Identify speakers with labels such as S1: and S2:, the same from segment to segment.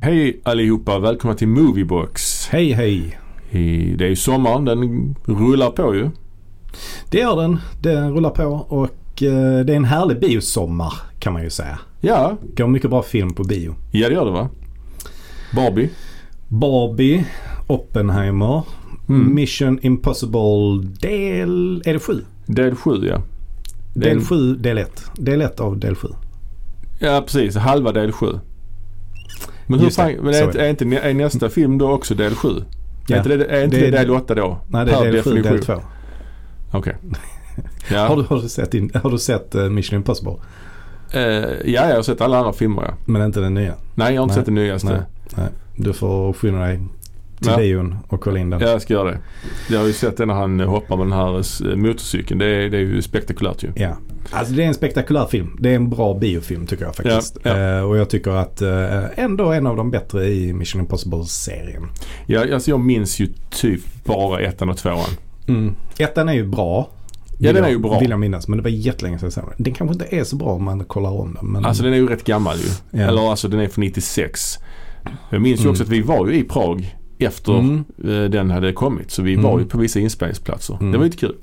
S1: Hej allihopa, välkomna till Moviebox.
S2: Hej hej!
S1: I- Det är ju sommaren, den rullar på ju.
S2: Det gör den. Den rullar på och eh, det är en härlig biosommar kan man ju säga.
S1: Ja,
S2: Går mycket bra film på bio.
S1: ja det gör det va? Barbie.
S2: Barbie, Oppenheimer,
S1: Mm.
S2: Mission Impossible del... Är det sju?
S1: Del 7 ja. Det är
S2: Del
S1: en-
S2: sju, del ett. Del ett av del sju.
S1: Ja precis, halva del 7. Men hur
S2: Just det,
S1: fan, men
S2: så
S1: är,
S2: är
S1: inte, är, inte, nä- är nästa film då också del 7? Är
S2: Ja.
S1: inte det, är inte
S2: Det
S1: det,
S2: är-
S1: del 8 då?
S2: Nej, det är
S1: Per
S2: del sju, del två.
S1: Okej. Ja.
S2: Har, du, har, du sett in, har du sett eh, Mission Impossible?
S1: Eh, ja, jag har sett alla andra filmer ja.
S2: Men inte den nya?
S1: Nej, jag har inte
S2: Nej.
S1: sett den nyaste.
S2: Nej. Nej. Du får skynda dig till
S1: Ja.
S2: bion och kolla in den.
S1: Ja, jag ska göra det. Jag har ju sett det när han eh, hoppar med den här eh, motorcykeln. Det är, det är ju spektakulärt ju.
S2: Ja. Alltså det är en spektakulär film. Det är en bra biofilm tycker jag faktiskt.
S1: Ja,
S2: Eh, och jag tycker att eh, ändå en av de bättre i Mission Impossible-serien.
S1: Jag, alltså jag minns ju typ bara ettan och tvåan.
S2: Mm. Ettan är ju bra. Vill
S1: den är
S2: jag-
S1: ju bra.
S2: Vill jag minnas. Men det var jättelänge sedan jag såg den. Den kanske inte är så bra om man kollar om den. Men
S1: Alltså den är ju rätt gammal ju.
S2: Ja.
S1: Eller alltså den är från 96. Jag minns ju
S2: Mm.
S1: också att vi var ju i Prag efter
S2: Mm.
S1: eh, den hade kommit. Så vi
S2: Mm.
S1: var ju på vissa inspelningsplatser.
S2: Mm.
S1: Det var ju lite kul.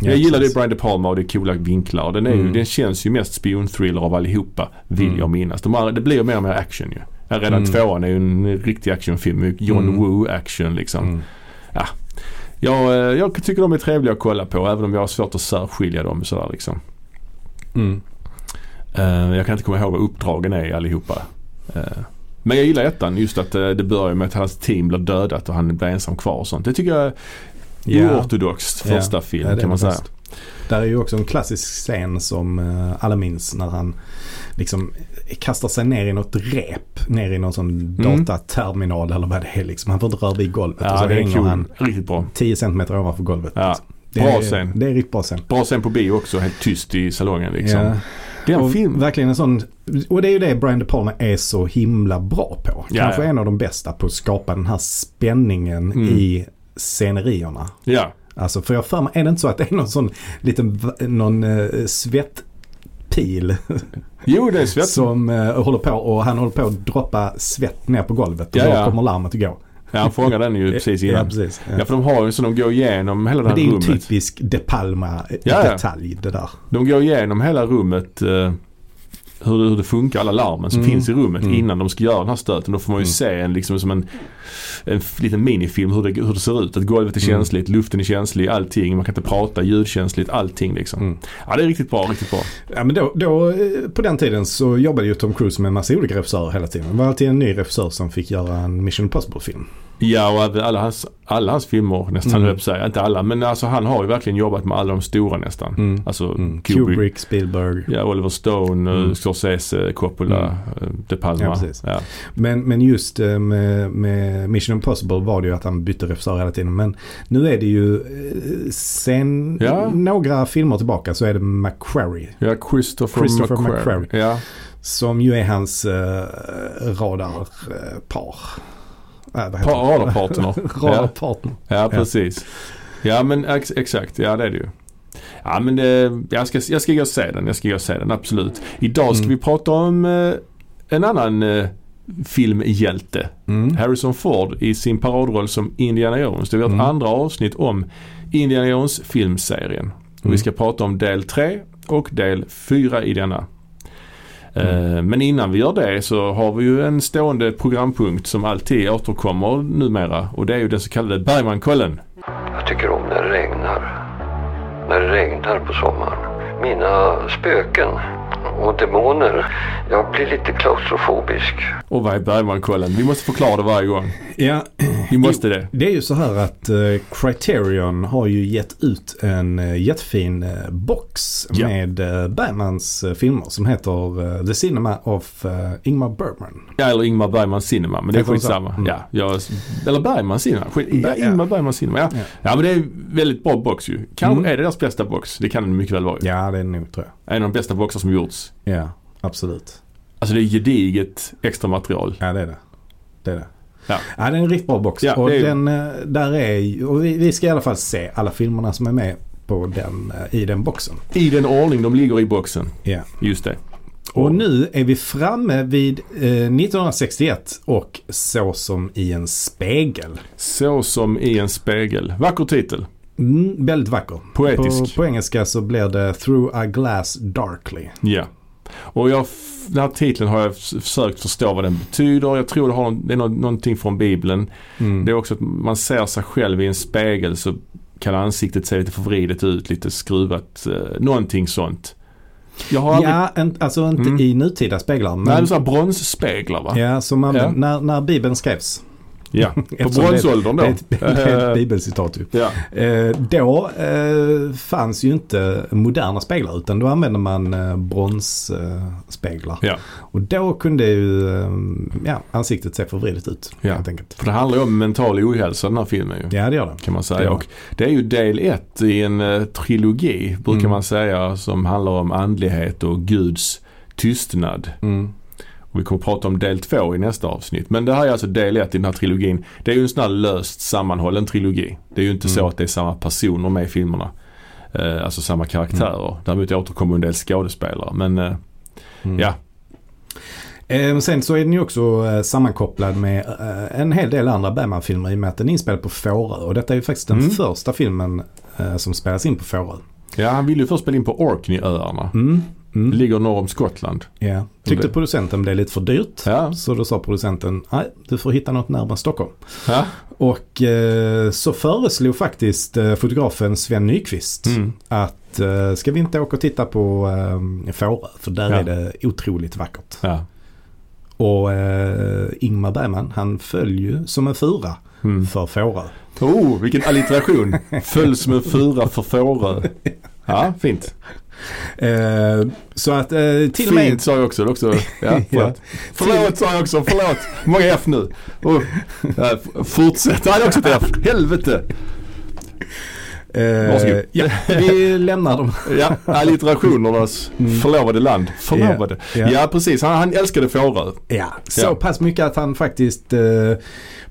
S2: ja,
S1: jag gillade ju
S2: precis.
S1: Brian De Palma och det är coola vinklar. Den, är ju,
S2: Mm.
S1: den känns ju mest spionthriller av allihopa vill
S2: Mm.
S1: jag minnas. De andra, det blir ju mer och mer action ju. Ja, Redan
S2: Mm.
S1: tvåan är ju en riktig actionfilm. John
S2: Mm.
S1: Woo action liksom.
S2: Mm.
S1: Jag, eh, jag tycker de är trevliga att kolla på även om jag har svårt att särskilja dem sådär liksom.
S2: Mm.
S1: Eh, jag kan inte komma ihåg vad uppdragen är allihopa. Eh, men jag gillar ettan just att eh, det börjar med att hans team blir dödat och han blir ensam kvar och sånt. Det tycker jag är
S2: Ja.
S1: oortodoxt
S2: Ja.
S1: första film
S2: Ja, det är
S1: kan man
S2: det
S1: säga.
S2: bäst. Där är ju också en klassisk scen som eh, alla minns när han liksom kastar sig ner i något rep. Ner i någon sån
S1: Mm.
S2: dataterminal eller vad det är liksom. Han får inte röra vid golvet och
S1: Ja,
S2: så
S1: det är
S2: hänger han
S1: kul. Riktigt bra.
S2: 10 centimeter ovanför golvet.
S1: Ja,
S2: liksom. Det
S1: bra
S2: är,
S1: scen.
S2: Det är riktigt bra scen.
S1: Bra sen på bio också, helt tyst i salongen liksom.
S2: Ja.
S1: Den
S2: Och
S1: film...
S2: verkligen en sån, och det är ju det Brian De Palma är så himla bra på.
S1: Ja,
S2: Kanske
S1: ja.
S2: en av de bästa på att skapa den här spänningen
S1: Mm.
S2: i scenerierna.
S1: Ja,
S2: Alltså för jag har för mig, är det inte så att det är någon sån liten v- någon, eh, svettpil
S1: jo det är svett.
S2: som eh, håller på och han håller på att droppa svett ner på golvet och
S1: Ja, ja.
S2: då kommer larmet att gå.
S1: Ja, han fångar den ju precis
S2: Ja,
S1: innan.
S2: precis. Ja.
S1: Ja, för de har ju så de går igenom hela det
S2: Men
S1: här
S2: det är ju en
S1: rummet.
S2: typisk De Palma eh,
S1: Ja, ja.
S2: detalj det där.
S1: De går igenom hela rummet. Eh, hur, det- hur det funkar, alla larmen som
S2: Mm.
S1: finns i rummet
S2: Mm.
S1: innan de ska göra den här stöten. Då får man ju
S2: Mm.
S1: se en, liksom, som en, en f- liten minifilm hur det, hur det ser ut. Att golvet är
S2: Mm.
S1: känsligt, luften är känslig, allting. Man kan inte prata, ljudkänsligt, allting liksom.
S2: Mm.
S1: Ja det är riktigt bra, riktigt bra.
S2: Ja, men då, då, eh, på den tiden så jobbade ju Tom Cruise med en massa olika regissörer hela tiden. Det var alltid en ny regissör som fick göra en Mission Impossible-film.
S1: Ja och även alla hans, alla hans filmer nästan,
S2: Mm.
S1: höll jag på att säga. Inte alla men alltså han har ju verkligen jobbat med alla de stora nästan.
S2: Mm.
S1: Alltså
S2: Kubrick.
S1: Kubrick.
S2: Spielberg.
S1: Ja, Oliver Stone, eh,
S2: Mm.
S1: Scorsese, Coppola, eh, De Palma.
S2: Ja, precis.
S1: Ja.
S2: Men, men just eh, med, med Mission Impossible var det ju att han bytte regissör hela tiden. Men nu är det ju eh, sen
S1: Ja.
S2: några filmer tillbaka så är det McQuarrie.
S1: Ja, Christopher,
S2: Christopher
S1: McQuarrie.
S2: McQuarrie.
S1: Ja.
S2: Som ju är hans eh, radarpar. Äh, vad heter det?
S1: Pa- Radarpartner. ja.
S2: Radarpartner.
S1: ja, precis. Ja, men ex exakt. Ja, det är det ju. Ja, men det, jag, ska, jag ska gå och se den. Jag ska gå och se den, absolut. Idag ska
S2: Mm.
S1: vi prata om eh, en annan eh, filmhjälte.
S2: Mm.
S1: Harrison Ford i sin paradroll som Indiana Jones. Det är vårt
S2: Mm.
S1: andra avsnitt om Indiana Jones filmserien. Och Vi
S2: Mm.
S1: ska prata om del 3 och del 4 i denna.
S2: Mm.
S1: Eh, Men innan vi gör det så har vi ju en stående programpunkt som alltid återkommer numera och det är ju den så kallade Bergmankollen.
S3: Jag tycker om när det regnar. När det regnar på sommaren. Mina spöken och demoner. Jag blir lite klaustrofobisk.
S1: Och vad är Bergmankollen? Vi måste förklara det varje gång.
S2: Ja,
S1: Vi måste det.
S2: Det är ju så här att eh, Criterion har ju gett ut en eh, jättefin eh, box
S1: Ja.
S2: med eh, Bergmans eh, filmer som heter eh, The Cinema of eh, Ingmar Bergman.
S1: Ja, eller Ingmar Bergman Cinema, men det är
S2: Jag kommer
S1: skitsamma.
S2: så. Mm.
S1: Ja, jag, eller Bergman Cinema. Skit,
S2: Ja, ja.
S1: Ingmar Bergman Cinema, ja.
S2: Ja.
S1: ja. men det är en väldigt bra box ju. Kanske
S2: Mm.
S1: är det deras bästa box. Det kan det mycket väl vara ju.
S2: Ja, det är det nog tror
S1: En av de bästa boxar som gjorts.
S2: jag. Ja, absolut.
S1: Alltså det är gediget extra material.
S2: Ja, det är det. Det är det.
S1: Ja.
S2: det är en riktigt bra box.
S1: Ja,
S2: och
S1: det är ju-
S2: den, eh, där är ju, och vi, vi ska i alla fall se alla filmerna som är med på den, eh, i den boxen.
S1: I den ordning de ligger i boxen.
S2: Ja.
S1: Just det.
S2: Och nu är vi framme vid eh, 1961 och Så som i en spegel.
S1: Så som i en spegel. Vacker titel.
S2: Mm, väldigt vacker. På,
S1: Poetisk.
S2: på engelska så blir det Through a glass darkly.
S1: Ja. Och jag, f- den här titeln har jag f- försökt förstå vad den betyder. Jag tror det, har, det är nå- någonting från Bibeln.
S2: Mm.
S1: Det är också att man ser sig själv i en spegel så kan ansiktet se lite förvridet ut, lite skruvat. Eh, någonting sånt. Jag har aldrig...
S2: Ja, en, alltså inte
S1: Mm.
S2: i nutida speglar. Men,
S1: Nej, du sa bronsspeglar va?
S2: ja, som man,
S1: Ja.
S2: När, när Bibeln skrevs.
S1: Ja. På
S2: Eftersom det-
S1: bronsåldern då.
S2: Det är ett, det är ett
S1: Eh,
S2: bibelcitat ju.
S1: ja.
S2: Eh, då eh, fanns ju inte moderna speglar utan då använde man eh, bronsspeglar. Eh, speglar.
S1: ja.
S2: Och då kunde ju eh, ja, ansiktet se förvridet ut
S1: Ja.
S2: helt enkelt.
S1: För det handlar ju om mental ohälsa den här filmen ju.
S2: Ja det gör det.
S1: Kan man
S2: Det
S1: säga.
S2: gör
S1: Och det är ju del ett i en eh, trilogi brukar
S2: Mm.
S1: man säga som handlar om andlighet och Guds tystnad.
S2: Mm.
S1: Och vi kommer att prata om del två i nästa avsnitt. Men det här är alltså del ett i den här trilogin. Det är ju en sån här löst sammanhållen trilogi. Det är ju inte så
S2: Mm.
S1: att det är samma personer med i filmerna. Eh, alltså samma karaktärer. Däremot återkommer en del skådespelare. Men eh,
S2: Mm.
S1: Ja.
S2: Eh, sen så är den ju också eh, sammankopplad med eh, en hel del andra Bergman-filmer i och med att den är inspelad på Fårö. Och detta är ju faktiskt den
S1: Mm.
S2: första filmen eh, som spelas in på Fårö.
S1: ja, han ville ju först spela in på Orkneyöarna.
S2: Mm.
S1: Det
S2: Mm.
S1: ligger norr om Skottland.
S2: Ja. Tyckte
S1: Det-
S2: producenten blev lite för dyrt.
S1: Ja.
S2: Så då sa producenten, nej du får hitta något närmare Stockholm.
S1: ja.
S2: Och eh, så föreslog faktiskt eh, fotografen Sven Nykvist
S1: Mm.
S2: att eh, ska vi inte åka och titta på eh, Fårö för där
S1: Ja.
S2: är det otroligt vackert.
S1: ja.
S2: Och eh, Ingmar Bergman han föll ju som en fura
S1: Mm.
S2: för Fårö.
S1: Oh, vilken alliteration! Föll som en fura för Fårö. Ja, fint.
S2: Eh, så att eh, till och med
S1: Fint sa jag också. Det är också ja,
S2: Ja.
S1: förlåt. förlåt sa jag också. Förlåt. Många F nu. Oh, ja, f- fortsätt. Ja, det är också ett F. Helvete. Varsågod.
S2: eh, ja, vi lämnar dem.
S1: Ja, alliterationernas förlovade land. Förlovade.
S2: Mm. Ja, ja.
S1: Ja, precis. Han, han älskade Fårö.
S2: Ja, så
S1: Ja.
S2: pass mycket att han faktiskt eh,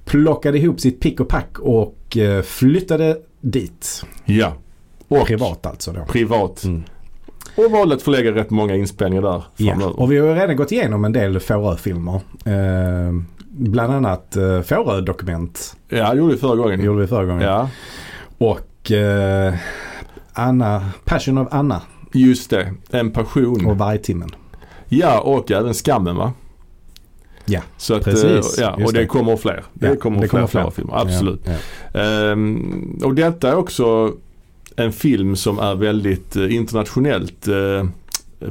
S2: plockade ihop sitt pick och pack och eh, flyttade dit.
S1: Ja. Och
S2: Privat alltså då.
S1: privat.
S2: Mm.
S1: Och valde att förlägga rätt många inspelningar där
S2: Ja,
S1: framöver.
S2: och vi har ju redan gått igenom en del Fårö-filmer. Eh, bland annat eh, Fårö-dokument
S1: Ja, det gjorde vi förra gången.
S2: gjorde vi förra gången.
S1: Mm. Ja,
S2: Och eh, Anna, Passion of Anna
S1: just det. En passion.
S2: och Vargtimmen.
S1: Ja, och även Skammen va?
S2: Ja,
S1: så att,
S2: precis.
S1: eh, Ja, och
S2: Just
S1: det,
S2: det.
S1: kommer fler. Det
S2: Ja,
S1: kommer
S2: det
S1: fler,
S2: kommer fler.
S1: fler filmer, absolut.
S2: Ja, ja.
S1: Ehm, och detta är också en film som är väldigt eh, internationellt eh,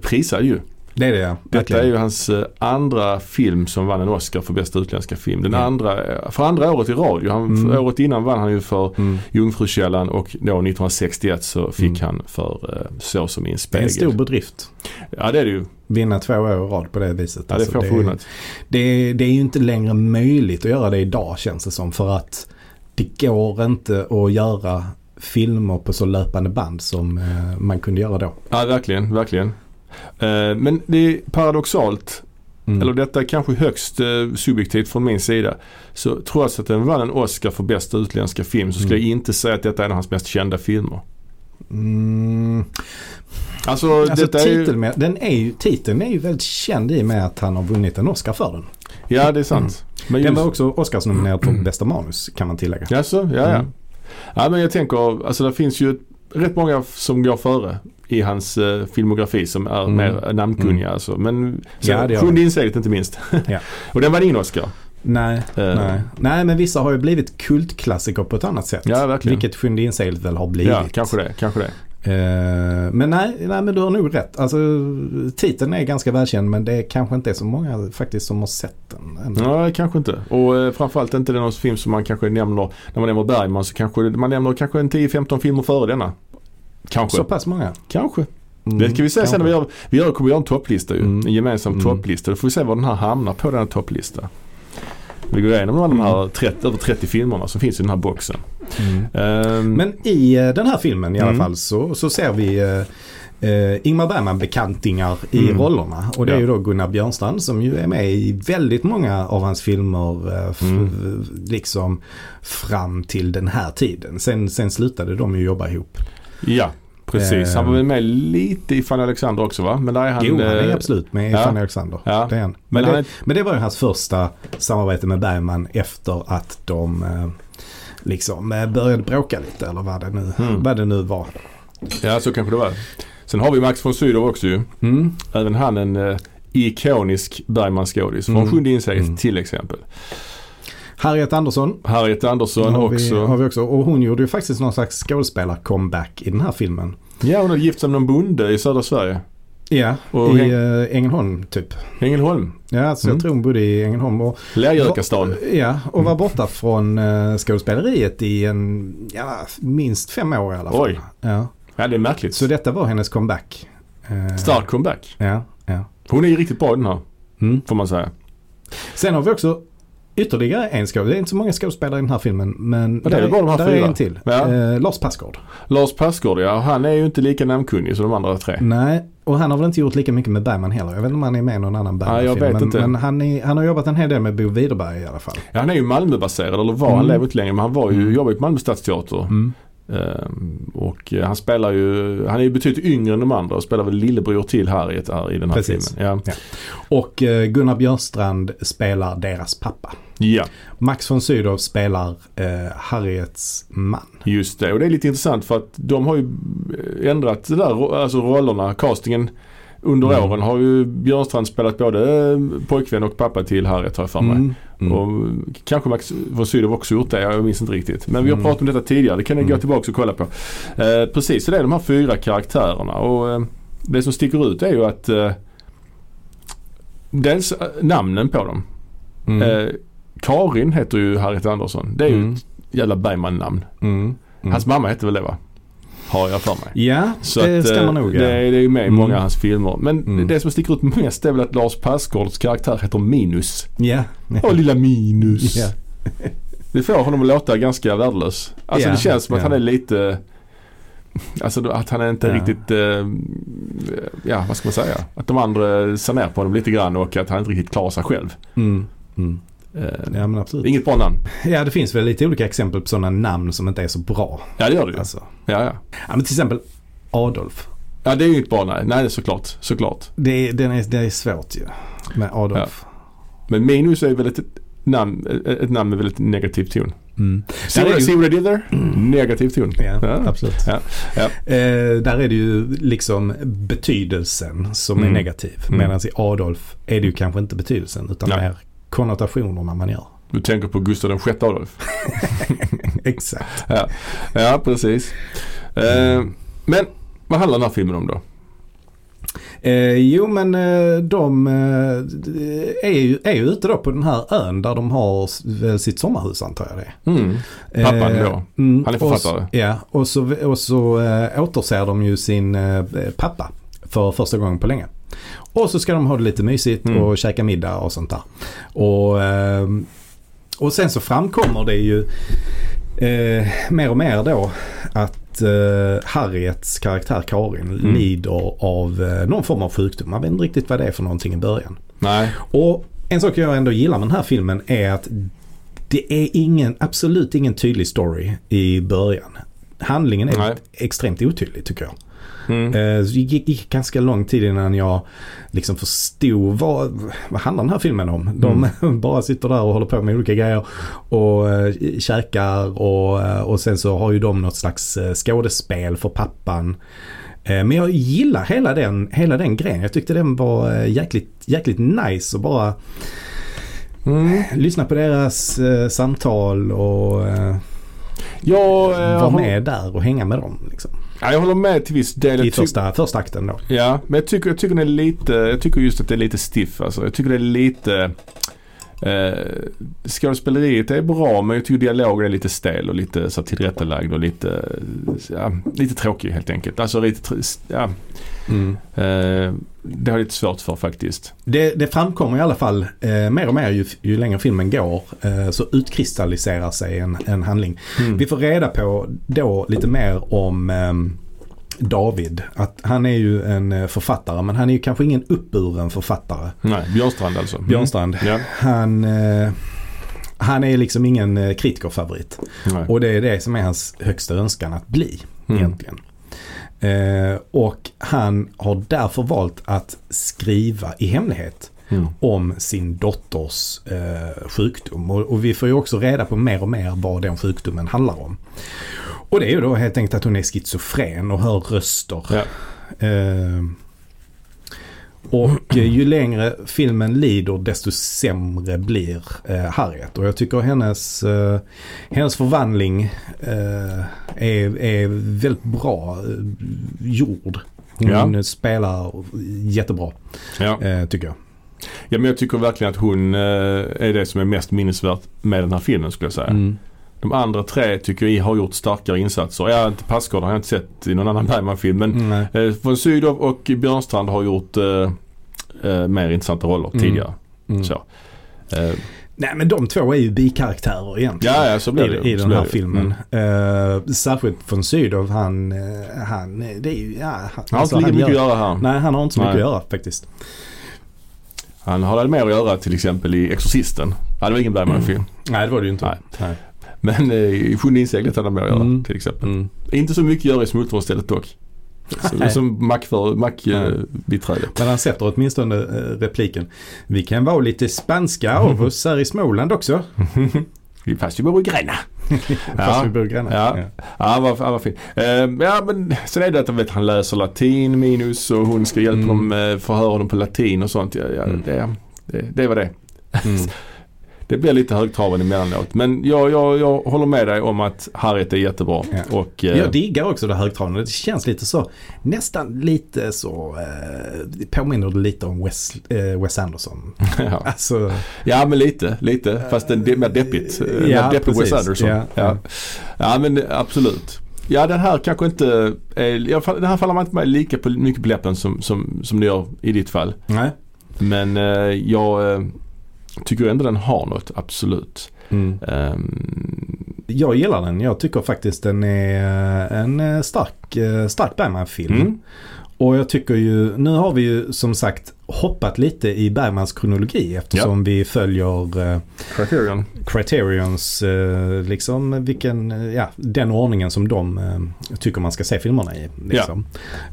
S1: prisad ju.
S2: Det är det ja.
S1: Detta
S2: verkligen.
S1: är ju hans eh, andra film som vann en Oscar för bästa utländska film. Den
S2: Ja.
S1: andra, eh, för andra året i rad. ju. Han,
S2: Mm.
S1: för Året innan vann han ju för
S2: Mm.
S1: Jungfrukällan och då 1961 så fick
S2: Mm.
S1: han för eh, Så som i en
S2: Det är
S1: spegel.
S2: en stor bedrift.
S1: Ja det är det ju.
S2: Vinna två år i rad på det viset.
S1: Ja, det är
S2: Alltså,
S1: få förunnat.
S2: det, är- det är ju inte längre möjligt att göra det idag känns det som. För att det går inte att göra filmer på så löpande band som eh, man kunde göra då.
S1: Ja, verkligen, verkligen. Eh, Men det är paradoxalt,
S2: Mm.
S1: eller detta är kanske högst eh, subjektivt från min sida. Så trots att den vann en Oscar för bästa utländska film så skulle
S2: Mm.
S1: jag inte säga att detta är en av hans mest kända filmer.
S2: Mm.
S1: Alltså,
S2: Alltså,
S1: detta är ju,
S2: titeln, med, den är ju, titeln är ju väldigt känd i och med att han har vunnit en Oscar för den.
S1: Ja, det är sant. Men
S2: Mm. Den
S1: just,
S2: var också Oscarsnominerad för bästa manus kan man tillägga.
S1: Jaså? ja, ja.
S2: Mm.
S1: Ja, men jag tänker, alltså det finns ju rätt många f- som går före i hans eh, filmografi som är
S2: Mm.
S1: mer namnkunniga alltså. Men så,
S2: Ja, det gör
S1: Sjunde inseglet inte minst.
S2: Ja.
S1: Och den vann ingen Oscar.
S2: Nej,
S1: Eh,
S2: nej. nej, men vissa har ju blivit kultklassiker på ett annat sätt.
S1: Ja, verkligen.
S2: Vilket Sjunde inseglet väl har blivit.
S1: Ja, kanske det. Kanske det.
S2: Eh, men nej, nej, men du har nog rätt. Alltså, titeln är ganska välkänd men det kanske inte är så många faktiskt som har sett den. ännu.
S1: Nej, kanske inte. Och eh, framförallt inte den film som man kanske nämner, när man nämner Bergman så kanske man nämner kanske en 10-15 filmer före denna. Kanske.
S2: Så pass många.
S1: Kanske.
S2: Mm,
S1: Det ska vi se sen när vi
S2: kanske.
S1: gör, vi gör, kommer göra en topplista ju.
S2: Mm.
S1: En gemensam
S2: Mm.
S1: topplista. Då får vi se var den här hamnar på denna topplista. Vi går igenom alla de här 30, över 30 filmerna som finns i den här boxen.
S2: Mm.
S1: Ehm,
S2: Men i eh, den här filmen i alla
S1: Mm.
S2: fall så, så ser vi eh, eh, Ingmar Bergman-bekantingar i
S1: Mm.
S2: rollerna. Och det är
S1: Ja.
S2: ju då Gunnar Björnstrand som ju är med i väldigt många av hans filmer eh, f-
S1: Mm.
S2: liksom fram till den här tiden. Sen, sen slutade de ju jobba ihop.
S1: ja, Precis, han var väl med lite i Fanny Alexander också va? Men där är han...
S2: Ehm. jo, han är
S1: eh,
S2: absolut med i
S1: ja.
S2: Fanny Alexander.
S1: Ja.
S2: Det är han.
S1: Men
S2: Men,
S1: han
S2: det,
S1: är-
S2: men det var ju hans första samarbete med Bergman efter att de eh, liksom eh, började bråka lite eller vad det nu,
S1: Mm.
S2: vad det nu var.
S1: Ja, så kanske det var. Sen har vi Max von Sydow också ju.
S2: Mm.
S1: Även han en eh, ikonisk Bergman-skådis. Från
S2: Mm.
S1: Sjunde inseglet
S2: Mm.
S1: till exempel.
S2: Harriet Andersson.
S1: Harriet Andersson
S2: Har vi,
S1: också.
S2: har vi också. Och hon gjorde ju faktiskt någon slags skådespelar-comeback i den här filmen.
S1: Ja, hon har gift sig med någon bonde i södra Sverige.
S2: Ja,
S1: Och
S2: i
S1: Hen-
S2: eh, Ängelholm typ.
S1: Ängelholm.
S2: Ja, så
S1: Mm.
S2: jag tror hon bodde i Ängelholm. Och,
S1: Lärjökastan.
S2: Ja, och var borta från eh, skådespeleriet i en, ja, minst fem år i alla fall.
S1: Oj.
S2: Ja.
S1: Ja, det är märkligt.
S2: Så detta var hennes comeback. Eh,
S1: Stark comeback.
S2: Ja, ja.
S1: Hon är ju riktigt bra i den här,
S2: Mm.
S1: får man säga.
S2: Sen har vi också ytterligare en skådespelare. Det är inte så många skådespelare i den här filmen. Men
S1: Ja, det är väl bara de här
S2: där
S1: fyra.
S2: är en till.
S1: Ja.
S2: Eh, Lars Passgård.
S1: Lars Persgård, ja. Han är ju inte lika namnkunnig som de andra tre.
S2: Nej, och han har väl inte gjort lika mycket med Bergman heller. Jag vet inte om han är med i någon annan
S1: Nej, jag
S2: Bergman-film.
S1: vet
S2: men
S1: inte.
S2: men han, är, han har jobbat en hel del med Bo Widerberg i alla fall.
S1: Ja, han är ju Malmöbaserad, eller var. Han
S2: Mm.
S1: lever inte längre, men han var ju,
S2: Mm.
S1: jobbade på Malmö Stadsteater. Ehm, och eh, han spelar ju, han är ju betydligt yngre än de andra och spelar väl lillebror till Harriet här i den här
S2: Precis.
S1: filmen. Ja.
S2: Och eh, Gunnar Björstrand spelar deras pappa.
S1: ja,
S2: Max von Sydow spelar eh, Harriets man.
S1: just det. Och det är lite intressant för att de har ju eh, ändrat det där, ro- alltså rollerna, castingen. Under
S2: Mm.
S1: åren har ju Björnstrand spelat både eh, pojkvän och pappa till Harriet har jag för mig.
S2: Mm.
S1: Och eh, kanske Max von Sydow också gjort det, jag minns inte riktigt. Men vi har
S2: Mm.
S1: pratat om detta tidigare, det kan ni gå
S2: Mm.
S1: tillbaka och kolla på. Eh, precis, så det är de här fyra karaktärerna och eh, det som sticker ut är ju att eh, dels eh, namnen på dem.
S2: Mm.
S1: Eh, Karin heter ju Harriet Andersson. Det är ju
S2: Mm.
S1: ett jävla Bergman-namn.
S2: Mm. Mm.
S1: Hans mamma hette väl det va? Har jag för mig.
S2: Ja, det
S1: att, eh,
S2: stämmer nog.
S1: Det,
S2: Ja.
S1: är- det är ju med i
S2: Mm.
S1: många av hans filmer. Men
S2: Mm.
S1: det som sticker ut mest är väl att Lars Passgårds karaktär heter Minus.
S2: Ja.
S1: Åh lilla Minus.
S2: Ja.
S1: Det får honom att låta ganska värdelös. Alltså
S2: Ja,
S1: det känns som att
S2: ja.
S1: han är lite Alltså då- att han är inte
S2: Ja.
S1: riktigt, eh, ja vad ska man säga? Att de andra ser ner på honom lite grann och att han inte riktigt klarar sig själv.
S2: Mm. Mm.
S1: Eh,
S2: ja, men absolut.
S1: Inget bra namn.
S2: Ja, det finns väl lite olika exempel på sådana namn som inte är så bra.
S1: Ja det gör det ju.
S2: Alltså.
S1: Ja, ja.
S2: Ja, men till exempel Adolf.
S1: ja det är ju inget bra nej. Nej såklart, såklart.
S2: Det är, den är, det är svårt ju med Adolf.
S1: Men minus är väl ett namn, ett namn med väldigt negativ ton.
S2: Mm.
S1: See
S2: Där är
S1: what,
S2: ju-
S1: see what I did there? Mm. Negativ ton.
S2: Ja,
S1: Ja.
S2: absolut.
S1: Ja, ja.
S2: Eh, där är det ju liksom betydelsen som
S1: Mm.
S2: är negativ.
S1: Mm.
S2: Medan i Adolf är det ju kanske inte betydelsen utan
S1: Nej.
S2: mer konnotationerna man gör.
S1: Du tänker på Gustav VI Adolf.
S2: Exakt.
S1: Ja, precis. Eh, men vad handlar den här filmen om då?
S2: Eh, jo men eh, de eh, d- är, ju, är ju ute då på den här ön där de har s- väl sitt sommarhus antar jag det är.
S1: Mm. Pappan då?
S2: mm,
S1: Han är
S2: Och,
S1: författare.
S2: s- ja, och så, och så eh, återser de ju sin eh, pappa för första gången på länge. Och så ska de ha det lite mysigt
S1: Mm.
S2: och käka middag och sånt där. Och, eh, och sen så framkommer det ju eh, mer och mer då att eh, Harriets karaktär Karin
S1: Mm.
S2: lider av eh, någon form av sjukdom. Man vet inte riktigt vad det är för någonting i början.
S1: Nej.
S2: Och en sak jag ändå gillar med den här filmen är att det är ingen, absolut ingen tydlig story i början. Handlingen är
S1: Nej.
S2: extremt otydlig tycker jag.
S1: Mm.
S2: Eh, så Det gick, gick ganska lång tid innan jag liksom förstod vad, vad handlar den här filmen om. De
S1: Mm.
S2: bara sitter där och håller på med olika grejer och eh, käkar och, eh, och sen så har ju de något slags eh, skådespel för pappan. Eh, Men jag gillar hela den, hela den grejen. Jag tyckte den var eh, jäkligt, jäkligt nice och bara eh,
S1: Mm.
S2: lyssna på deras eh, samtal och eh,
S1: Jag, eh,
S2: vara
S1: håller,
S2: med där och hänga med dem. Liksom.
S1: ja, jag håller med till viss del.
S2: I
S1: Jag ty-
S2: första, första akten då.
S1: Ja, men jag tycker, jag tycker den är lite, jag tycker just att det är lite stiff alltså. Jag tycker det är lite eh, skådespeleriet är bra men jag tycker dialogen är lite stel och lite så här, tillrättalagd och lite, ja, lite tråkig helt enkelt. Alltså lite, tr- ja, eh, det har jag lite svårt för faktiskt.
S2: Det, det framkommer i alla fall eh, mer och mer ju, ju längre filmen går eh, så utkristalliserar sig en, en handling.
S1: Hmm.
S2: Vi får reda på då lite mer om ehm, David. Att han är ju en eh, författare men han är ju kanske ingen uppburen författare.
S1: Nej, Björnstrand alltså. Mm.
S2: Björnstrand.
S1: Ja,
S2: Han, eh, han är liksom ingen eh, kritikerfavorit.
S1: nej.
S2: Och det är det som är hans högsta önskan att bli
S1: Mm.
S2: egentligen. Eh, och han har därför valt att skriva i hemlighet
S1: Mm.
S2: om sin dotters eh, sjukdom. Och, och vi får ju också reda på mer och mer vad den sjukdomen handlar om. Och det är ju då helt enkelt att hon är schizofren och hör röster.
S1: Ja.
S2: Eh, och eh, ju längre filmen lider desto sämre blir eh, Harriet. Och jag tycker hennes, eh, hennes förvandling eh, är, är väldigt bra eh, gjord. Hon spelar jättebra
S1: Ja.
S2: eh, tycker jag.
S1: ja, men jag tycker verkligen att hon eh, är det som är mest minnesvärt med den här filmen skulle jag säga.
S2: Mm.
S1: De andra tre tycker jag har gjort starkare insatser. Ja, inte Passgård har jag inte sett i någon annan Bergman-film. Men
S2: Nej.
S1: eh, von Sydow och Björnstrand har gjort eh, eh, mer intressanta roller tidigare.
S2: Mm.
S1: Så. Eh,
S2: Nej men de två är ju bikaraktärer egentligen.
S1: ja, ja, så blir det.
S2: I,
S1: Så
S2: i den
S1: blir
S2: här
S1: det.
S2: filmen.
S1: Mm.
S2: Eh, särskilt von Sydow, han, eh, han, det är ju, ja, han,
S1: Han har
S2: alltså,
S1: inte lika mycket
S2: gör-
S1: att göra här.
S2: Nej, han har inte så mycket
S1: Nej.
S2: att göra faktiskt.
S1: Han har mer att göra till exempel i Exorcisten. Ja, det var ingen Bergman-film.
S2: Nej, det var det ju inte.
S1: Nej. Men eh, i Sjunde inseglet hade han mer att göra
S2: Mm.
S1: till exempel.
S2: Mm.
S1: Inte så mycket att göra i Smultronstället dock. Så,
S2: Nej.
S1: som mackbiträde. Mack, eh, biträde.
S2: Men han sätter åtminstone eh, repliken. Vi kan vara lite spanska
S1: Mm.
S2: av oss här i Småland också.
S1: Fast vi bor i Gränna.
S2: Fast vi bor grannar.
S1: Ja. Ja, han var, han var fin. Eh, ja, men sen är det att han, vet, han läser latin minus och hon ska hjälpa
S2: Mm.
S1: honom, eh, förhöra honom på latin och sånt. Ja, ja,
S2: Mm.
S1: det, det, det var det.
S2: Mm.
S1: Det blir lite högtravande emellanåt. Men jag, jag, jag håller med dig om att Harriet är jättebra.
S2: Ja.
S1: Och, eh,
S2: Jag diggar också det högtravande. Det känns lite så, nästan lite så, eh, det påminner det lite om Wes, eh, Wes Anderson.
S1: ja.
S2: Alltså,
S1: Ja men lite, lite. Fast det är mer deppigt. Eh,
S2: Ja,
S1: mer deppig
S2: precis.
S1: Wes Anderson.
S2: Ja.
S1: Ja. Ja. men absolut. Ja den här kanske inte, eh, jag fall- den här faller man inte med lika på, mycket på läppen som, som, som det gör i ditt fall.
S2: nej.
S1: Men eh, jag eh, tycker ändå den har något, absolut.
S2: Mm.
S1: Ehm,
S2: Jag gillar den. Jag tycker faktiskt den är eh, en eh, stark, eh, stark Bergman-film.
S1: Mm.
S2: Och jag tycker ju, nu har vi ju som sagt hoppat lite i Bergmans kronologi eftersom vi följer eh,
S1: Criterion.
S2: Criterions, eh, liksom vilken, eh, ja, den ordningen som de eh, tycker man ska se filmerna i. Liksom.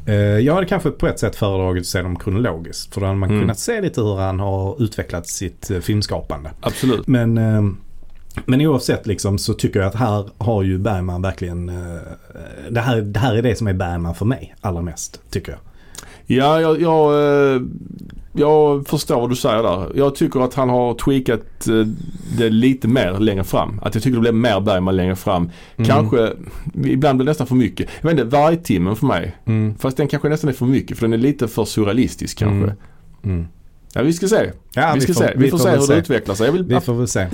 S2: Eh, jag hade kanske på ett sätt föredragit att se dem kronologiskt för då hade man
S1: Mm.
S2: kunnat se lite hur han har utvecklat sitt eh, filmskapande.
S1: Absolut.
S2: Men, eh, men oavsett liksom så tycker jag att här har ju Bergman verkligen, eh, det, här, det här är det som är Bergman för mig allra mest tycker jag.
S1: Ja, jag, jag, eh, jag förstår vad du säger där. Jag tycker att han har tweakat eh, det lite mer längre fram. Att jag tycker det blev mer Bergman längre fram.
S2: Mm.
S1: Kanske, ibland blir det nästan för mycket. Jag vet inte, vargtimmen för mig. Fast den kanske nästan är för mycket för den är lite för surrealistisk Mm. kanske.
S2: Mm. Mm.
S1: Ja, vi ska se.
S2: Ja,
S1: vi, ska se. Vi, får, se
S2: väl
S1: hur det utvecklar sig. Jag vill,
S2: Vi får väl se. Eh,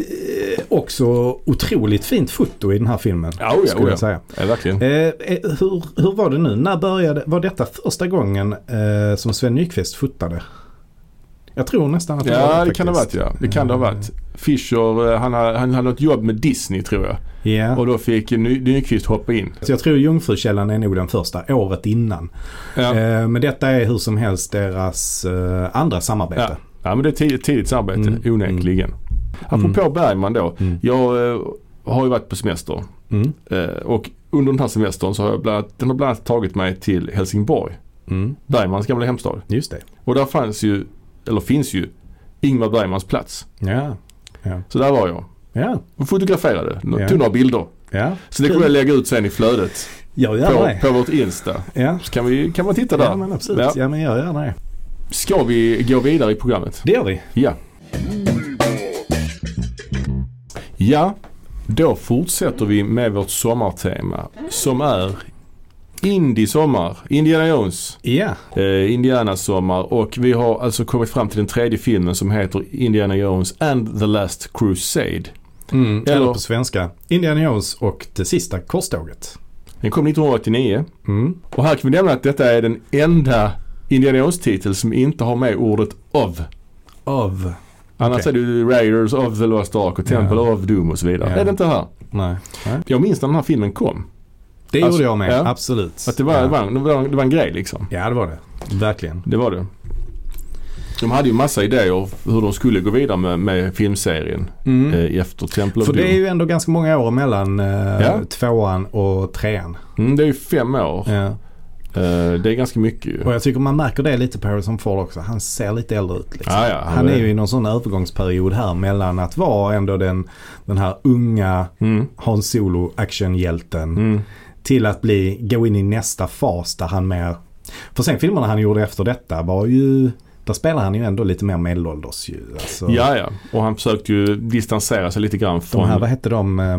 S2: också otroligt fint foto i den här filmen.
S1: Ja, oja,
S2: skulle
S1: oja.
S2: jag säga.
S1: ja, verkligen.
S2: Eh, eh, hur, hur var det nu? När började, var detta första gången eh, som Sven Nykvist fotade? Jag tror nästan att det var
S1: Ja, det
S2: faktiskt.
S1: kan det ha varit ja. Det kan det ha varit. Fischer, eh, han, har- han hade något jobb med Disney tror jag.
S2: Ja.
S1: Och då fick Ny- Nyqvist hoppa in.
S2: Så jag tror Jungfrukällan är nog den första, året innan.
S1: Ja.
S2: Eh, Men detta är hur som helst deras eh, andra samarbete.
S1: Ja. ja, men det är tidigt, tidigt samarbete
S2: Mm,
S1: onekligen. Apropå Bergman då.
S2: Mm.
S1: Jag eh, har ju varit på semester
S2: Mm.
S1: eh, och under den här semestern så har jag bland annat, den har bland annat tagit mig till Helsingborg.
S2: Mm.
S1: Bergmans gamla hemstad.
S2: Just det.
S1: Och där fanns ju, eller finns ju, Ingmar Bergmans plats.
S2: Ja,
S1: Så där var jag.
S2: ja,
S1: Och fotograferade,
S2: Ja.
S1: tog några bilder.
S2: ja.
S1: Så det kommer jag lägga ut sen i flödet
S2: Jag gör
S1: på,
S2: det.
S1: på vårt Insta.
S2: Ja.
S1: Så kan, vi, kan man titta där.
S2: ja, men absolut. Ja. men jag gör det.
S1: Ska vi gå vidare i programmet?
S2: Det gör vi.
S1: Ja. Ja, då fortsätter vi med vårt sommartema som är Indie sommar, Indiana Jones,
S2: Ja,
S1: eh, Indiana sommar och vi har alltså kommit fram till den tredje filmen som heter Indiana Jones and the Last Crusade.
S2: mm.
S1: Eller-
S2: eller på svenska. Indiana Jones och det sista korståget.
S1: Den kom 1989
S2: Mm.
S1: och här kan vi nämna att detta är den enda Indiana Jones-titel som inte har med ordet of.
S2: Av.
S1: Annars
S2: Okej.
S1: är det ju Raiders of the Lost Ark och Temple of Doom och så vidare.
S2: Ja.
S1: Det är det inte här.
S2: Nej.
S1: Jag minns när den här filmen kom.
S2: Det
S1: Alltså,
S2: gjorde jag med.
S1: ja.
S2: Absolut.
S1: Att det var,
S2: ja.
S1: det, var, en- det, var, en- det var en grej liksom.
S2: ja, det var det. Verkligen.
S1: Det var det. De hade ju massa idéer hur de skulle gå vidare med, med filmserien eh, efter Temple of
S2: Mm. För
S1: Doom.
S2: det är ju ändå ganska många år mellan eh,
S1: Ja.
S2: tvåan och trean.
S1: mm, det är ju fem år.
S2: Ja.
S1: Eh, det är ganska mycket ju.
S2: Och jag tycker man märker det lite på Harrison Ford också. Han ser lite äldre ut. Liksom.
S1: Ja, ja, han
S2: han, är
S1: är-
S2: ju i någon sån övergångsperiod här mellan att vara ändå den, den här unga
S1: Mm.
S2: Hans Solo actionhjälten
S1: Mm.
S2: till att bli, gå in i nästa fas där han mer... För sen filmerna han gjorde efter detta var ju... Där spelar han ju ändå lite mer medelålders ju. Alltså,
S1: Ja, ja. Och han försökte ju distansera sig lite grann
S2: de
S1: från...
S2: här, vad hette de, eh,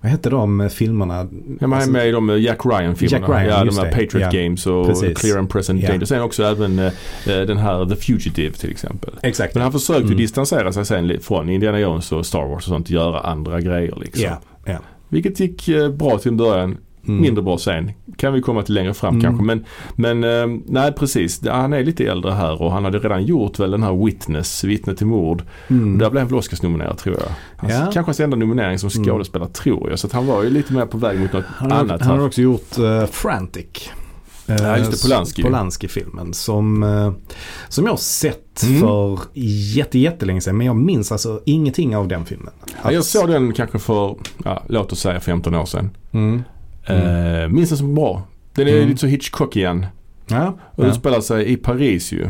S2: vad hette de eh, filmerna?
S1: Ja, men han är med i de eh, Jack Ryan-filmerna.
S2: Jack Ryan,
S1: ja, de
S2: just
S1: här
S2: det.
S1: Patriot
S2: Ja.
S1: Games och
S2: Precis.
S1: Clear and Present
S2: Ja.
S1: Danger. Sen också även eh, eh, den här The Fugitive till exempel.
S2: Exakt.
S1: Men han försökte
S2: Mm.
S1: distansera sig sen li- från Indiana Jones och Star Wars och sånt. Göra andra grejer liksom.
S2: Ja, ja.
S1: Vilket gick eh, bra till en början.
S2: Mm.
S1: Mindre bra sen. Kan vi komma till längre fram
S2: Mm.
S1: kanske. Men, men eh, nej precis. Det- Han är lite äldre här och han hade redan gjort väl den här Witness, Vittne till mord.
S2: Mm.
S1: Där blev han väl Oscarsnominerad tror jag. Hans,
S2: Ja. Mm.
S1: Kanske hans enda nominering som skådespelare tror jag. Så att han var ju lite mer på väg mot något
S2: Han, har,
S1: annat.
S2: han har
S1: här.
S2: också gjort eh, Frantic. Eh,
S1: Ja, just det, Polanski.
S2: Polanski-filmen som, eh, som jag har sett
S1: Mm.
S2: för jätte, jättelänge sedan. Men jag minns alltså ingenting av den filmen.
S1: Ja, jag såg den kanske för, ja, låt oss säga 15 år sedan.
S2: Mm.
S1: Eh, minns den som bra. Den är
S2: Mm.
S1: lite så Hitchcock igen.
S2: Ja,
S1: Och den
S2: ja.
S1: spelar sig i Paris ju.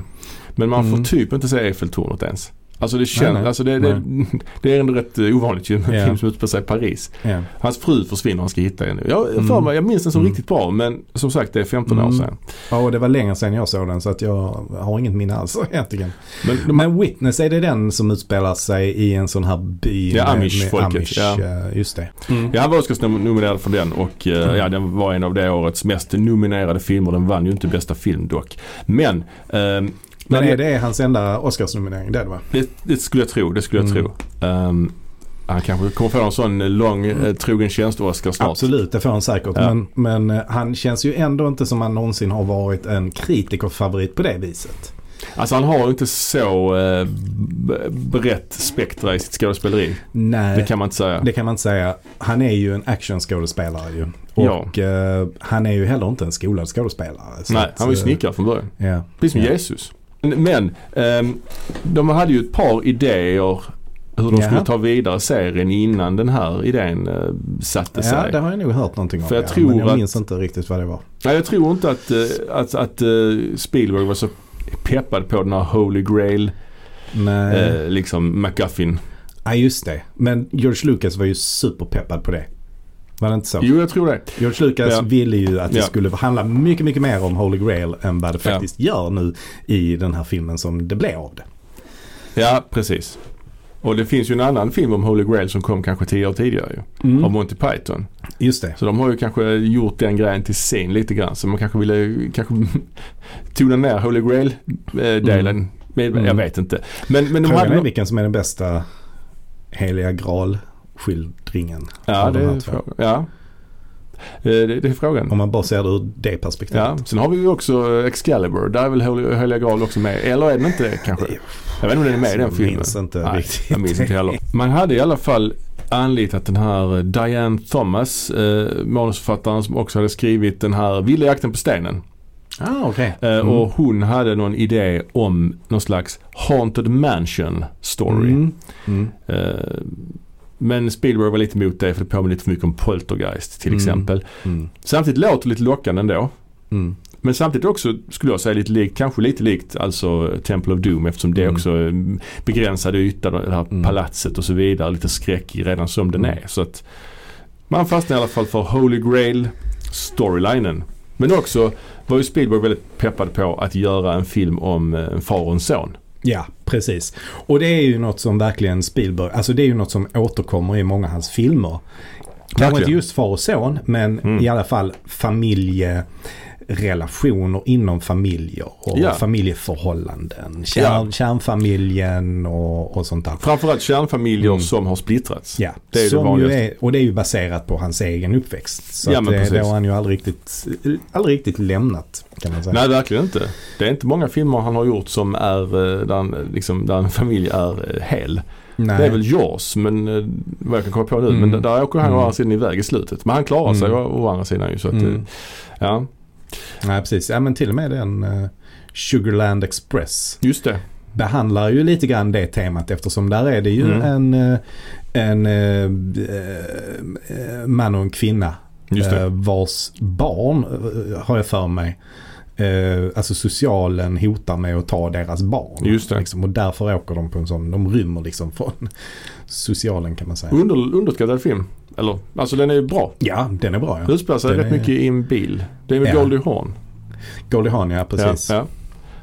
S1: Men man
S2: Mm.
S1: får typ inte se Eiffeltornet ens. Alltså det
S2: Nej,
S1: känns,
S2: nej.
S1: alltså det, det, det är ändå rätt eh, ovanligt ju med en
S2: Ja.
S1: film som utspelar sig i Paris.
S2: ja.
S1: Hans fru försvinner och han ska hitta henne. Jag, jag, för
S2: Mm.
S1: mig, jag minns den som
S2: Mm.
S1: riktigt bra men som sagt det är 15 år
S2: Mm.
S1: sedan.
S2: ja, och det var länge sedan jag såg den så att jag har inget minne alls egentligen.
S1: Men de,
S2: Men Witness, är det den som utspelar sig i en sån här by?
S1: Ja,
S2: med-
S1: Amish-folket,
S2: Amish,
S1: ja. Mm.
S2: eh, Just det.
S1: Ja, han var Oscarsnominerad för den och eh,
S2: Mm.
S1: ja, den var en av det årets mest nominerade filmer. Den vann ju inte bästa film dock. Men, ehm,
S2: Men
S1: när
S2: är det hans enda Oscarsnominering? Det är det va?
S1: det, det skulle jag tro. Det skulle jag
S2: Mm.
S1: tro. Ehm, han kanske kommer få en sån lång eh, trogen tjänst-Oscar snart.
S2: Mm. Absolut, det får han säkert.
S1: Ja.
S2: Men, men eh, han känns ju ändå inte som han någonsin har varit en kritikerfavorit på det viset.
S1: Alltså han har ju inte så eh, b- brett spektra i sitt skådespeleri.
S2: Nej,
S1: Det kan man inte säga.
S2: man inte säga. Han är ju en actionskådespelare ju. Och eh, han är ju heller inte en skolad skådespelare. Så
S1: Nej,
S2: att,
S1: han var ju
S2: eh,
S1: snickare från början.
S2: Ja.
S1: Precis som
S2: Ja.
S1: Jesus. Men ehm, de hade ju ett par idéer hur de
S2: Ja.
S1: skulle ta vidare serien innan den här idén eh, satte sig.
S2: ja, det har jag nog hört någonting om.
S1: För jag
S2: ja,
S1: tror
S2: men jag
S1: att-
S2: minns inte riktigt vad det var.
S1: Nej, jag tror inte att, eh, att, att eh, Spielberg var så peppad på den här Holy Grail,
S2: Nej,
S1: eh, liksom McGuffin.
S2: ja, just det. Men George Lucas var ju superpeppad på det. Var det inte så?
S1: Jo, jag tror det.
S2: George Lucas
S1: Ja.
S2: ville ju att det
S1: Ja.
S2: skulle handla mycket, mycket mer om Holy Grail än vad det
S1: Ja.
S2: faktiskt gör nu i den här filmen som det blev av det.
S1: Ja, precis. Och det finns ju en annan film om Holy Grail som kom kanske tio år tidigare ju.
S2: Mm.
S1: Av Monty Python.
S2: Just det.
S1: Så de har ju kanske gjort den grejen till sin lite grann. Så man kanske ville kanske tona ner Holy Grail-delen.
S2: Mm.
S1: Men Jag
S2: Mm.
S1: vet inte. Men, men de
S2: Frågan
S1: hade...
S2: är
S1: no-
S2: vilken som är den bästa Heliga Graal-skildringen.
S1: Ja,
S2: av
S1: det
S2: de här
S1: är
S2: två.
S1: frågan. Ja. Eh, Det, det är frågan.
S2: Om man bara ser det ur det perspektivet.
S1: Ja, sen har vi ju också eh, Excalibur. Där är väl Hel- Heliga Graal också med. Eller är den inte det kanske? Jag vet inte om den är med i
S2: Så
S1: den
S2: jag
S1: filmen.
S2: minns inte
S1: Nej,
S2: riktigt.
S1: Jag minns inte heller. Man hade i alla fall anlitat den här eh, Diane Thomas, eh, manusförfattaren som också hade skrivit den här Vilda jakten på stenen.
S2: Ah, okej.
S1: Eh,
S2: Mm.
S1: Och hon hade någon idé om någon slags Haunted Mansion story.
S2: Mm. Mm.
S1: Eh, men Spielberg var lite emot det för det påminner lite för mycket om Poltergeist till
S2: Mm.
S1: exempel.
S2: Mm.
S1: Samtidigt låter det lite lockande ändå.
S2: Mm.
S1: Men samtidigt också skulle jag säga lite likt, kanske lite likt alltså Temple of Doom eftersom det
S2: Mm.
S1: också är en begränsad yta, det här
S2: Mm.
S1: palatset och så vidare. Lite skräck i redan som den
S2: Mm.
S1: är. Så att man fastnar i alla fall för Holy Grail storylinen. Men också var ju Spielberg väldigt peppad på att göra en film om eh, en far och en son.
S2: Ja, precis. Och det är ju något som verkligen Spielberg, alltså det är ju något som återkommer i många av hans filmer. Kanske
S1: Verkligen.
S2: inte just far och son, men
S1: Mm.
S2: i alla fall familjerelationer inom familjer och
S1: Ja.
S2: familjeförhållanden. Kärn,
S1: Ja.
S2: Kärnfamiljen och, och sånt där.
S1: Framförallt kärnfamiljer
S2: Mm.
S1: som har splittrats.
S2: Ja,
S1: Det är ju det
S2: som ju
S1: vanligaste.
S2: är, och det är ju baserat på hans egen uppväxt. Så
S1: Ja,
S2: att
S1: men
S2: det,
S1: precis.
S2: det har han ju aldrig riktigt, aldrig riktigt lämnat kan man säga.
S1: Nej, verkligen inte. Det är inte många filmer han har gjort som är eh, där, han, eh, liksom, där en familj är eh, hel.
S2: Nej.
S1: Det är väl Jaws, men eh, vad jag kan komma på nu.
S2: Mm.
S1: Men där- där åker han
S2: Mm.
S1: å andra sidan iväg i slutet. Men han klarar sig
S2: Mm.
S1: å, å andra sidan ju. Så att, eh,
S2: Mm.
S1: ja,
S2: Nej, precis. Ja, men till och med den eh, Sugarland Express
S1: just det.
S2: behandlar ju lite grann det temat eftersom där är det ju
S1: Mm.
S2: en, eh, en eh, eh, man och en kvinna
S1: Just det.
S2: eh, vars barn, eh, har jag för mig, eh, alltså socialen hotar med att ta deras barn.
S1: Just det.
S2: Liksom, och därför åker de på en sån, de rymmer liksom från socialen kan man säga.
S1: Under, underskattad film. Eller, alltså den är ju bra.
S2: Ja, den är bra
S1: Den
S2: ja.
S1: utspelar sig
S2: Den
S1: rätt
S2: är-
S1: mycket i en bil. Det är med
S2: Ja.
S1: Goldie Hawn.
S2: Goldie Hawn ja, precis.
S1: Ja, ja.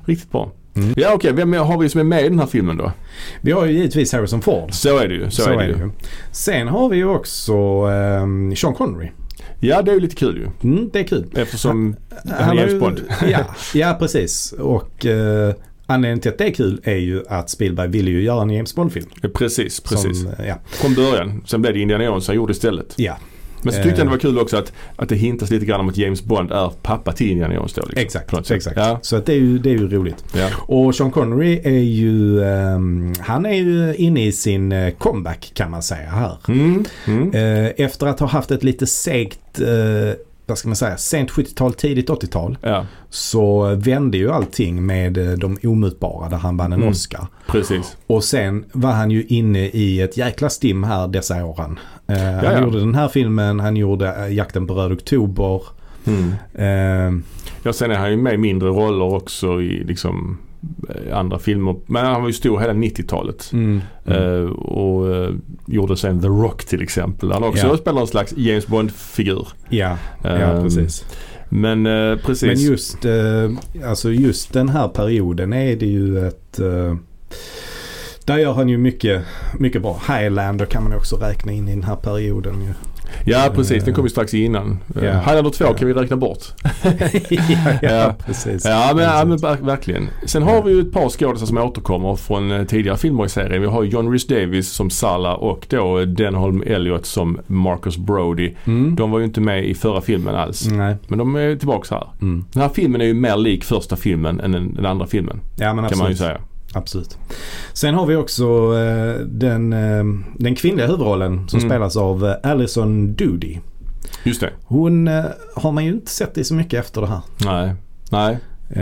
S1: Riktigt bra.
S2: Mm.
S1: Ja okej, vem är- har vi som är med i den här filmen då?
S2: Vi har ju givetvis Harrison Ford.
S1: Så är det ju. Så, är det ju.
S2: Sen har vi ju också eh, Sean Connery.
S1: Ja det är ju lite kul ju.
S2: Mm, det är kul.
S1: Eftersom han, är
S2: har
S1: James
S2: ju-
S1: Bond.
S2: ja, ja, precis. Och eh, anledningen till att det är kul är ju att Spielberg ville ju göra en James Bond-film.
S1: Precis, precis.
S2: Som, eh, ja,
S1: Från början. Sen blev det Indiana Jones han gjorde istället.
S2: ja,
S1: Men så
S2: Eh.
S1: tyckte han det var kul också att, att det hintas lite grann om att James Bond är pappa till Indiana Jones då. Liksom, på något
S2: exakt.
S1: sätt.
S2: exakt.
S1: Ja,
S2: Så att det, är ju, det är ju roligt.
S1: ja.
S2: Och Sean Connery är ju, ehm, han är ju inne i sin eh, comeback kan man säga här.
S1: Mm, mm.
S2: Eh, efter att ha haft ett lite segt, eh, vad ska man säga, sent 70-tal, tidigt 80-tal.
S1: ja
S2: Så vände ju allting med eh, De Omutbara där han vann en
S1: Mm.
S2: Oscar.
S1: precis.
S2: Och sen var han ju inne i ett jäkla stim här dessa åren. Eh,
S1: Jaja.
S2: han gjorde den här filmen, han gjorde eh, Jakten på Röd Oktober.
S1: Mm.
S2: Eh,
S1: Ja, sen är han ju med i mindre roller också i liksom eh, andra filmer. Men han var ju stor hela 90-talet.
S2: mm.
S1: Eh, och eh, gjorde sen The Rock till exempel. Han har också
S2: Ja.
S1: spelar en slags James Bond-figur.
S2: Ja, ja
S1: Ehm,
S2: precis.
S1: Men eh, precis.
S2: Men just, eh, alltså just den här perioden är det ju ett... Eh, där gör han ju mycket, mycket bra. Highlander kan man också räkna in i den här perioden ju.
S1: ja precis, den kom ju strax innan.
S2: Ja.
S1: Yeah. Highlander 2
S2: Ja.
S1: kan vi räkna bort.
S2: ja,
S1: Ja.
S2: precis.
S1: Ja men, ja, men ver- verkligen. Sen har vi ju ett par skådisar som återkommer från eh, tidigare filmer i serien. Vi har ju John Rhys Davis som Salla och då eh, Denholm Elliot som Marcus Brody.
S2: Mm.
S1: De var ju inte med i förra filmen alls.
S2: Nej.
S1: Men de är tillbaka här.
S2: Mm.
S1: Den här filmen är ju mer lik första filmen än den, den andra filmen.
S2: Ja men
S1: Kan
S2: absolut.
S1: man ju säga.
S2: Absolut. Sen har vi också eh, den, eh, den kvinnliga huvudrollen som
S1: Mm.
S2: spelas av eh, Alison Doody.
S1: Just det.
S2: Hon eh, har man ju inte sett i så mycket efter det här.
S1: Nej. Nej.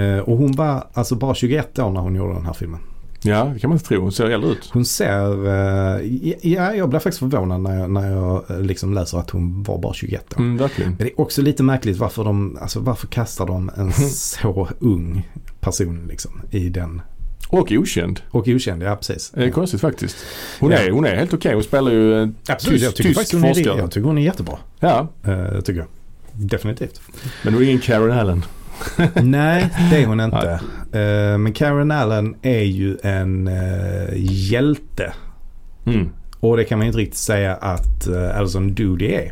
S2: Eh, och hon var alltså bara 21 år när hon gjorde den här filmen.
S1: Ja, det kan man inte tro. Hon ser äldre ut.
S2: Hon ser, eh, ja jag blev faktiskt förvånad när jag, när jag eh, liksom läser att hon var bara 21 år.
S1: Mm, verkligen.
S2: Men det är också lite märkligt varför de, alltså varför kastar de en så ung person liksom i den.
S1: Och okänd.
S2: Och okänd, ja precis.
S1: Det är konstigt faktiskt. Hon,
S2: Ja.
S1: är, hon är helt okej. Hon spelar ju en
S2: Absolut,
S1: tysk,
S2: jag tycker
S1: tysk
S2: faktiskt hon är,
S1: forskare.
S2: jag tycker hon är jättebra.
S1: Ja,
S2: Eh, tycker jag. Definitivt.
S1: men hon är ingen Karen Allen.
S2: Nej, det är hon inte. Eh, men Karen Allen är ju en eh, hjälte.
S1: Mm.
S2: Och det kan man ju inte riktigt säga att eh, Alison Doody är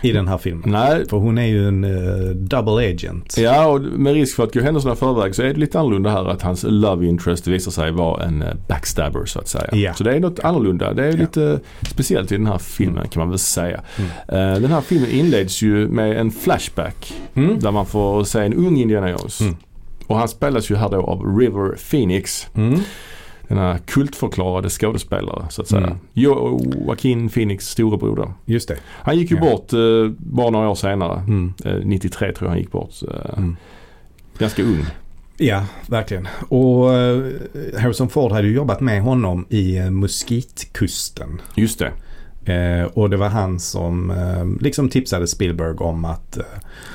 S2: i den här filmen.
S1: Nej,
S2: För hon är ju en eh, double agent.
S1: Ja, och med risk för att gå händelserna i förväg så är det lite annorlunda här att hans love interest visar sig vara en eh, backstabber så att säga.
S2: Ja.
S1: Så det är något annorlunda. Det är
S2: Ja.
S1: lite speciellt i den här filmen kan man väl säga.
S2: Mm.
S1: Eh, Den här filmen inleds ju med en flashback
S2: Mm.
S1: där man får se en ung Indiana Jones.
S2: Mm.
S1: Och han spelas ju här då av River Phoenix.
S2: Mm.
S1: Denna kultförklarade skådespelare så att säga.
S2: Mm.
S1: Jo, Joaquin Phoenix storebror då.
S2: Just det.
S1: Han gick ju
S2: Ja.
S1: bort eh, bara några år senare.
S2: Mm.
S1: Eh, 93 tror jag han gick bort. Eh,
S2: Mm.
S1: Ganska ung.
S2: Ja, verkligen. Och eh, Harrison Ford hade ju jobbat med honom i eh, Muskitkusten.
S1: Just det.
S2: Eh, och det var han som eh, liksom tipsade Spielberg om att eh,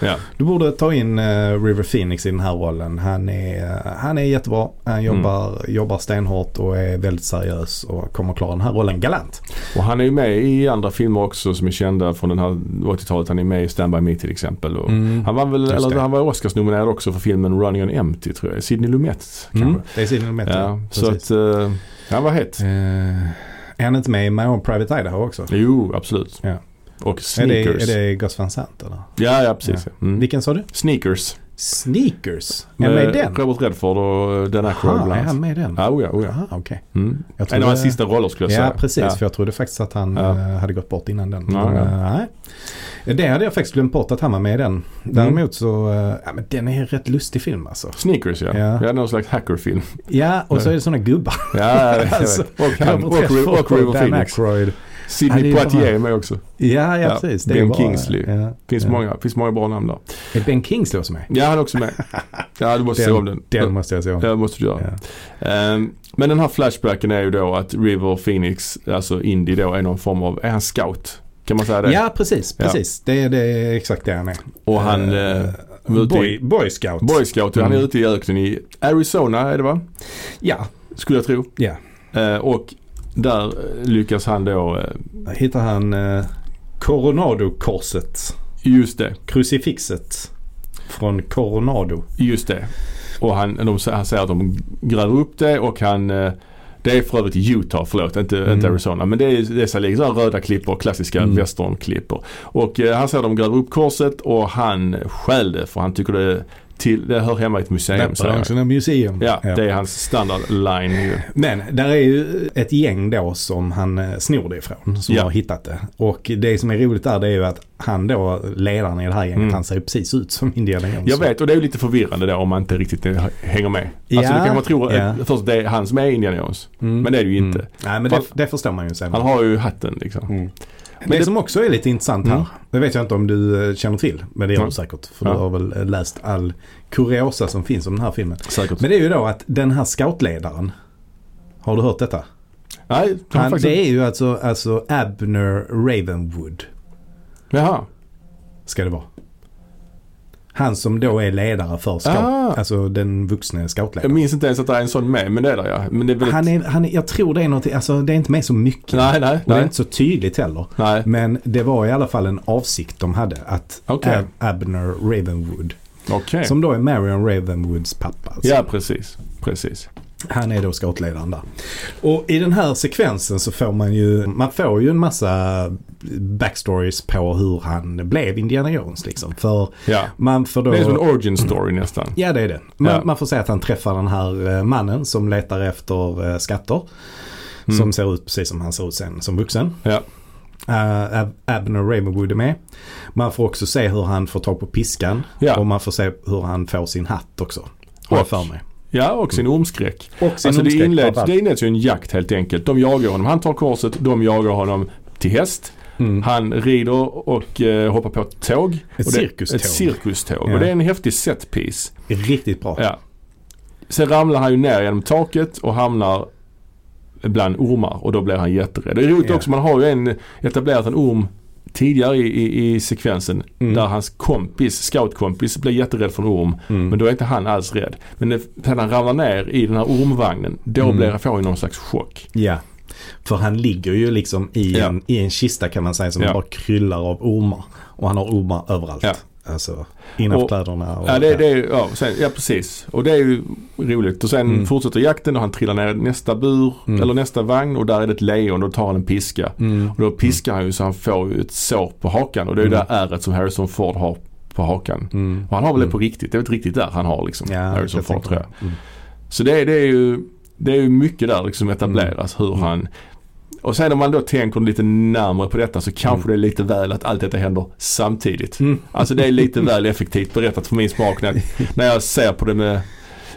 S1: Ja.
S2: Du borde ta in eh, River Phoenix i den här rollen. Han är, eh, han är jättebra.
S1: Mm.
S2: Han jobbar, jobbar stenhårt och är väldigt seriös och kommer klara den här rollen galant.
S1: Och han är ju med i andra filmer också som är kända från den här 80-talet. Han är med i Stand By Me till exempel. Och Han var väl,
S2: Mm. Just
S1: eller
S2: det.
S1: han var Oscarsnominerad också för filmen Running On Empty tror jag. Sidney Lumet kanske.
S2: Mm. Det är Sidney Lumet.
S1: Ja, så
S2: precis.
S1: att eh, han var het.
S2: Eh, är han inte med i My Own Private Idaho också?
S1: Jo, absolut.
S2: Ja.
S1: Och
S2: Är det,
S1: Sneakers.
S2: är det Gus Van Sant eller?
S1: Ja, ja precis. Ja. Mm.
S2: Vilken sa du?
S1: Sneakers.
S2: Sneakers? Är han
S1: Eh,
S2: med i den?
S1: Robert Redford och Dan Aykroyd
S2: Aha,
S1: bland
S2: är
S1: annat.
S2: han med i den?
S1: Ja, oh ja, oh ja.
S2: Aha, okej.
S1: Mm.
S2: Jag
S1: En av hans
S2: trodde-
S1: sista roller skulle jag säga.
S2: Ja, precis.
S1: Ja.
S2: För jag trodde faktiskt att han
S1: Ja.
S2: eh, hade gått bort innan den.
S1: Ja,
S2: men,
S1: ja.
S2: eh, nej. Det hade jag faktiskt glömt bort att han var med i
S1: Mm.
S2: den. Däremot så, eh, ja men den är en rätt lustig film alltså.
S1: Sneakers ja.
S2: Ja.
S1: ja. Någon slags hackerfilm.
S2: Ja, och så är det sådana gubbar.
S1: Ja,
S2: Alltså,
S1: alltså, och han. Och,
S2: Robert Redford
S1: River- och River
S2: Dan
S1: Phoenix.
S2: Aykroyd. Han är
S1: Sidney
S2: ju
S1: Poitier
S2: bara-
S1: är med också.
S2: Ja, ja,
S1: Ja,
S2: precis. Det är
S1: Ben
S2: bara-
S1: Kingsley.
S2: Ja,
S1: Finns,
S2: ja.
S1: många, finns många bra namn där.
S2: Är Ben Kingsley också med?
S1: Ja, han är också med. Ja, du måste se om den.
S2: den måste jag se om.
S1: Ja, det måste du göra.
S2: Ja.
S1: Ehm, men den här flashbacken är ju då att River Phoenix, alltså Indy då, är någon form av, är han scout? Kan man säga det?
S2: Ja, precis.
S1: Ja.
S2: precis. Det, det är exakt det han är.
S1: Och han eh, var ute
S2: Boy,
S1: i
S2: boy scout.
S1: Boy Scout. Han
S2: mm.
S1: är ute i öknen i Arizona är det va?
S2: Ja,
S1: Skulle jag tro.
S2: ja.
S1: Eh, och där eh, lyckas han då, eh,
S2: Där hittar han eh, Coronado-korset.
S1: just det,
S2: Krucifixet. Från Coronado.
S1: just det. Och han, de, han säger att de gräver upp det och han, eh, det är för övrigt i Utah, förlåt, inte,
S2: Mm.
S1: inte Arizona. Men det är dessa liksom, så här röda klippor, klassiska
S2: Mm.
S1: västernklippor. Och eh, han säger att de gräver upp korset och han stjäl det för han tycker det, till, det hör hemma i ett museum. säger han.
S2: Lappalonserna Museum.
S1: Ja, det är hans standard line ju.
S2: Men där är ju ett gäng då som han eh, snor det ifrån. Som
S1: Ja.
S2: har hittat det. Och det som är roligt där det är ju att han då, ledaren i det här gänget,
S1: Mm.
S2: han ser ju precis ut som Indiana Jones.
S1: Jag vet och det är ju lite förvirrande där om man inte riktigt eh, hänger med.
S2: Ja,
S1: Alltså du kanske man tror
S2: ja.
S1: eh, först det är han som är Indiana Jones.
S2: Mm.
S1: Men det är det ju inte.
S2: Mm. Nej men det, det förstår man ju sen.
S1: Han har ju hatten liksom.
S2: Mm. Men det,
S1: det-
S2: som också är lite intressant här,
S1: Mm.
S2: det vet jag inte om du eh, känner till, men det gör
S1: Ja.
S2: du säkert. För
S1: Ja.
S2: du har väl eh, läst all kuriosa som finns om den här filmen.
S1: Säkert.
S2: Men det är ju då att den här scoutledaren, har du hört detta?
S1: Nej, det har
S2: Han,
S1: han faktiskt
S2: det
S1: inte.
S2: är ju alltså, alltså Abner Ravenwood,
S1: Jaha.
S2: ska det vara. Han som då är ledare för scout,
S1: Ah.
S2: alltså den vuxne
S1: Jag
S2: scoutledaren.
S1: minns inte ens att det är en sån med, men det är det ja. Men det är väldigt...
S2: Han är, han är, jag tror det är någonting, alltså det är inte med så mycket.
S1: Nej, nej,
S2: Och det är
S1: nej.
S2: inte så tydligt heller.
S1: Nej.
S2: Men det var i alla fall en avsikt de hade att
S1: Okej.
S2: Ab- Abner Ravenwood,
S1: Okej.
S2: som då är Marion Ravenwoods pappa. Alltså.
S1: Ja, precis. Precis.
S2: Han är då scoutledaren där. Och i den här sekvensen så får man ju, man får ju en massa backstories på hur han blev Indiana Jones liksom. För
S1: Ja.
S2: man får då...
S1: Det är som en origin story nästan.
S2: Ja det är det. Man,
S1: Ja.
S2: man får säga att han träffar den här eh, mannen som letar efter eh, skatter.
S1: Mm.
S2: Som ser ut precis som han ser ut sen som vuxen.
S1: Ja.
S2: Eh, Ab- Abner Ravenwood är med. Man får också se hur han får tag på piskan.
S1: Ja.
S2: Och man får se hur han får sin hatt också. Har jag
S1: Och-
S2: för mig.
S1: Ja, och sin ormskräck.
S2: Och sin
S1: Alltså det
S2: omskräck
S1: inleds,
S2: framförallt.
S1: det inleds ju en jakt helt enkelt. De jagar honom. Han tar korset, de jagar honom till häst.
S2: Mm.
S1: Han rider och eh, hoppar på ett tåg. Ett och det,
S2: cirkuståg.
S1: Ett cirkuståg.
S2: Ja.
S1: Och det är en häftig setpiece.
S2: Riktigt bra.
S1: Ja. Sen ramlar han ju ner genom taket och hamnar bland ormar och då blir han jätterädd. Det är roligt
S2: Ja.
S1: också, man har ju en etablerat en orm tidigare i, i, i sekvensen
S2: Mm.
S1: där hans kompis, scoutkompis, blir jätterädd för en orm.
S2: Mm.
S1: Men då är inte han alls rädd. Men när när han ramlar ner i den här ormvagnen, då
S2: Mm.
S1: blir han, får han någon slags chock.
S2: Ja. För han ligger ju liksom i,
S1: Ja.
S2: en, i en kista kan man säga som
S1: Ja.
S2: bara kryllar av ormar. Och han har ormar överallt.
S1: Ja.
S2: Alltså innanför
S1: Och-
S2: kläderna. Och,
S1: Ja, det, det är, ju- ja, sen, ja precis. Och det är ju roligt. Och sen
S2: Mm.
S1: fortsätter jakten och han trillar ner i nästa bur
S2: Mm.
S1: eller nästa vagn och där är det ett lejon och då tar han en piska.
S2: Mm.
S1: Och då piskar han ju så han får ju ett sår på hakan och det är ju det ärret som Harrison Ford har på hakan.
S2: Mm.
S1: Och han har väl det på riktigt. Det är väl ett riktigt där han har liksom.
S2: Ja,
S1: Harrison
S2: jag
S1: Ford
S2: tänker
S1: tror jag.
S2: det. Mm.
S1: Så det, är- det är ju det är ju mycket där liksom etableras
S2: Mm.
S1: hur han och sen om man då tänker lite närmare på detta så
S2: Mm.
S1: kanske det är lite väl att allt detta händer samtidigt. Alltså det är lite väl effektivt berättat för min smak när, när jag ser på det med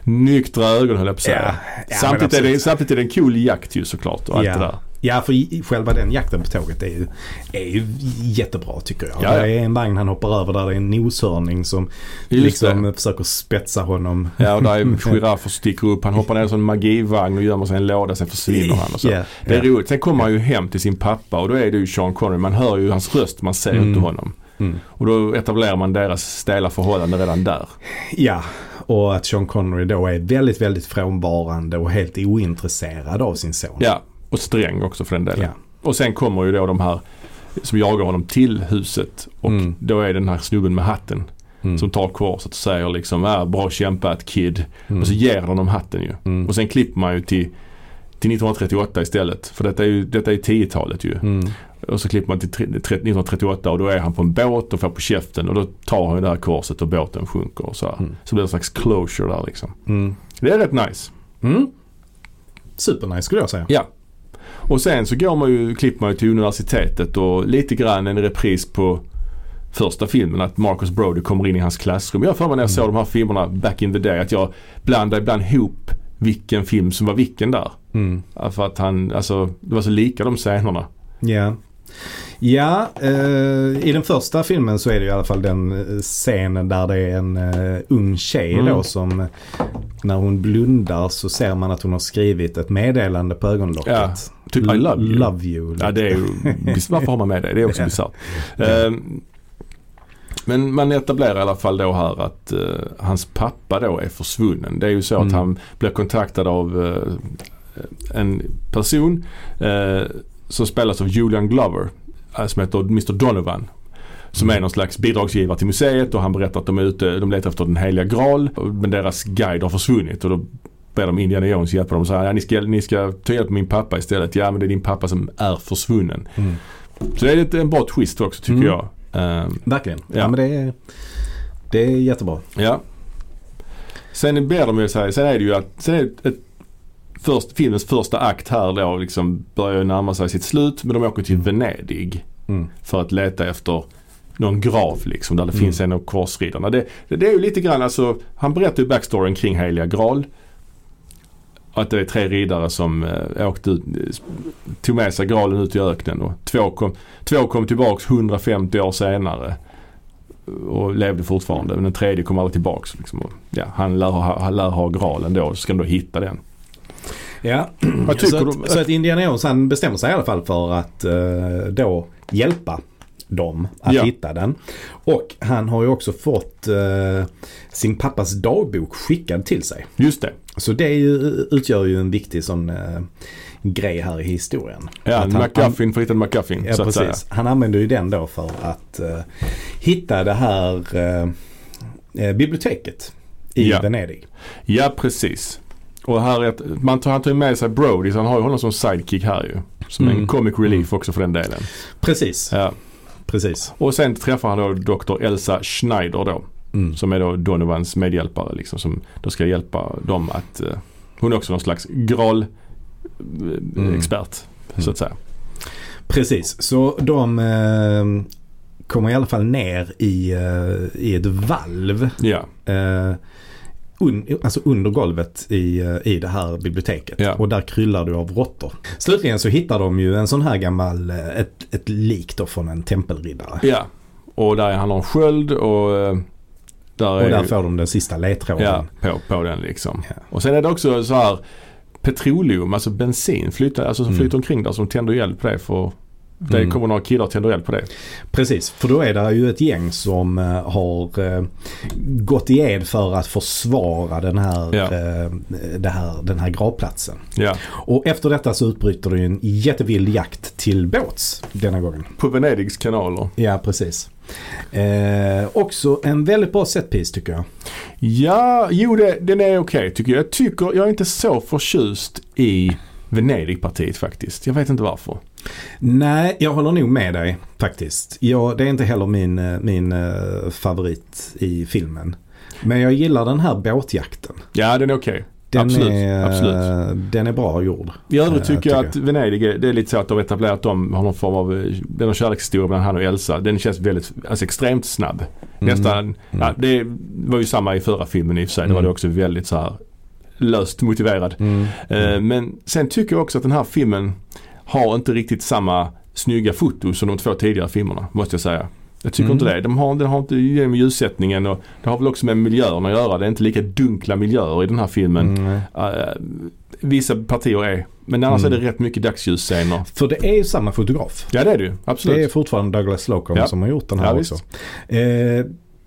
S1: nyktra ögon höll jag på att säga.
S2: Ja, ja,
S1: samtidigt,
S2: men
S1: är det,
S2: absolut.
S1: samtidigt är det en cool jakt ju såklart och allt det där.
S2: Ja. ja, för i- själva den jakten på tåget är ju, är ju jättebra tycker jag.
S1: Ja, ja.
S2: Det är en vagn han hoppar över där det är en noshörning som
S1: Just
S2: liksom
S1: det.
S2: försöker spetsa honom.
S1: Ja, och där är giraffer som sticker upp. Han hoppar ner i en sån magivagn och gömmer sig i en låda. Sen försvinner han. Och så.
S2: Ja,
S1: Det är
S2: ja.
S1: roligt. Sen kommer han ju hem till sin pappa och då är det ju Sean Connery. Man hör ju hans röst. Man ser ju inte honom. Och då etablerar man deras stela förhållande redan där.
S2: Ja, och att Sean Connery då är väldigt, väldigt frånvarande och helt ointresserad av sin son.
S1: Ja, och sträng också för den delen.
S2: Ja.
S1: Och sen kommer ju då de här som jagar honom till huset. Och
S2: Mm.
S1: då är det den här snubben med hatten. Som tar korset och säger liksom ah, bra kämpat kid. Och så ger han honom hatten ju.
S2: Mm.
S1: Och sen klipper man ju till, till 1938 istället. För detta är ju detta är 10-talet ju.
S2: Mm.
S1: Och så klipper man till tre- tre- 1938 och då är han på en båt och får på käften. Och då tar han ju det här korset och båten sjunker. Och så, här. så blir det en slags closure där liksom.
S2: Mm.
S1: Det är rätt nice.
S2: Mm. Supernice skulle jag säga.
S1: Ja. Och sen så går man ju, klipper man ju till universitetet och lite grann en repris på första filmen att Marcus Brody kommer in i hans klassrum. Jag har för mig när jag såg de här filmerna back in the day att jag blandade ibland ihop vilken film som var vilken där.
S2: Mm.
S1: För att han, alltså det var så lika de scenerna.
S2: Ja. Ja, eh, i den första filmen så är det ju i alla fall den eh, scenen där det är en eh, ung tjej
S1: Mm.
S2: då som eh, när hon blundar så ser man att hon har skrivit ett meddelande på ögonlocket.
S1: Ja, typ I love you.
S2: Love you.
S1: Ja, det är ju, varför har man med det? Det är också
S2: Ja.
S1: bisarrt. Ehm, Men man etablerar i alla fall då här att eh, hans pappa då är försvunnen. Det är ju så att
S2: Mm.
S1: han blir kontaktad av eh, en person eh, som spelas av Julian Glover eh, som heter Mr Donovan. Som
S2: Mm.
S1: är någon slags bidragsgivare till museet och han berättar att de är ute, de letar efter den heliga graal. Men deras guide har försvunnit och då ber de Indiana Jones hjälpa dem och säger ja, ni ska, ni ska ta hjälp av min pappa istället. Ja men det är din pappa som är försvunnen.
S2: Mm.
S1: Så det är lite en bra twist också tycker
S2: Mm.
S1: jag. Ehm,
S2: Verkligen. Ja.
S1: Ja.
S2: men det är, det är jättebra.
S1: Ja. Sen ber de ju sig, sen är det ju att, sen är det ett, först, filmens första akt här då liksom börjar ju närma sig sitt slut men de åker till Venedig
S2: Mm.
S1: för att leta efter någon grav liksom där det
S2: Mm.
S1: finns en av korsriddarna. Det, det, det är ju lite grann alltså, han berättar ju backstoryn kring Heliga Graal. Att det är tre riddare som eh, åkte ut, tog med sig graalen ut i öknen och två kom, två kom tillbaks 150 år senare och levde fortfarande. Men den tredje kom aldrig tillbaks. Liksom. Och, ja, han, lär ha, han lär ha graalen då, så ska de då hitta den.
S2: Ja.
S1: Vad tycker
S2: så,
S1: du-
S2: att, så att Indiana Jones han bestämmer sig i alla fall för att eh, då hjälpa dem att
S1: Ja.
S2: hitta den. Och han har ju också fått eh, sin pappas dagbok skickad till sig.
S1: Just det.
S2: Så det är ju, utgör ju en viktig sån eh, grej här i historien.
S1: Ja,
S2: Att han-
S1: McGuffin för att hitta en McGuffin.
S2: Ja,
S1: så att säga.
S2: precis. Han använder ju den då för att eh, hitta det här eh, eh, biblioteket i
S1: Ja.
S2: Venedig.
S1: Ja, precis. Och här är ett, man tar, han tar ju med sig Brody så han har ju honom som sidekick här ju. Som
S2: Mm.
S1: en comic relief också för den delen.
S2: Precis,
S1: Ja.
S2: precis.
S1: Och sen träffar han då Dr. Elsa Schneider då.
S2: Mm.
S1: Som är då Donovans medhjälpare liksom. Som då ska hjälpa dem att... eh, hon är också någon slags
S2: Mm.
S1: graal-expert. Så att säga.
S2: Precis, så de eh, kommer i alla fall ner i, eh, i ett valv.
S1: Ja,
S2: Eh, un, alltså under golvet i, eh, i det här biblioteket.
S1: Ja.
S2: Och där kryllar du av råttor. Slutligen så hittar de ju en sån här gammal, eh, ett, ett lik då från en tempelriddare.
S1: ja. Och där är han har en sköld och... eh, Där
S2: Och
S1: är
S2: där
S1: ju-
S2: får de den sista ledtråden.
S1: Ja, på, på den liksom.
S2: Ja.
S1: Och sen är det också så här petroleum, alltså bensin, flyter, alltså som
S2: Mm.
S1: flyter omkring där som tänder eld på det. För det
S2: Mm.
S1: kommer några killar och tänder eld på det.
S2: Precis, för då är det ju ett gäng som eh, har eh, gått i ed för att försvara den här,
S1: Ja.
S2: eh, det här, den här gravplatsen.
S1: Ja.
S2: Och efter detta så utbryter det ju en jättevild jakt till båts denna gången.
S1: På Venedigs kanaler.
S2: Ja, precis. Eh, också en väldigt bra setpiece tycker jag.
S1: Ja, jo det, den är okej tycker jag. Jag tycker, jag är inte så förtjust i Venedigpartiet faktiskt. Jag vet inte varför.
S2: Nej, jag håller nog med dig faktiskt. Jag, det är inte heller min, eh, min eh, favorit i filmen. Men jag gillar den här båtjakten.
S1: Ja, den är okej.
S2: Den
S1: Absolut,
S2: är, eh,
S1: absolut.
S2: Den är bra gjord.
S1: I övrigt
S2: Eh,
S1: tycker
S2: tycker
S1: jag att Venedig, är- det är lite så att de har etablerat dem, har någon form av, eh, det är någon kärlekshistoria mellan han och Elsa. Den känns väldigt, alltså extremt snabb.
S2: Mm.
S1: Nästan, ja, det var ju samma i förra filmen i och för sig. Det var
S2: Mm.
S1: det också väldigt så här löst motiverad.
S2: Mm.
S1: Eh, Men sen tycker jag också att den här filmen har inte riktigt samma snygga foto som de två tidigare filmerna, måste jag säga. Jag tycker
S2: Mm.
S1: inte det. De har, den har inte genom ljussättningen och det har väl också med miljön att göra. Det är inte lika dunkla miljöer i den här filmen.
S2: Mm.
S1: Eh, vissa partier är. Men annars
S2: Mm.
S1: är det rätt mycket dagsljusscener.
S2: För det är ju samma fotograf.
S1: Ja det är det ju. Absolut.
S2: Det är fortfarande Douglas Slocum
S1: Ja.
S2: som har gjort den här
S1: Ja,
S2: också. Eh,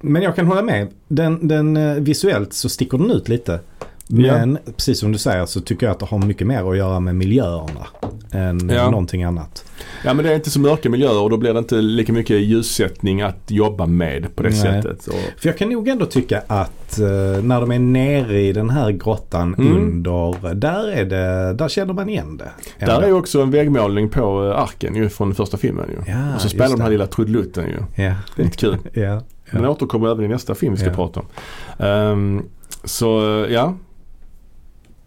S2: men jag kan hålla med. Den, den, eh, visuellt så sticker den ut lite. Men precis som du säger så tycker jag att det har mycket mer att göra med miljöerna än eh,
S1: Ja.
S2: någonting annat.
S1: Ja men det är inte så mörka miljöer och då blir det inte lika mycket ljussättning att jobba med på det
S2: Nej.
S1: sättet. Och,
S2: För jag kan nog ändå tycka att eh, när de är nere i den här grottan
S1: Mm.
S2: under, där, är det, där känner man igen det.
S1: där är ju också en väggmålning på eh, arken ju från första filmen ju.
S2: Ja,
S1: och så
S2: just
S1: spelar de
S2: det.
S1: här lilla trudelutten ju.
S2: Ja,
S1: Lite kul.
S2: ja,
S1: Den
S2: ja.
S1: återkommer även i nästa film vi ska
S2: Ja.
S1: prata om. Ehm, så eh, ja.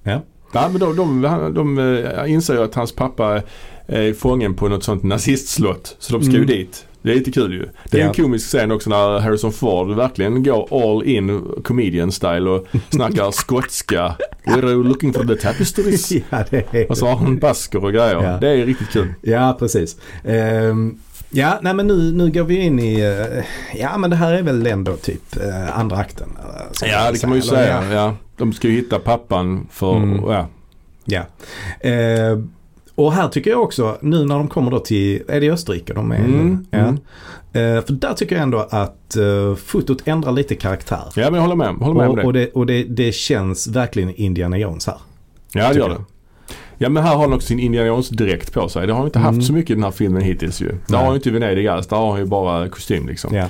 S2: Ja.
S1: Nej, men de, de, han- de eh, inser ju att hans pappa är fången på något sånt nazistslott. Så de ska ju
S2: Mm.
S1: dit. Det är lite kul ju. Det är
S2: Ja.
S1: en komisk scen också när Harrison Ford verkligen går all in comedian style och snackar skotska. We're looking for the tapestries.
S2: ja, det är
S1: Och så har han basker och grejer.
S2: Ja.
S1: Det är riktigt kul.
S2: Ja, precis. Ehm, Ja, nej men nu, nu går vi in i, eh, ja men det här är väl ändå typ eh, andra akten. eh, ska
S1: Ja,
S2: man
S1: det kan man ju
S2: Eller,
S1: säga. Ja. De ska ju hitta pappan för...
S2: Mm.
S1: Ja.
S2: Ja. Eh, och här tycker jag också, nu när de kommer då till, är det Österrike de är?
S1: Mm,
S2: Ja.
S1: mm.
S2: Eh, för där tycker jag ändå att eh, fotot ändrar lite karaktär.
S1: ja, men jag håller med, håller med om
S2: Och,
S1: det.
S2: och, det, och det, det känns verkligen Indiana Jones här.
S1: Ja, det
S2: tycker
S1: gör det. Ja, men här har han också sin Indiana Jones-dräkt på sig. Det har han inte haft
S2: Mm.
S1: så mycket i den här filmen hittills ju. Där har han ju inte i Venedig alls. Där har han ju bara kostym liksom.
S2: Ja.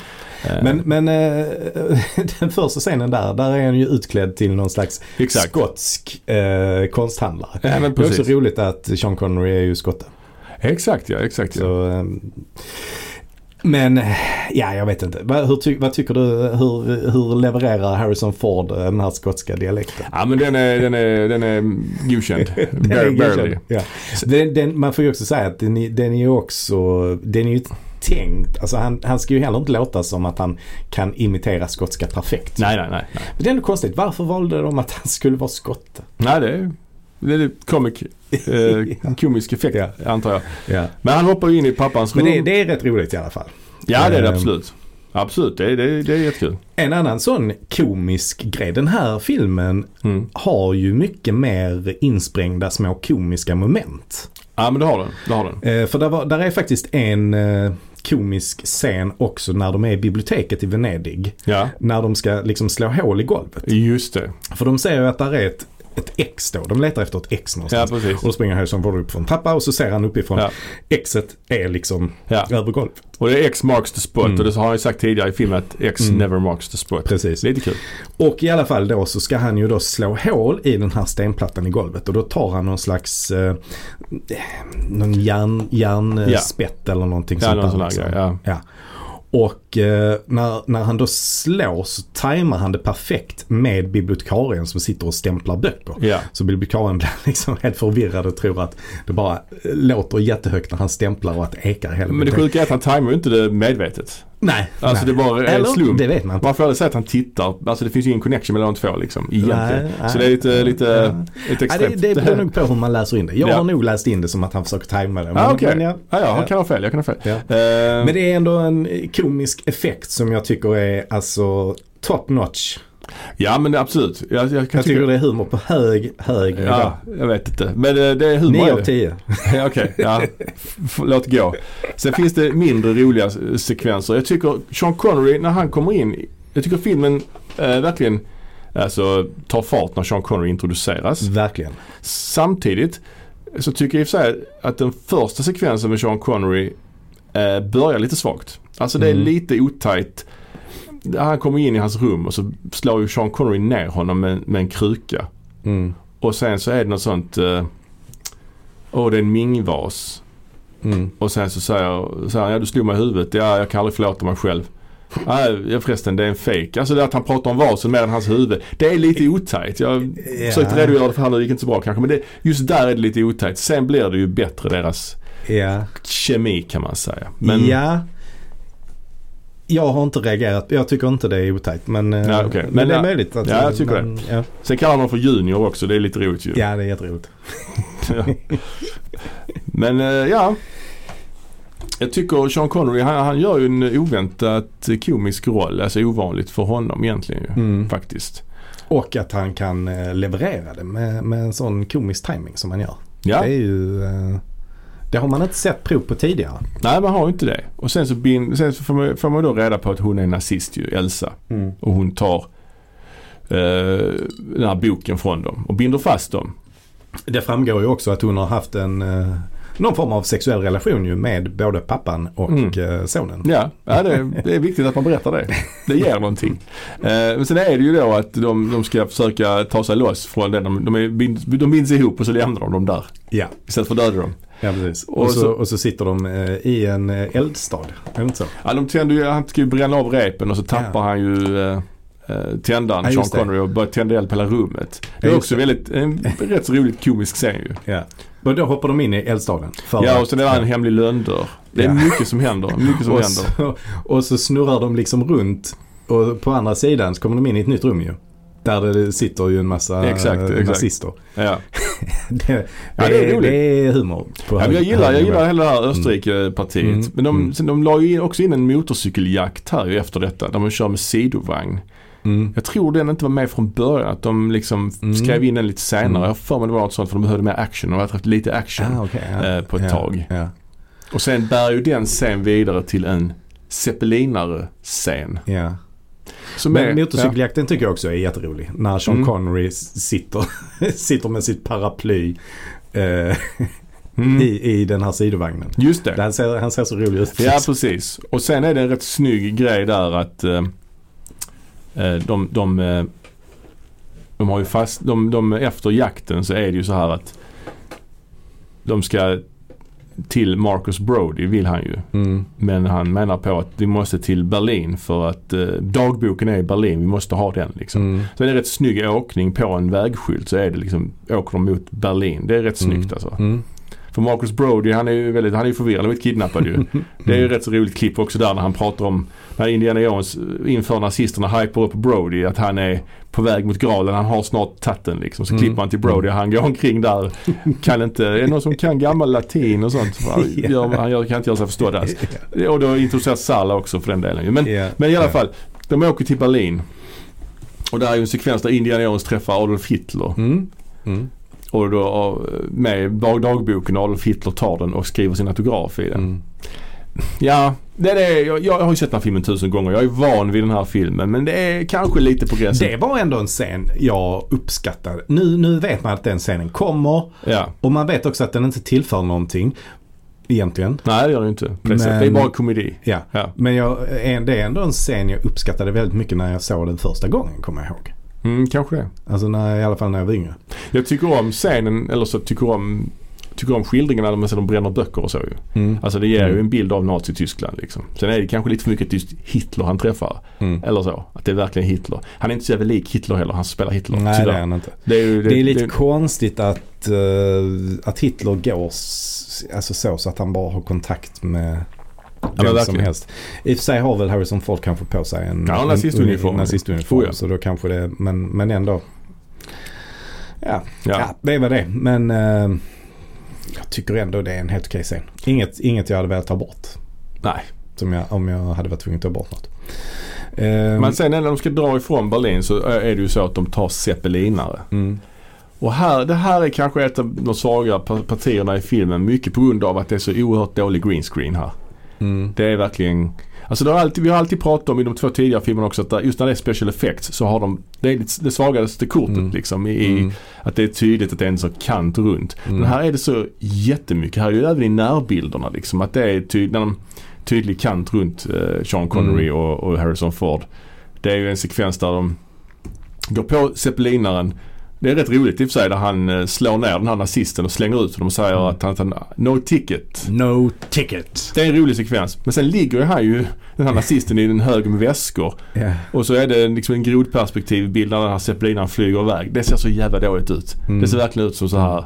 S2: Men, men eh, den första scenen där, där är han ju utklädd till någon slags
S1: Exakt.
S2: skotsk eh, konsthandlare.
S1: Ja, men
S2: det är också
S1: precis.
S2: roligt att Sean Connery är ju skotte.
S1: Exakt ja, exakt ja.
S2: Så, ehm, men eh, ja, jag vet inte. Vad, hur ty, vad tycker du? Hur, hur levererar Harrison Ford eh, den här skotska dialekten?
S1: Ja men den är, den är, den är godkänd.
S2: Den är
S1: Barely.
S2: godkänd. Ja. Den, den, man får ju också säga att den, är- den är ju också, den är ju tänkt, alltså han, han ska ju heller inte låta som att han kan imitera skotska perfekt.
S1: Nej, nej, nej. nej.
S2: Men det är ändå konstigt, varför valde de att han skulle vara skotte?
S1: Nej, det är, det är komik, eh, komisk effekt
S2: Ja.
S1: antar jag. Men han hoppar ju in i pappans
S2: Men
S1: rum.
S2: det, det är rätt roligt i alla fall.
S1: ja, det är det
S2: Ehm.
S1: absolut. Absolut, det, är- det, är- det är jättekul.
S2: En annan sån komisk grej. Den här filmen
S1: Mm.
S2: har ju mycket mer insprängda små komiska moment.
S1: Ja, men det har den. Det har den.
S2: Eh, för där, var, där är faktiskt en eh, komisk scen också när de är i biblioteket i Venedig.
S1: Ja,
S2: När de ska liksom slå hål i golvet.
S1: just det.
S2: För de ser ju att där är ett, ett X då. De letar efter ett X någonstans.
S1: Ja, precis.
S2: och då springer Harrison Ford upp för en trappa och så ser han uppifrån.
S1: Ja.
S2: Xet är liksom
S1: Ja.
S2: över golvet.
S1: Och det är X marks the spot och det har han ju sagt tidigare i filmen att X never marks the spot.
S2: Mm. Precis.
S1: Lite kul.
S2: Och i alla fall då så ska han ju då slå hål i den här stenplattan i golvet och då tar han någon slags eh, någon järn,
S1: Ja.
S2: järnspett eller någonting
S1: Ja,
S2: sånt
S1: någon
S2: där.
S1: sån här
S2: liksom.
S1: grej. Ja.
S2: Ja. Och eh, när, när han då slår så tajmar han det perfekt med bibliotekarien som sitter och stämplar böcker.
S1: Ja.
S2: Så bibliotekarien blir liksom helt förvirrad och tror att det bara eh, låter jättehögt när han stämplar och att det ekar i hela
S1: Men det
S2: biblioteket.
S1: sjuka är att han tajmar ju inte det medvetet.
S2: Nej,
S1: Alltså
S2: nej.
S1: det var en
S2: Eller,
S1: slump.
S2: det vet man inte.
S1: Man får aldrig säga att han tittar. Alltså det finns ju ingen connection mellan de två liksom. Egentligen.
S2: Nej, nej.
S1: så det är lite, lite, lite
S2: Ja, det,
S1: extremt.
S2: det beror nog på hur man läser in det. Jag
S1: Ja.
S2: har nog läst in det som att han försöker tajma det. Men,
S1: Ah, okej.
S2: men,
S1: ja.
S2: ja.
S1: Ah, ja, jag kan ha fel. Jag kan ha fel.
S2: Ja.
S1: Eh,
S2: men det är ändå en komisk effekt som jag tycker är alltså top notch.
S1: ja, men det- absolut. Jag, jag kan
S2: Jag tycker det är humor på hög, hög nivå.
S1: Ja, jag vet inte. Men eh, det är humor.
S2: 9
S1: är
S2: av
S1: det.
S2: 10.
S1: Ja, Okej, ja. F- f- låt gå. Sen finns det mindre roliga s- sekvenser. Jag tycker Sean Connery när han kommer in. Jag tycker filmen eh, verkligen alltså, tar fart när Sean Connery introduceras.
S2: Verkligen.
S1: Samtidigt så tycker jag i och för sig att den första sekvensen med Sean Connery eh, börjar lite svagt. Alltså det är
S2: Mm.
S1: lite otajt. Han kommer in i hans rum och så slår ju Sean Connery ner honom med, med en kruka.
S2: Mm.
S1: Och sen så är det något sånt, eh, åh det är en mingvas.
S2: Mm.
S1: Och sen så säger, säger han, ja du slog mig i huvudet, ja jag kan aldrig förlåta mig själv. Nej, ja, förresten det är en fejk. Alltså det att han pratar om vasen mer än hans huvud. Det är lite otajt. Jag
S2: Ja.
S1: försökte redogöra för han det gick inte så bra kanske. Men det, just där är det lite otajt. Sen blir det ju bättre deras
S2: Ja.
S1: kemi kan man säga. Men,
S2: ja. Jag har inte reagerat. Jag tycker inte det är otajt. Men, eh,
S1: Nej, okej.
S2: men,
S1: Men
S2: det är
S1: ja.
S2: möjligt. Att,
S1: Ja, jag tycker
S2: men, det. Ja.
S1: Sen kallar han honom för junior också. Det är lite roligt ju.
S2: ja, det är jätteroligt.
S1: Men eh, ja. Jag tycker Sean Connery han, han gör ju en oväntat komisk roll. Alltså ovanligt för honom egentligen ju.
S2: Mm.
S1: Faktiskt.
S2: Och att han kan eh, leverera det med, med en sån komisk timing som han gör.
S1: Ja.
S2: Det är ju... eh, Det har man inte sett prov på tidigare.
S1: Nej, man har ju inte det. Och sen så, bin, sen så får, man, får man då reda på att hon är nazist ju, Elsa. Och hon tar eh, den här boken från dem och binder fast dem.
S2: Det framgår ju också att hon har haft en eh, någon form av sexuell relation ju med både pappan och
S1: Mm.
S2: eh, sonen.
S1: Ja, ja det, är- det är viktigt att man berättar det. Det ger någonting. Eh, men sen är det ju då att de, de ska försöka ta sig loss från den. De, de, är, bind, de binds ihop och så lämnar de dem där.
S2: Ja,
S1: Istället för att döda dem.
S2: ja precis. Och,
S1: Och
S2: så,
S1: så-
S2: och så sitter de eh, i en eh, eldstad. Är det inte så?
S1: Ja, de tänder ju, han ska ju bränna av repen och så tappar
S2: Ja.
S1: han ju eh, eh, tändaren,
S2: Ja,
S1: Sean
S2: just det.
S1: Connery, och börjar tända eld på hela rummet. Det är
S2: Ja, just
S1: också väldigt, en rätt så roligt komisk scen ju.
S2: Ja. Och då hoppar de in i eldstaden. för
S1: Ja
S2: att-
S1: och sen är det en hemlig lönndörr. Det är
S2: Ja.
S1: mycket som händer. Mycket som
S2: och,
S1: händer.
S2: så, och så snurrar de liksom runt. Och på andra sidan så kommer de in i ett nytt rum ju. Där det sitter ju en massa
S1: Exakt,
S2: eh,
S1: exakt.
S2: nazister.
S1: Ja.
S2: Det,
S1: Ja, det är roligt.
S2: Det är humor. På
S1: Ja, men jag
S2: hög-
S1: gillar,
S2: hög
S1: jag
S2: nivå.
S1: gillar hela det här Österrike-partiet.
S2: Mm.
S1: Men de,
S2: Mm.
S1: sen de la ju in- också in en motorcykeljakt här ju efter detta. Där man kör med sidovagn.
S2: Mm.
S1: Jag tror den inte var med från början. Att de liksom
S2: Mm.
S1: skrev in den lite senare.
S2: Mm.
S1: Jag har för mig det var något sånt för de behövde mer action. De hade haft lite action.
S2: Ah, okej, ja.
S1: eh, på ett
S2: ja,
S1: tag.
S2: Ja,
S1: Och sen bär ju den sen vidare till en zeppelinare-scen.
S2: ja.
S1: Som är-
S2: Men motorcykeljakten tycker jag också är jätterolig. När Sean
S1: Mm.
S2: Connery s- sitter, sitter med sitt paraply eh,
S1: ja. mm.
S2: i, i den här sidovagnen.
S1: Just det.
S2: Han ser, han ser så rolig ut.
S1: Ja precis. Och sen är det en rätt snygg grej där att eh, eh, de, de, eh, de har ju fast, de, de, efter jakten så är det ju så här att de ska till Marcus Brody vill han ju.
S2: Mm.
S1: Men han menar på att vi måste till Berlin för att eh, dagboken är i Berlin. Vi måste ha den liksom.
S2: Mm.
S1: Så det är en rätt snygg åkning på en vägskylt så är det liksom åker de mot Berlin. Det är rätt snyggt
S2: Mm.
S1: alltså.
S2: Mm.
S1: För Marcus Brody han är ju väldigt, han är ju förvirrad. Han har blivit kidnappad ju. Det är ju rätt så roligt klipp också där när han pratar om när Indiana Jones eh, inför nazisterna hypar upp Brody att han är på väg mot graalen. Han har snart tagit den liksom. Så
S2: Mm.
S1: klipper han till Brody och han går omkring där. Kan inte, är det någon som kan gammal latin och sånt? Han, gör, han gör, kan inte göra sig förstådd alls. Och då introduceras Salla också för den delen ju. Men,
S2: Ja.
S1: men i alla
S2: Ja.
S1: fall, de åker till Berlin. Och där är ju en sekvens där Indiana Jones träffar Adolf Hitler.
S2: Mm. Mm.
S1: Och då eh, med dag- dagboken Adolf Hitler tar den och skriver sin autograf i den.
S2: Mm.
S1: Ja, det är det. Jag, jag har ju sett den här filmen tusen gånger. Jag är van vid den här filmen. Men det är kanske lite på gränsen.
S2: Det var ändå en scen jag uppskattade. Nu, nu vet man att den scenen kommer
S1: Ja.
S2: och man vet också att den inte tillför någonting egentligen.
S1: Nej, det gör det inte. På det,
S2: Men-
S1: sättet. det är bara komedi.
S2: Ja.
S1: Ja.
S2: Men jag, en- det är ändå en scen jag uppskattade väldigt mycket när jag såg den första gången kommer jag ihåg.
S1: Mm, kanske det.
S2: Alltså när, i alla fall när jag var yngre.
S1: Jag tycker om scenen, eller så tycker om Tycker om skildringarna när man ser de bränner böcker och så ju. Alltså det ger ju
S2: Mm.
S1: en bild av Nazityskland liksom. Sen är det kanske lite för mycket just Hitler han träffar.
S2: Mm.
S1: Eller så. Att det är verkligen Hitler. Han är inte så jävla lik Hitler heller. Han spelar Hitler.
S2: Nej det
S1: tyvärr.
S2: är han inte.
S1: det är ju
S2: Det är lite
S1: det-
S2: konstigt att, eh, att Hitler går s- alltså så, så att han bara har kontakt med vem som
S1: verkligen.
S2: helst. I och för sig har väl Harrison Ford kanske på sig en
S1: Ja,
S2: en-
S1: nazistuniform.
S2: en nazistuniform.
S1: Oh, ja.
S2: Så då kanske det, men, men ändå. Ja, ja.
S1: ja.
S2: det var det. Men eh, jag tycker ändå det är en helt okej scen. Inget, inget jag hade velat ta bort.
S1: Nej.
S2: Som jag, om jag hade varit tvungen att ta bort något. Ehm,
S1: Men sen när de ska dra ifrån Berlin så är det ju så att de tar zeppelinare.
S2: mm,
S1: Och här, det här är kanske ett av de svagare pa- partierna i filmen. Mycket på grund av att det är så oerhört dålig green screen här.
S2: mm,
S1: Det är verkligen... Alltså det har alltid, vi har alltid pratat om i de två tidigare filmerna också att där- just när det är special effects så har de det, är lite- det svagaste kortet
S2: Mm.
S1: liksom. I, i-
S2: mm,
S1: Att det är tydligt att det är en sån kant runt.
S2: Mm.
S1: Men här är det så jättemycket. Här är ju även i närbilderna liksom. Att det är ty- när de, tydlig kant runt eh, Sean Connery och, och Harrison Ford. Det är ju en sekvens där de går på zeppelinaren. Det är rätt roligt i och för sig där han eh, slår ner den här nazisten och slänger ut honom och säger att han, han no ticket.
S2: No ticket.
S1: Det är en rolig sekvens. Men sen ligger ju han ju, den här nazisten, i en hög med väskor.
S2: Ja.
S1: Och så är det liksom en grodperspektivbild när den här zeppelinaren flyger iväg. Det ser så jävla dåligt ut.
S2: Mm.
S1: Det ser verkligen ut som så här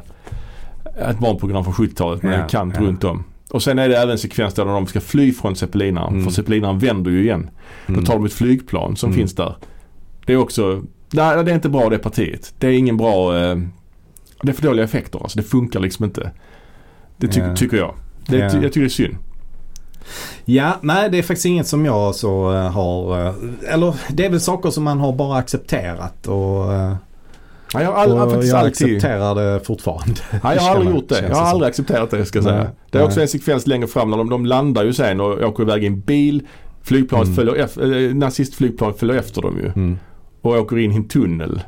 S1: ett barnprogram från 70-talet med
S2: Ja,
S1: en kant
S2: ja.
S1: runt om. Och sen är det även sekvens där de ska fly från zeppelinaren.
S2: Mm.
S1: För zeppelinaren vänder ju igen. Då tar de ett flygplan som
S2: Mm.
S1: finns där. Det är också, nej det är inte bra det partiet. Det är ingen bra, eh, det är för dåliga effekter alltså. Det funkar liksom inte. Det ty-
S2: Ja.
S1: tycker jag. Det,
S2: Ja.
S1: ty- Jag tycker det är synd.
S2: Ja, nej det är faktiskt inget som jag så eh, har, eh, eller det är väl saker som man har bara accepterat och, eh,
S1: Ja, jag har, all,
S2: och
S1: faktiskt
S2: jag
S1: alltid,
S2: accepterar det fortfarande.
S1: Nej, jag har
S2: Känner-
S1: aldrig gjort det.
S2: känns
S1: Jag har
S2: som.
S1: aldrig accepterat det ska jag säga.
S2: Nej,
S1: Det är
S2: nej.
S1: också en sekvens längre fram när de, de landar ju sen och åker iväg i en bil. Flygplanet
S2: Mm.
S1: följer efter, eh, nazistflygplan följer efter dem ju.
S2: Mm.
S1: Och åker in i en tunnel.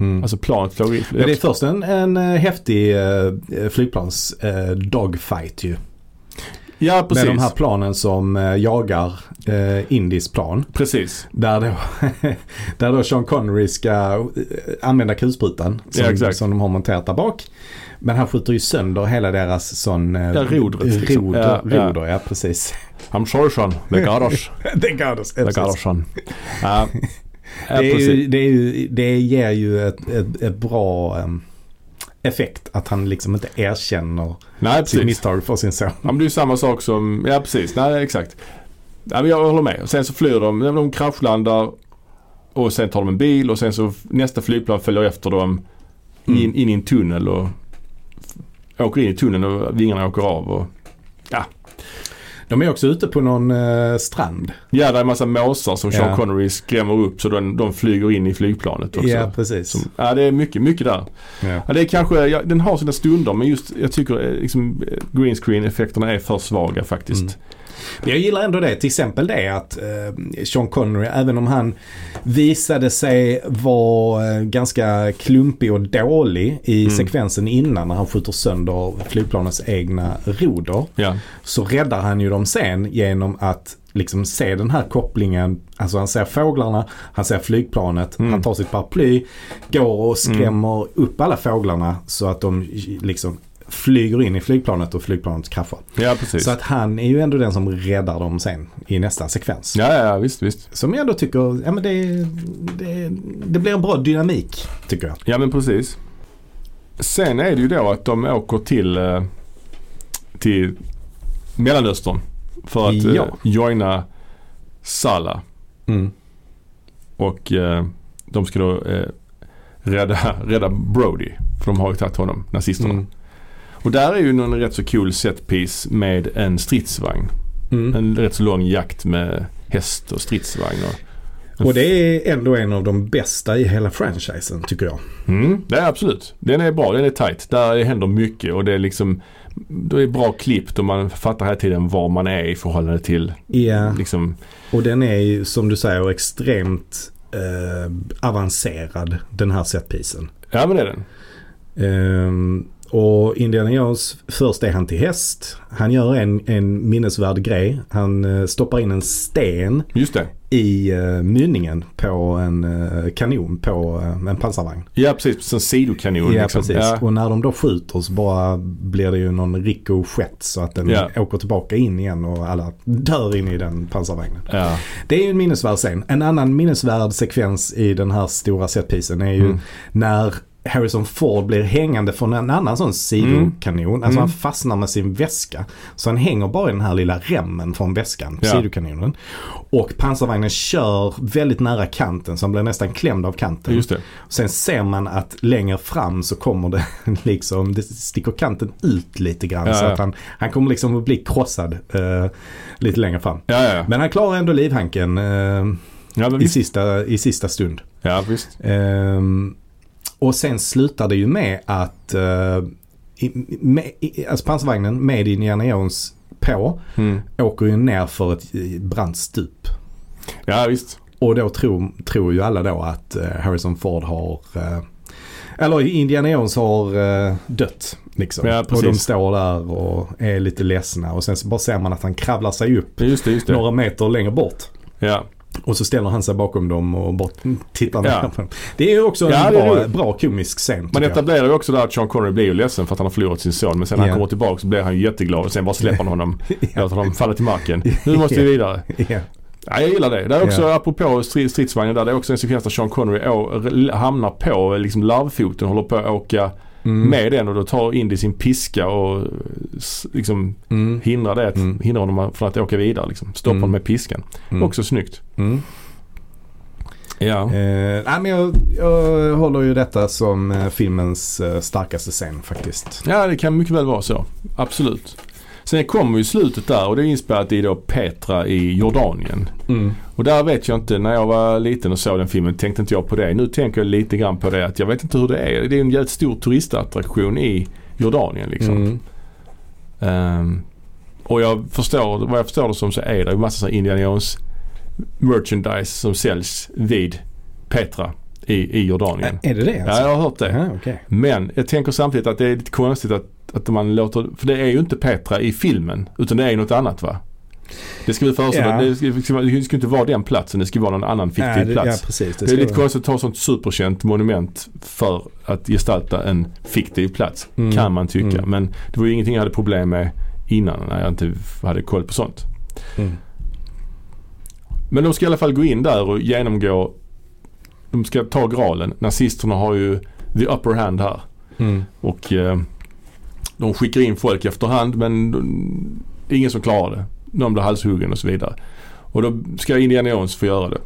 S2: Mm.
S1: Alltså planet flög in.
S2: Men det är först en, en eh, häftig eh, flygplans eh, dogfight ju.
S1: ja, precis.
S2: Med de här planen som eh, jagar eh, Indies plan.
S1: Precis.
S2: Där då, där då Sean Connery ska eh, använda kulsprutan som,
S1: Ja, exakt.
S2: som de har monterat där bak. Men han skjuter ju sönder hela deras sån... eh,
S1: Ja, rodret, liksom.
S2: Roder,
S1: Ja, ja.
S2: roder, ja. precis.
S1: I'm sorry son. The garage.
S2: det är det.
S1: The garage son. Ja. Ja,
S2: Det, är
S1: precis.
S2: ju, det, är ju, det ger ju ett, ett, ett bra em, effekt att han liksom inte erkänner
S1: Nej,
S2: sitt
S1: precis.
S2: misstag för sin son.
S1: Ja, men det är ju samma sak som, ja precis, nej exakt. Ja, men jag håller med. Sen så flyr de, de kraschlandar Och sen tar de en bil och sen så f- nästa flygplan följer efter dem in,
S2: Mm.
S1: in i en tunnel och f- åker in i tunneln och vingarna åker av. Och,
S2: De är också ute på någon eh, strand.
S1: ja, det är en massa måsar som Sean
S2: Ja.
S1: Connery skrämmer upp så de, de flyger in i flygplanet också.
S2: Ja, precis.
S1: Som, ja, det är mycket, mycket där.
S2: ja.
S1: Ja, det är kanske, ja, den har sina stunder men just jag tycker eh, liksom, eh, green screen effekterna är för svaga faktiskt.
S2: Mm. Men jag gillar ändå det. Till exempel det att eh, Sean Connery, även om han visade sig vara eh, ganska klumpig och dålig i
S1: Mm.
S2: sekvensen innan när han skjuter sönder flygplanets egna roder.
S1: Ja.
S2: Så räddar han ju dem sen genom att liksom se den här kopplingen. Alltså han ser fåglarna, han ser flygplanet,
S1: Mm.
S2: han tar sitt paraply, går och skrämmer upp alla fåglarna så att de liksom flyger in i flygplanet och flygplanet kraschar.
S1: ja, precis.
S2: Så att han är ju ändå den som räddar dem sen i nästa sekvens.
S1: ja, ja, ja, visst, visst.
S2: Som jag ändå tycker, ja men det, det, det blir en bra dynamik tycker jag.
S1: Ja men precis. Sen är det ju då att de åker till, eh, till Mellanöstern för att ja.
S2: Ja.
S1: joina Salah. Mm. Och eh, de ska då eh, rädda, rädda Brody. För de har ju tagit honom, nazisterna.
S2: Mm.
S1: Och där är ju någon rätt så cool setpiece med en stridsvagn.
S2: Mm.
S1: En rätt så lång jakt med häst och stridsvagn. Och,
S2: Och det är ändå en av de bästa i hela franchisen tycker jag.
S1: Mm, det är absolut. Den är bra, den är tight. Där händer mycket och det är liksom det är bra klippt och man fattar hela tiden var man är i förhållande till
S2: Ja,
S1: liksom,
S2: och den är ju som du säger extremt eh, avancerad den här setpisen.
S1: Ja men det är den.
S2: Ehm, och Indiana Jones, först är han till häst. Han gör en, en minnesvärd grej. Han eh, stoppar in en sten
S1: Just det.
S2: i eh, mynningen på en eh, kanon på eh, en pansarvagn.
S1: Ja precis, som sidokanon.
S2: ja,
S1: liksom.
S2: precis.
S1: Ja.
S2: Och när de då skjuter så bara blir det ju någon ricochet så att den
S1: Ja.
S2: åker tillbaka in igen och alla dör in i den pansarvagnen.
S1: Ja.
S2: Det är ju en minnesvärd scen. En annan minnesvärd sekvens i den här stora setpisen är ju
S1: Mm.
S2: när Harrison Ford blir hängande från en annan sån sidokanon.
S1: Mm.
S2: Alltså han fastnar med sin väska. Så han hänger bara i den här lilla remmen från väskan,
S1: Ja.
S2: sidokanonen. Och pansarvagnen kör väldigt nära kanten så han blir nästan klämd av kanten.
S1: Just det.
S2: Sen ser man att längre fram så kommer det liksom, det sticker kanten ut lite grann.
S1: Ja,
S2: så
S1: ja.
S2: att han, han kommer liksom att bli krossad eh, lite längre fram.
S1: Ja, ja.
S2: Men han klarar ändå livhanken eh,
S1: ja, men
S2: i,
S1: visst.
S2: sista, i sista stund.
S1: ja visst.
S2: Ehm, och sen slutar det ju med att eh, i, med, i, alltså pansarvagnen med Indiana Jones på
S1: Mm.
S2: åker ju ner för ett eh, brant stup.
S1: Ja visst.
S2: Och då tror, tror ju alla då att eh, Harrison Ford har eh, eller Indiana Jones har eh, dött. Liksom.
S1: Ja,
S2: och
S1: precis.
S2: de står där och är lite ledsna. Och sen så bara ser man att han kravlar sig upp
S1: Just det, just det.
S2: några meter längre bort.
S1: Ja.
S2: Och så ställer han sig bakom dem och bara tittar ner
S1: Ja.
S2: på dem. Det är ju också en
S1: Ja, det är
S2: bra,
S1: roligt.
S2: bra komisk scen.
S1: Man
S2: tycker jag.
S1: etablerar ju också där att Sean Connery blir ju ledsen för att han har förlorat sin son. Men sen när
S2: Ja.
S1: han kommer tillbaka så blir han ju jätteglad och sen bara släpper han honom.
S2: Ja.
S1: Låter honom falla till marken. Nu måste vi vidare.
S2: Ja.
S1: Ja, jag gillar det. Det är också, apropå stri- stridsvagnen där, det är också en sekvens där Sean Connery å- r- hamnar på liksom larvfoten, håller på att åka
S2: Mm.
S1: med den och då tar Indy sin piska och s- liksom
S2: Mm.
S1: hindrar det, att-
S2: Mm.
S1: hindrar honom från att åka vidare liksom. Stoppar
S2: Mm.
S1: honom med piskan.
S2: Mm.
S1: Också snyggt.
S2: Mm.
S1: Ja.
S2: Eh, nej, men jag, jag håller ju detta som eh, filmens eh, starkaste scen faktiskt.
S1: ja, det kan mycket väl vara så. Absolut. Sen kommer ju slutet där och det är inspelat i då Petra i Jordanien. Och där vet jag inte, när jag var liten och såg den filmen tänkte inte jag på det. Nu tänker jag lite grann på det att jag vet inte hur det är. Det är en jävligt stor turistattraktion i Jordanien liksom.
S2: Mm.
S1: Ehm, och jag förstår, vad jag förstår det som så är det ju massa sån här Indiana Jones merchandise som säljs vid Petra i, i Jordanien.
S2: Är det det
S1: Ja,
S2: alltså?
S1: jag har hört det.
S2: Ah, okej.
S1: Men jag tänker samtidigt att det är lite konstigt att, att man låter, för det är ju inte Petra i filmen utan det är ju något annat va? Det ska vi föreställa,
S2: Ja.
S1: det, ska, det ska- det ska inte vara den platsen, det ska vara någon annan fiktiv
S2: Ja, det-
S1: plats.
S2: Ja, precis.
S1: det är
S2: ska
S1: lite
S2: vara-
S1: konstigt att ta ett sånt superkänt monument för att gestalta en fiktiv plats.
S2: Mm.
S1: Kan man tycka.
S2: Mm.
S1: Men det var ju ingenting jag hade problem med innan när jag inte hade koll på sånt.
S2: Mm.
S1: Men de ska i alla fall gå in där och genomgå. De ska ta graalen. Nazisterna har ju the upper hand här.
S2: Mm.
S1: Och eh, de skickar in folk efterhand men de- det är ingen som klarar det. Någon blir halshuggen och så vidare. Och då ska Indiana Jones få göra det.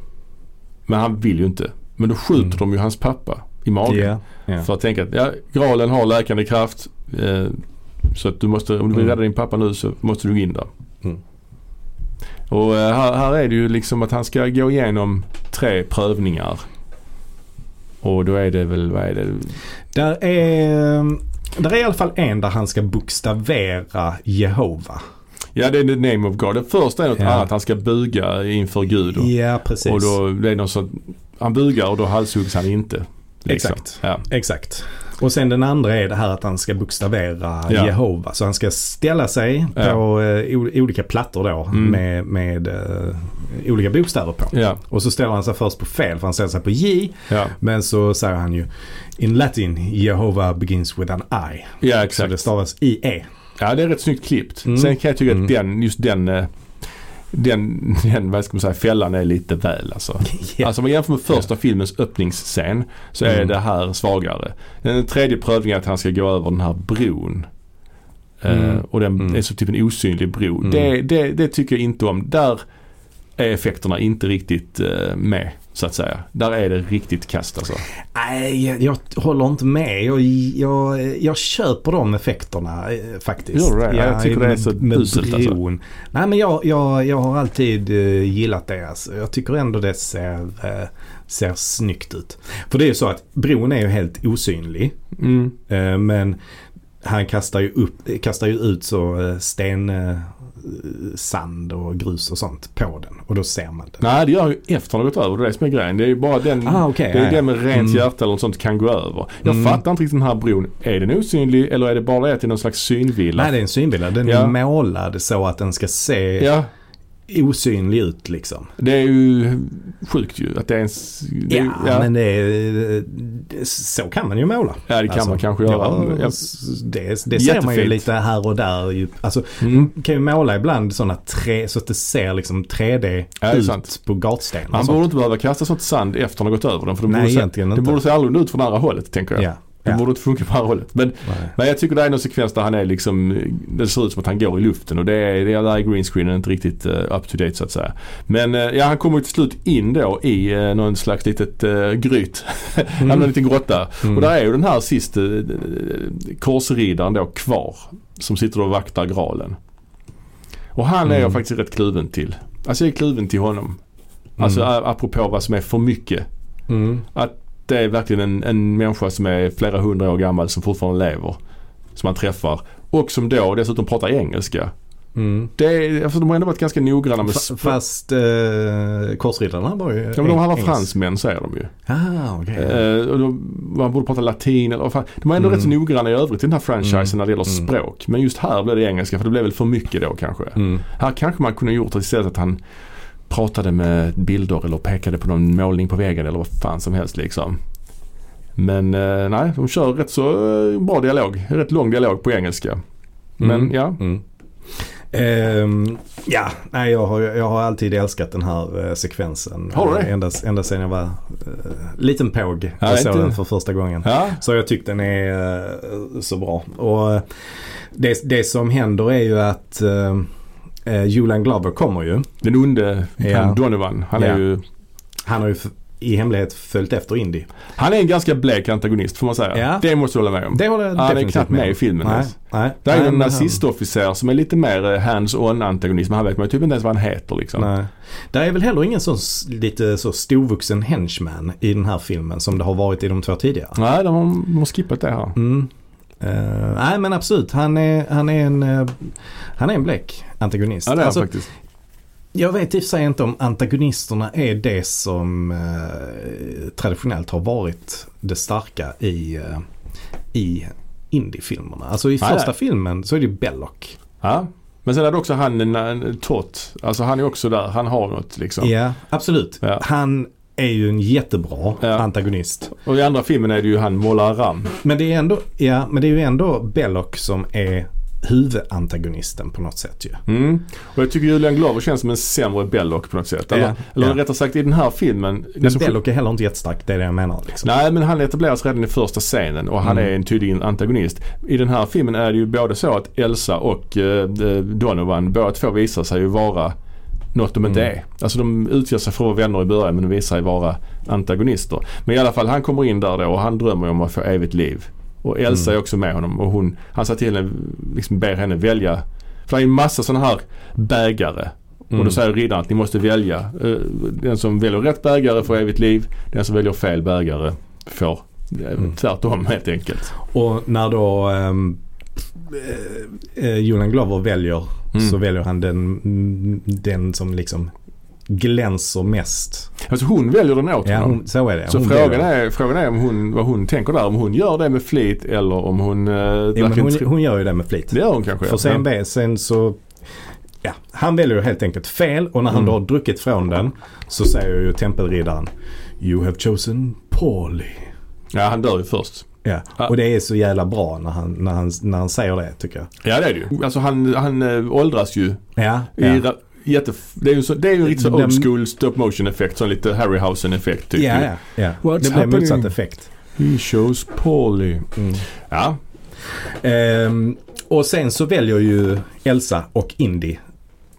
S1: Men han vill ju inte. Men då skjuter
S2: Mm.
S1: de ju hans pappa i magen.
S2: Ja, ja.
S1: För att tänka att ja, graalen har läkande kraft. Eh, så att du måste, om du vill
S2: Mm.
S1: rädda din pappa nu så måste du gå in där.
S2: Mm.
S1: Och eh, här, här är det ju liksom att han ska gå igenom tre prövningar. Och då är det väl, vad är det?
S2: Där, är, mm, där är i alla fall en där han ska bokstavera Jehova.
S1: Ja det är the name of God. Det första är något
S2: Ja.
S1: annat. Han ska buga inför Gud. Och,
S2: Ja, precis.
S1: och då blir det någon sån, han bugar och då halshuggs han inte. liksom.
S2: Exakt.
S1: Ja.
S2: Exakt. Och sen den andra är det här att han ska bokstavera
S1: Ja.
S2: Jehova. Så han ska ställa sig
S1: Ja.
S2: på eh, o- olika plattor då
S1: Mm.
S2: med, med eh, olika bokstäver på.
S1: Ja,
S2: Och så ställer han sig först på fel för han ställer sig på J.
S1: ja,
S2: Men så säger han ju In latin Jehova begins with an I.
S1: ja
S2: Så
S1: exakt.
S2: det stavas E. IE.
S1: Ja, det är rätt snyggt klippt.
S2: Mm.
S1: Sen kan jag tycka
S2: Mm.
S1: att den, just den, eh, den, den vad ska man säga, fällan är lite väl alltså.
S2: Ja.
S1: Alltså om man jämför med första filmens öppningsscen så är
S2: Mm.
S1: det här svagare. Den tredje prövningen är att han ska gå över den här bron. Eh,
S2: Mm.
S1: och den
S2: Mm.
S1: är som typ en osynlig bro.
S2: Mm.
S1: Det, det, det tycker jag inte om. Där är effekterna inte riktigt eh, med så att säga. Där är det riktigt kast alltså.
S2: Nej, jag, jag håller inte med. Jag, jag, jag köper de effekterna eh, faktiskt.
S1: Gör du det?
S2: Ja,
S1: Jag tycker
S2: med,
S1: det är så
S2: med
S1: uselt, alltså.
S2: bron. Nej, men jag, jag, jag har alltid eh, gillat det. Alltså. Jag tycker ändå det ser, eh, ser snyggt ut. För det är ju så att bron är ju helt osynlig.
S1: Mm.
S2: Eh, men han kastar ju, upp, kastar ju ut så eh, sten, eh, sand och grus och sånt på den. Och då ser man den.
S1: Nej det gör han ju efter han har gått över. Det är det som är grejen. Det är ju bara den
S2: Ah, okej.
S1: Det är
S2: Ja,
S1: ju det med rent
S2: Mm.
S1: hjärta eller något sånt kan gå över. Jag
S2: Mm.
S1: fattar inte riktigt den här bron. Är den osynlig eller är det bara det att det är någon slags synvilla?
S2: Nej, det är en synvilla. Den
S1: Ja.
S2: är målad så att den ska se
S1: Ja,
S2: osynlig ut liksom.
S1: det är ju sjukt ju att det är en... s- Det är,
S2: Ja,
S1: ju- ja,
S2: men det är, det- så kan man ju måla. Alltså,
S1: ja, det kan man kanske göra.
S2: Ja,
S1: Ja,
S2: s- det det ser man ju
S1: Jättefint. Mm.
S2: lite här och där. ju. Alltså, man kan ju måla ibland sådana tre, så att det ser liksom 3D
S1: Ja, det är
S2: ut
S1: sant.
S2: på Alltså, gatstenar.
S1: Man
S2: och
S1: borde
S2: sånt.
S1: inte behöva kasta sånt sand efter han har gått över den. För det
S2: Nej,
S1: borde se,
S2: egentligen
S1: det
S2: inte.
S1: borde se annorlunda ut från andra hållet tänker jag.
S2: Ja,
S1: Det
S2: ja.
S1: borde inte funka på andra hållet. Men,
S2: Nej.
S1: men jag tycker det är någon sekvens där han är liksom, det ser ut som att han går i luften och det är, det är där är greenscreenen inte riktigt eh, up to date så att säga. Men eh, ja, han kommer ju till slut in då i uh, någon slags litet uh, gryt. Han har en liten grotta.
S2: Mm.
S1: Och där är ju den här sista uh, korsriddaren då kvar som sitter och vaktar graalen. Och han är jag
S2: Mm.
S1: faktiskt rätt kluven till. Alltså jag är kluven till honom. Alltså
S2: Mm.
S1: a- apropå vad som är för mycket.
S2: Mm.
S1: Det är verkligen en, en människa som är flera hundra år gammal som fortfarande lever. Som man träffar. Och som då dessutom pratar engelska.
S2: Mm.
S1: Det är, alltså de har ändå varit ganska noggranna med
S2: Fa-
S1: språk.
S2: Fast eh, korsriddarna var ju
S1: Ja, men de handlar
S2: engelska.
S1: fransmän säger de ju.
S2: Ah, okej.
S1: Eh, och då, man borde prata latin. Eller, vad fan. de var ändå
S2: Mm.
S1: rätt noggranna i övrigt i den här franchisen när det gäller
S2: Mm.
S1: språk. Men just här blev det engelska för det blev väl för mycket då kanske.
S2: Mm.
S1: Här kanske man kunde gjort det istället att han pratade med bilder eller pekade på någon målning på väggen eller vad fan som helst liksom. Men eh, nej, de kör rätt så eh, bra dialog. Rätt lång dialog på engelska. Men
S2: Mm.
S1: ja.
S2: Mm. Ehm, ja, nej jag har, jag har alltid älskat den här eh, sekvensen.
S1: Har du det?
S2: Eh, Ända, ända sedan jag var eh, liten påg
S1: Ja,
S2: och såg
S1: inte-
S2: den för första gången.
S1: Ja,
S2: Så jag tyckte den är eh, så bra. Och eh, det, det som händer är ju att eh, eh, Julian Glover kommer ju.
S1: den onde
S2: Ja.
S1: han Donovan. Han,
S2: Ja.
S1: är ju,
S2: Han har ju f- i hemlighet följt efter Indy.
S1: han är en ganska blek antagonist får man säga.
S2: Ja.
S1: Det måste jag hålla med om.
S2: Det håller jag
S1: han är
S2: definitivt
S1: knappt med
S2: om.
S1: i filmen
S2: Nej,
S1: ens.
S2: nej.
S1: Det är
S2: nej,
S1: ju en
S2: men han-
S1: nazistofficer som är lite mer eh, hands-on antagonist. Men han vet man ju typ inte ens vad han heter liksom.
S2: Nej. Där är väl heller ingen sån s- lite så storvuxen henchman i den här filmen som det har varit i de två tidigare.
S1: Nej, de har, de har skippat det här.
S2: Mm. Eh, nej men absolut, han är, han är en, eh, han är en blek antagonist.
S1: Ja, det är
S2: Alltså,
S1: han faktiskt.
S2: jag vet i och för sig inte om antagonisterna är det som eh, traditionellt har varit det starka i, eh, i indiefilmerna. Alltså i
S1: Nej,
S2: första
S1: nej.
S2: filmen så är det ju Belloc.
S1: Ja. Men sen är det också han en, en Tott. Alltså han är också där. Han har något liksom.
S2: Ja, absolut.
S1: Ja.
S2: Han är ju en jättebra
S1: Ja.
S2: antagonist.
S1: Och i andra filmen är det ju han Molla Ram.
S2: Men det är, ändå, ja, men det är ju ändå Belloc som är huvudantagonisten på något sätt ju.
S1: Mm. Och jag tycker Julian Glover känns som en sämre Belloc på något sätt. Eller,
S2: Ja.
S1: eller
S2: Ja.
S1: rättare sagt i den här filmen. det
S2: Men
S1: som-
S2: Belloc är heller inte jättestark, det är det jag menar. Liksom. Mm.
S1: Nej men han etableras redan i första scenen och han är en tydlig antagonist. I den här filmen är det ju både så att Elsa och eh, eh, Donovan båda två visar sig ju vara något de inte
S2: Mm.
S1: är. Alltså de utger sig för att vara vänner i början men de visar sig vara antagonister. Men i alla fall han kommer in där då och han drömmer ju om att få evigt liv. Och Elsa
S2: Mm.
S1: är också med honom och hon, han sa till henne, liksom ber henne välja. För det är en massa sådana här bägare. Och då
S2: Mm.
S1: säger riddaren att ni måste välja. Eh, Den som väljer rätt bägare får evigt liv. Den som väljer fel bägare får eh,
S2: Mm.
S1: tvärtom helt enkelt.
S2: Och när då ehm, eh, Julian Glover väljer
S1: Mm.
S2: så väljer han den, den som liksom glänser mest.
S1: Alltså hon väljer den åt
S2: Ja,
S1: honom.
S2: hon, så är det.
S1: Så
S2: Hon
S1: frågan
S2: väljer.
S1: är, frågan är om hon, vad hon tänker där. Om hon gör det med flit eller om hon eh,
S2: Ja, men
S1: verkligen
S2: hon,
S1: tror-
S2: hon gör ju det med flit.
S1: Det gör hon kanske.
S2: För sen, be- sen så... Ja, han väljer ju helt enkelt fel och när han
S1: Mm.
S2: då har druckit från den så säger ju tempelriddaren You have chosen poorly.
S1: Ja, han dör ju först.
S2: Ja,
S1: Ja.
S2: och det är så jävla bra när han, när han, när han säger det tycker jag.
S1: Ja, det är det ju. Alltså han, han eh, åldras ju.
S2: Ja,
S1: I
S2: ja.
S1: ra- jätte, det är ju så, det är ju lite så
S2: Den-
S1: old school stop motion effekt. Sån lite Harryhausen-effekt typ.
S2: ja, ja, ja.
S1: What's
S2: Det blir
S1: happening?
S2: motsatt effekt.
S1: He shows poorly.
S2: Mm.
S1: Ja,
S2: Ehm, och sen så väljer ju Elsa och Indy.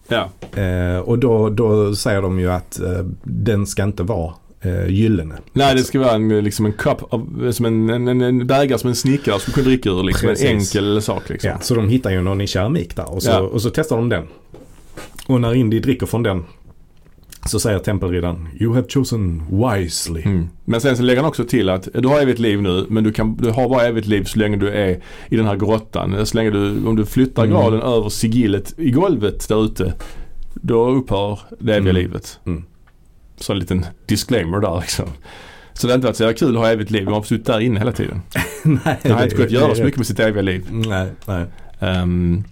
S1: ja.
S2: Eh, och då, då säger de ju att eh, den ska inte vara eh, gyllene.
S1: Nej det ska vara en, liksom en cup, av, som en, en, en, en bägare som en snickare skulle kunna dricka ur. Liksom, en
S2: Precis.
S1: enkel sak liksom.
S2: Ja, så de hittar ju någon i keramik där och så,
S1: Ja.
S2: och så testar de den. Och när Indy dricker från den så säger tempelriddaren You have chosen wisely.
S1: Mm. Men sen så lägger han också till att du har evigt liv nu men du, kan, du har bara evigt liv så länge du är i den här grottan. Så länge du, om du flyttar
S2: Mm.
S1: graden över sigillet i golvet där ute då upphör det eviga
S2: Mm.
S1: livet.
S2: Mm.
S1: Så en liten disclaimer där liksom. Så det har inte varit så jävla kul att ha evigt liv. Man har suttit där inne hela tiden.
S2: nej,
S1: Det har inte gått att göra så mycket med sitt eviga liv.
S2: Nej, nej.
S1: Ehm,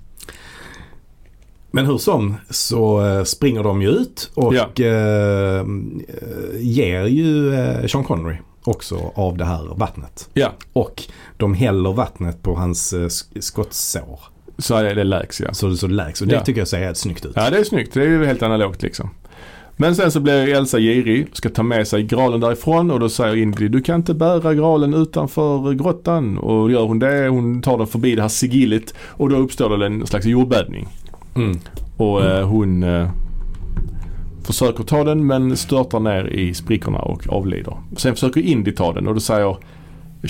S2: Men hur som så eh, springer de ju ut och
S1: Ja.
S2: eh, ger ju eh, Sean Connery också av det här vattnet.
S1: ja,
S2: Och de häller vattnet på hans eh, sk- skottsår.
S1: så är det läks ja.
S2: Så det så läks. Och det
S1: Ja.
S2: tycker jag ser helt snyggt ut.
S1: Ja det är snyggt. Det är ju helt analogt liksom. Men sen så blir Elsa girig, ska ta med sig graalen därifrån och då säger Indy du kan inte bära graalen utanför grottan. Och gör hon det, hon tar den förbi det här sigillet och då uppstår det en slags jordbävning.
S2: Mm.
S1: Och eh, hon eh, försöker ta den men störtar ner i sprickorna och avlider. Sen försöker Indy ta den och då säger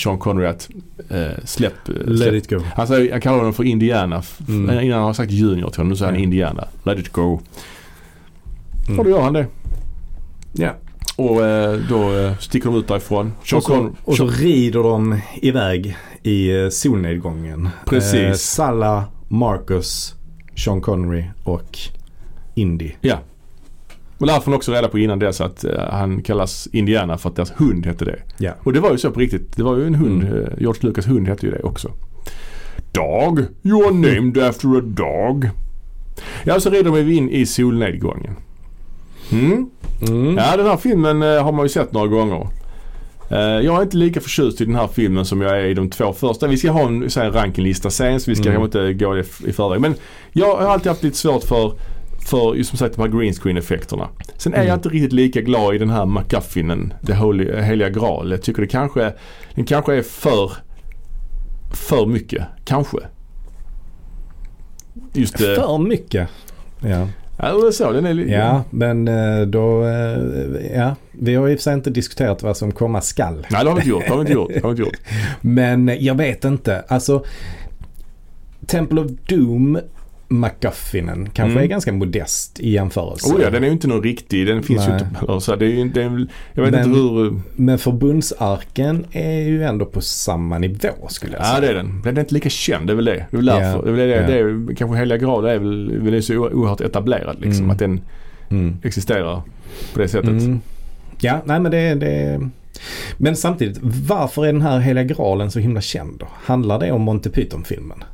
S1: Sean Connery att eh, släpp,
S2: Let
S1: släpp
S2: it go.
S1: han säger, Alltså, jag kallar honom för Indiana. F-
S2: Mm.
S1: Innan han har sagt Junior till honom, nu säger han
S2: Ja.
S1: Indiana. Let it go.
S2: Mm.
S1: Och då gör han det.
S2: Ja.
S1: Och eh, då eh, sticker de ut därifrån. Sean
S2: Och så,
S1: Con-
S2: och så rider de iväg i eh, solnedgången.
S1: Precis.
S2: Eh, Salla, Marcus, Sean Connery och Indy.
S1: Ja. Och där får man också reda på innan dess att eh, han kallas Indiana för att deras hund hette det.
S2: Ja.
S1: Och det var ju så på riktigt. Det var ju en hund.
S2: Mm.
S1: eh, George Lucas hund hette ju det också. Dog. You are named after a dog. Ja, så rider de in i solnedgången. Mm.
S2: Mm.
S1: Ja, den här filmen eh, har man ju sett några gånger. Eh, jag är inte lika förtjust i den här filmen som jag är i de två första. Vi ska ha en så här, rankinglista sen så vi ska
S2: Mm.
S1: kanske inte gå i, i förväg. Men jag har alltid haft lite svårt för, för just som sagt de här green screen effekterna. Sen är jag
S2: Mm.
S1: inte riktigt lika glad i den här MacGuffinen, The Holy, Heliga Graal. Jag tycker det kanske, den kanske är för, för mycket. Kanske. Just det.
S2: För mycket. Ja,
S1: Ja, det är så. Den är li-
S2: ja men eh, då... eh, Ja, vi har i och för sig inte diskuterat vad som komma skall.
S1: Nej, det har vi inte gjort. Det har vi inte gjort. Det har vi inte gjort.
S2: Men eh, jag vet inte. Alltså, Temple of Doom MacGuffinen kanske
S1: Mm.
S2: är ganska modest i jämförelse.
S1: Oh ja, den är ju inte någon riktig. Den finns ju
S2: Nej.
S1: inte. eller Så det är, ju- det är, jag vet
S2: Men-
S1: inte hur...
S2: Men förbundsarken är ju ändå på samma nivå skulle jag säga.
S1: Ja, det är den. Den är inte lika känd. Det är väl det. Det är väl därför.
S2: Ja,
S1: Det är väl det,
S2: ja.
S1: det är, ju- kanske Heliga Graal är väl, väl är så o- oerhört etablerad liksom.
S2: Mm.
S1: Att den
S2: Mm.
S1: existerar på det sättet.
S2: Mm. Ja, nej men det, det... Men samtidigt, varför är den här Heliga Graalen så himla känd då? Handlar det om Monty Python-filmen?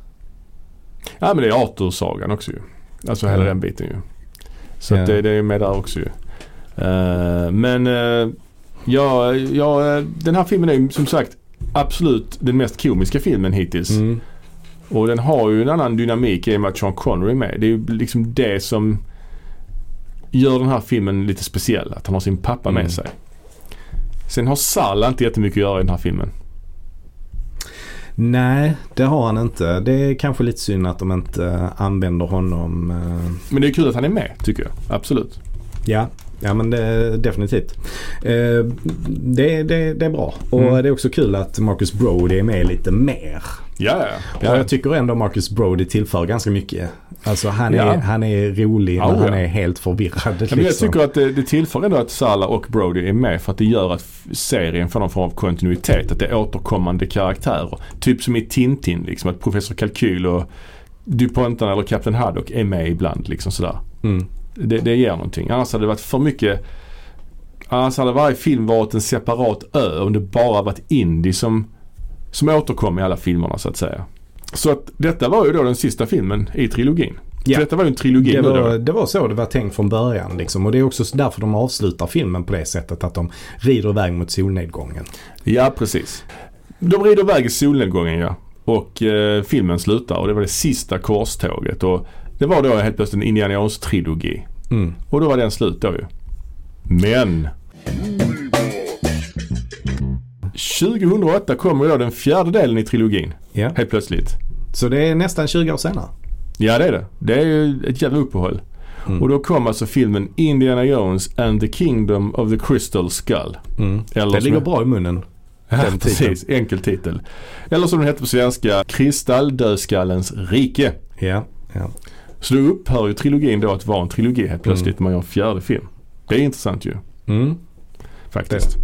S1: Ja, men det är Arthur-sagan också ju. Alltså hela
S2: Ja.
S1: den biten ju. Så
S2: Ja.
S1: att det, det är med där också ju. Eh, men eh, ja, ja, eh, den här filmen är ju som sagt absolut den mest komiska filmen hittills.
S2: Mm.
S1: Och den har ju en annan dynamik i och med att Sean Connery är med. Det är ju liksom det som gör den här filmen lite speciell. Att han har sin pappa
S2: Mm.
S1: med sig. Sen har Salla inte jättemycket att göra i den här filmen.
S2: Nej, det har han inte. Det är kanske lite synd att de inte eh, använder honom. eh,
S1: Men det är kul att han är med tycker jag. Absolut.
S2: Ja, ja men det, definitivt. Eh, det, det, det är bra. Och
S1: Mm.
S2: det är också kul att Marcus Brody är med lite mer.
S1: Ja, ja, ja.
S2: Och jag tycker ändå Marcus Brody tillför ganska mycket. Alltså han är,
S1: Ja.
S2: han är rolig men
S1: Oh,
S2: han
S1: ja.
S2: är helt förvirrad.
S1: Ja,
S2: Liksom.
S1: men jag tycker att det, det tillför ändå att Sala och Brody är med för att det gör att f- serien får någon form av kontinuitet. Att det är återkommande karaktärer. Typ som i Tintin liksom. Att Professor Kalkyl och DuPontan eller Kapten Haddock är med ibland liksom sådär.
S2: Mm.
S1: Det, det ger någonting. Annars hade det varit för mycket Annars hade varje film varit en separat ö om det bara varit indie som, som återkom i alla filmerna så att säga. Så att detta var ju då den sista filmen i trilogin.
S2: Ja.
S1: Så detta var ju en trilogi
S2: Det
S1: nu då.
S2: var, det var så det var tänkt från början. Liksom. Och det är också därför de avslutar filmen på det sättet. Att de rider iväg mot solnedgången.
S1: Ja, precis. De rider iväg i solnedgången ja. Och eh, filmen slutar och det var det sista korståget. Och det var då helt plötsligt en Indiana Jones-trilogi.
S2: Mm.
S1: Och då var den slut då ju. Men! 2008 kommer ju då den fjärde delen i trilogin.
S2: Ja.
S1: Helt plötsligt.
S2: Så det är nästan 20 år senare.
S1: Ja det är det. Det är ju ett jävla uppehåll.
S2: Mm.
S1: Och då kom alltså filmen Indiana Jones and the Kingdom of the Crystal Skull. Eller
S2: Mm. Det
S1: som-
S2: ligger bra i munnen.
S1: Ja,
S2: Den titeln.
S1: precis. Enkel titel. Eller som den hette på svenska, Kristalldödskallens rike.
S2: Ja. ja.
S1: Så då upphör ju trilogin då att vara en trilogi helt plötsligt när man gör en fjärde film. Det är intressant ju
S2: Mm.
S1: faktiskt.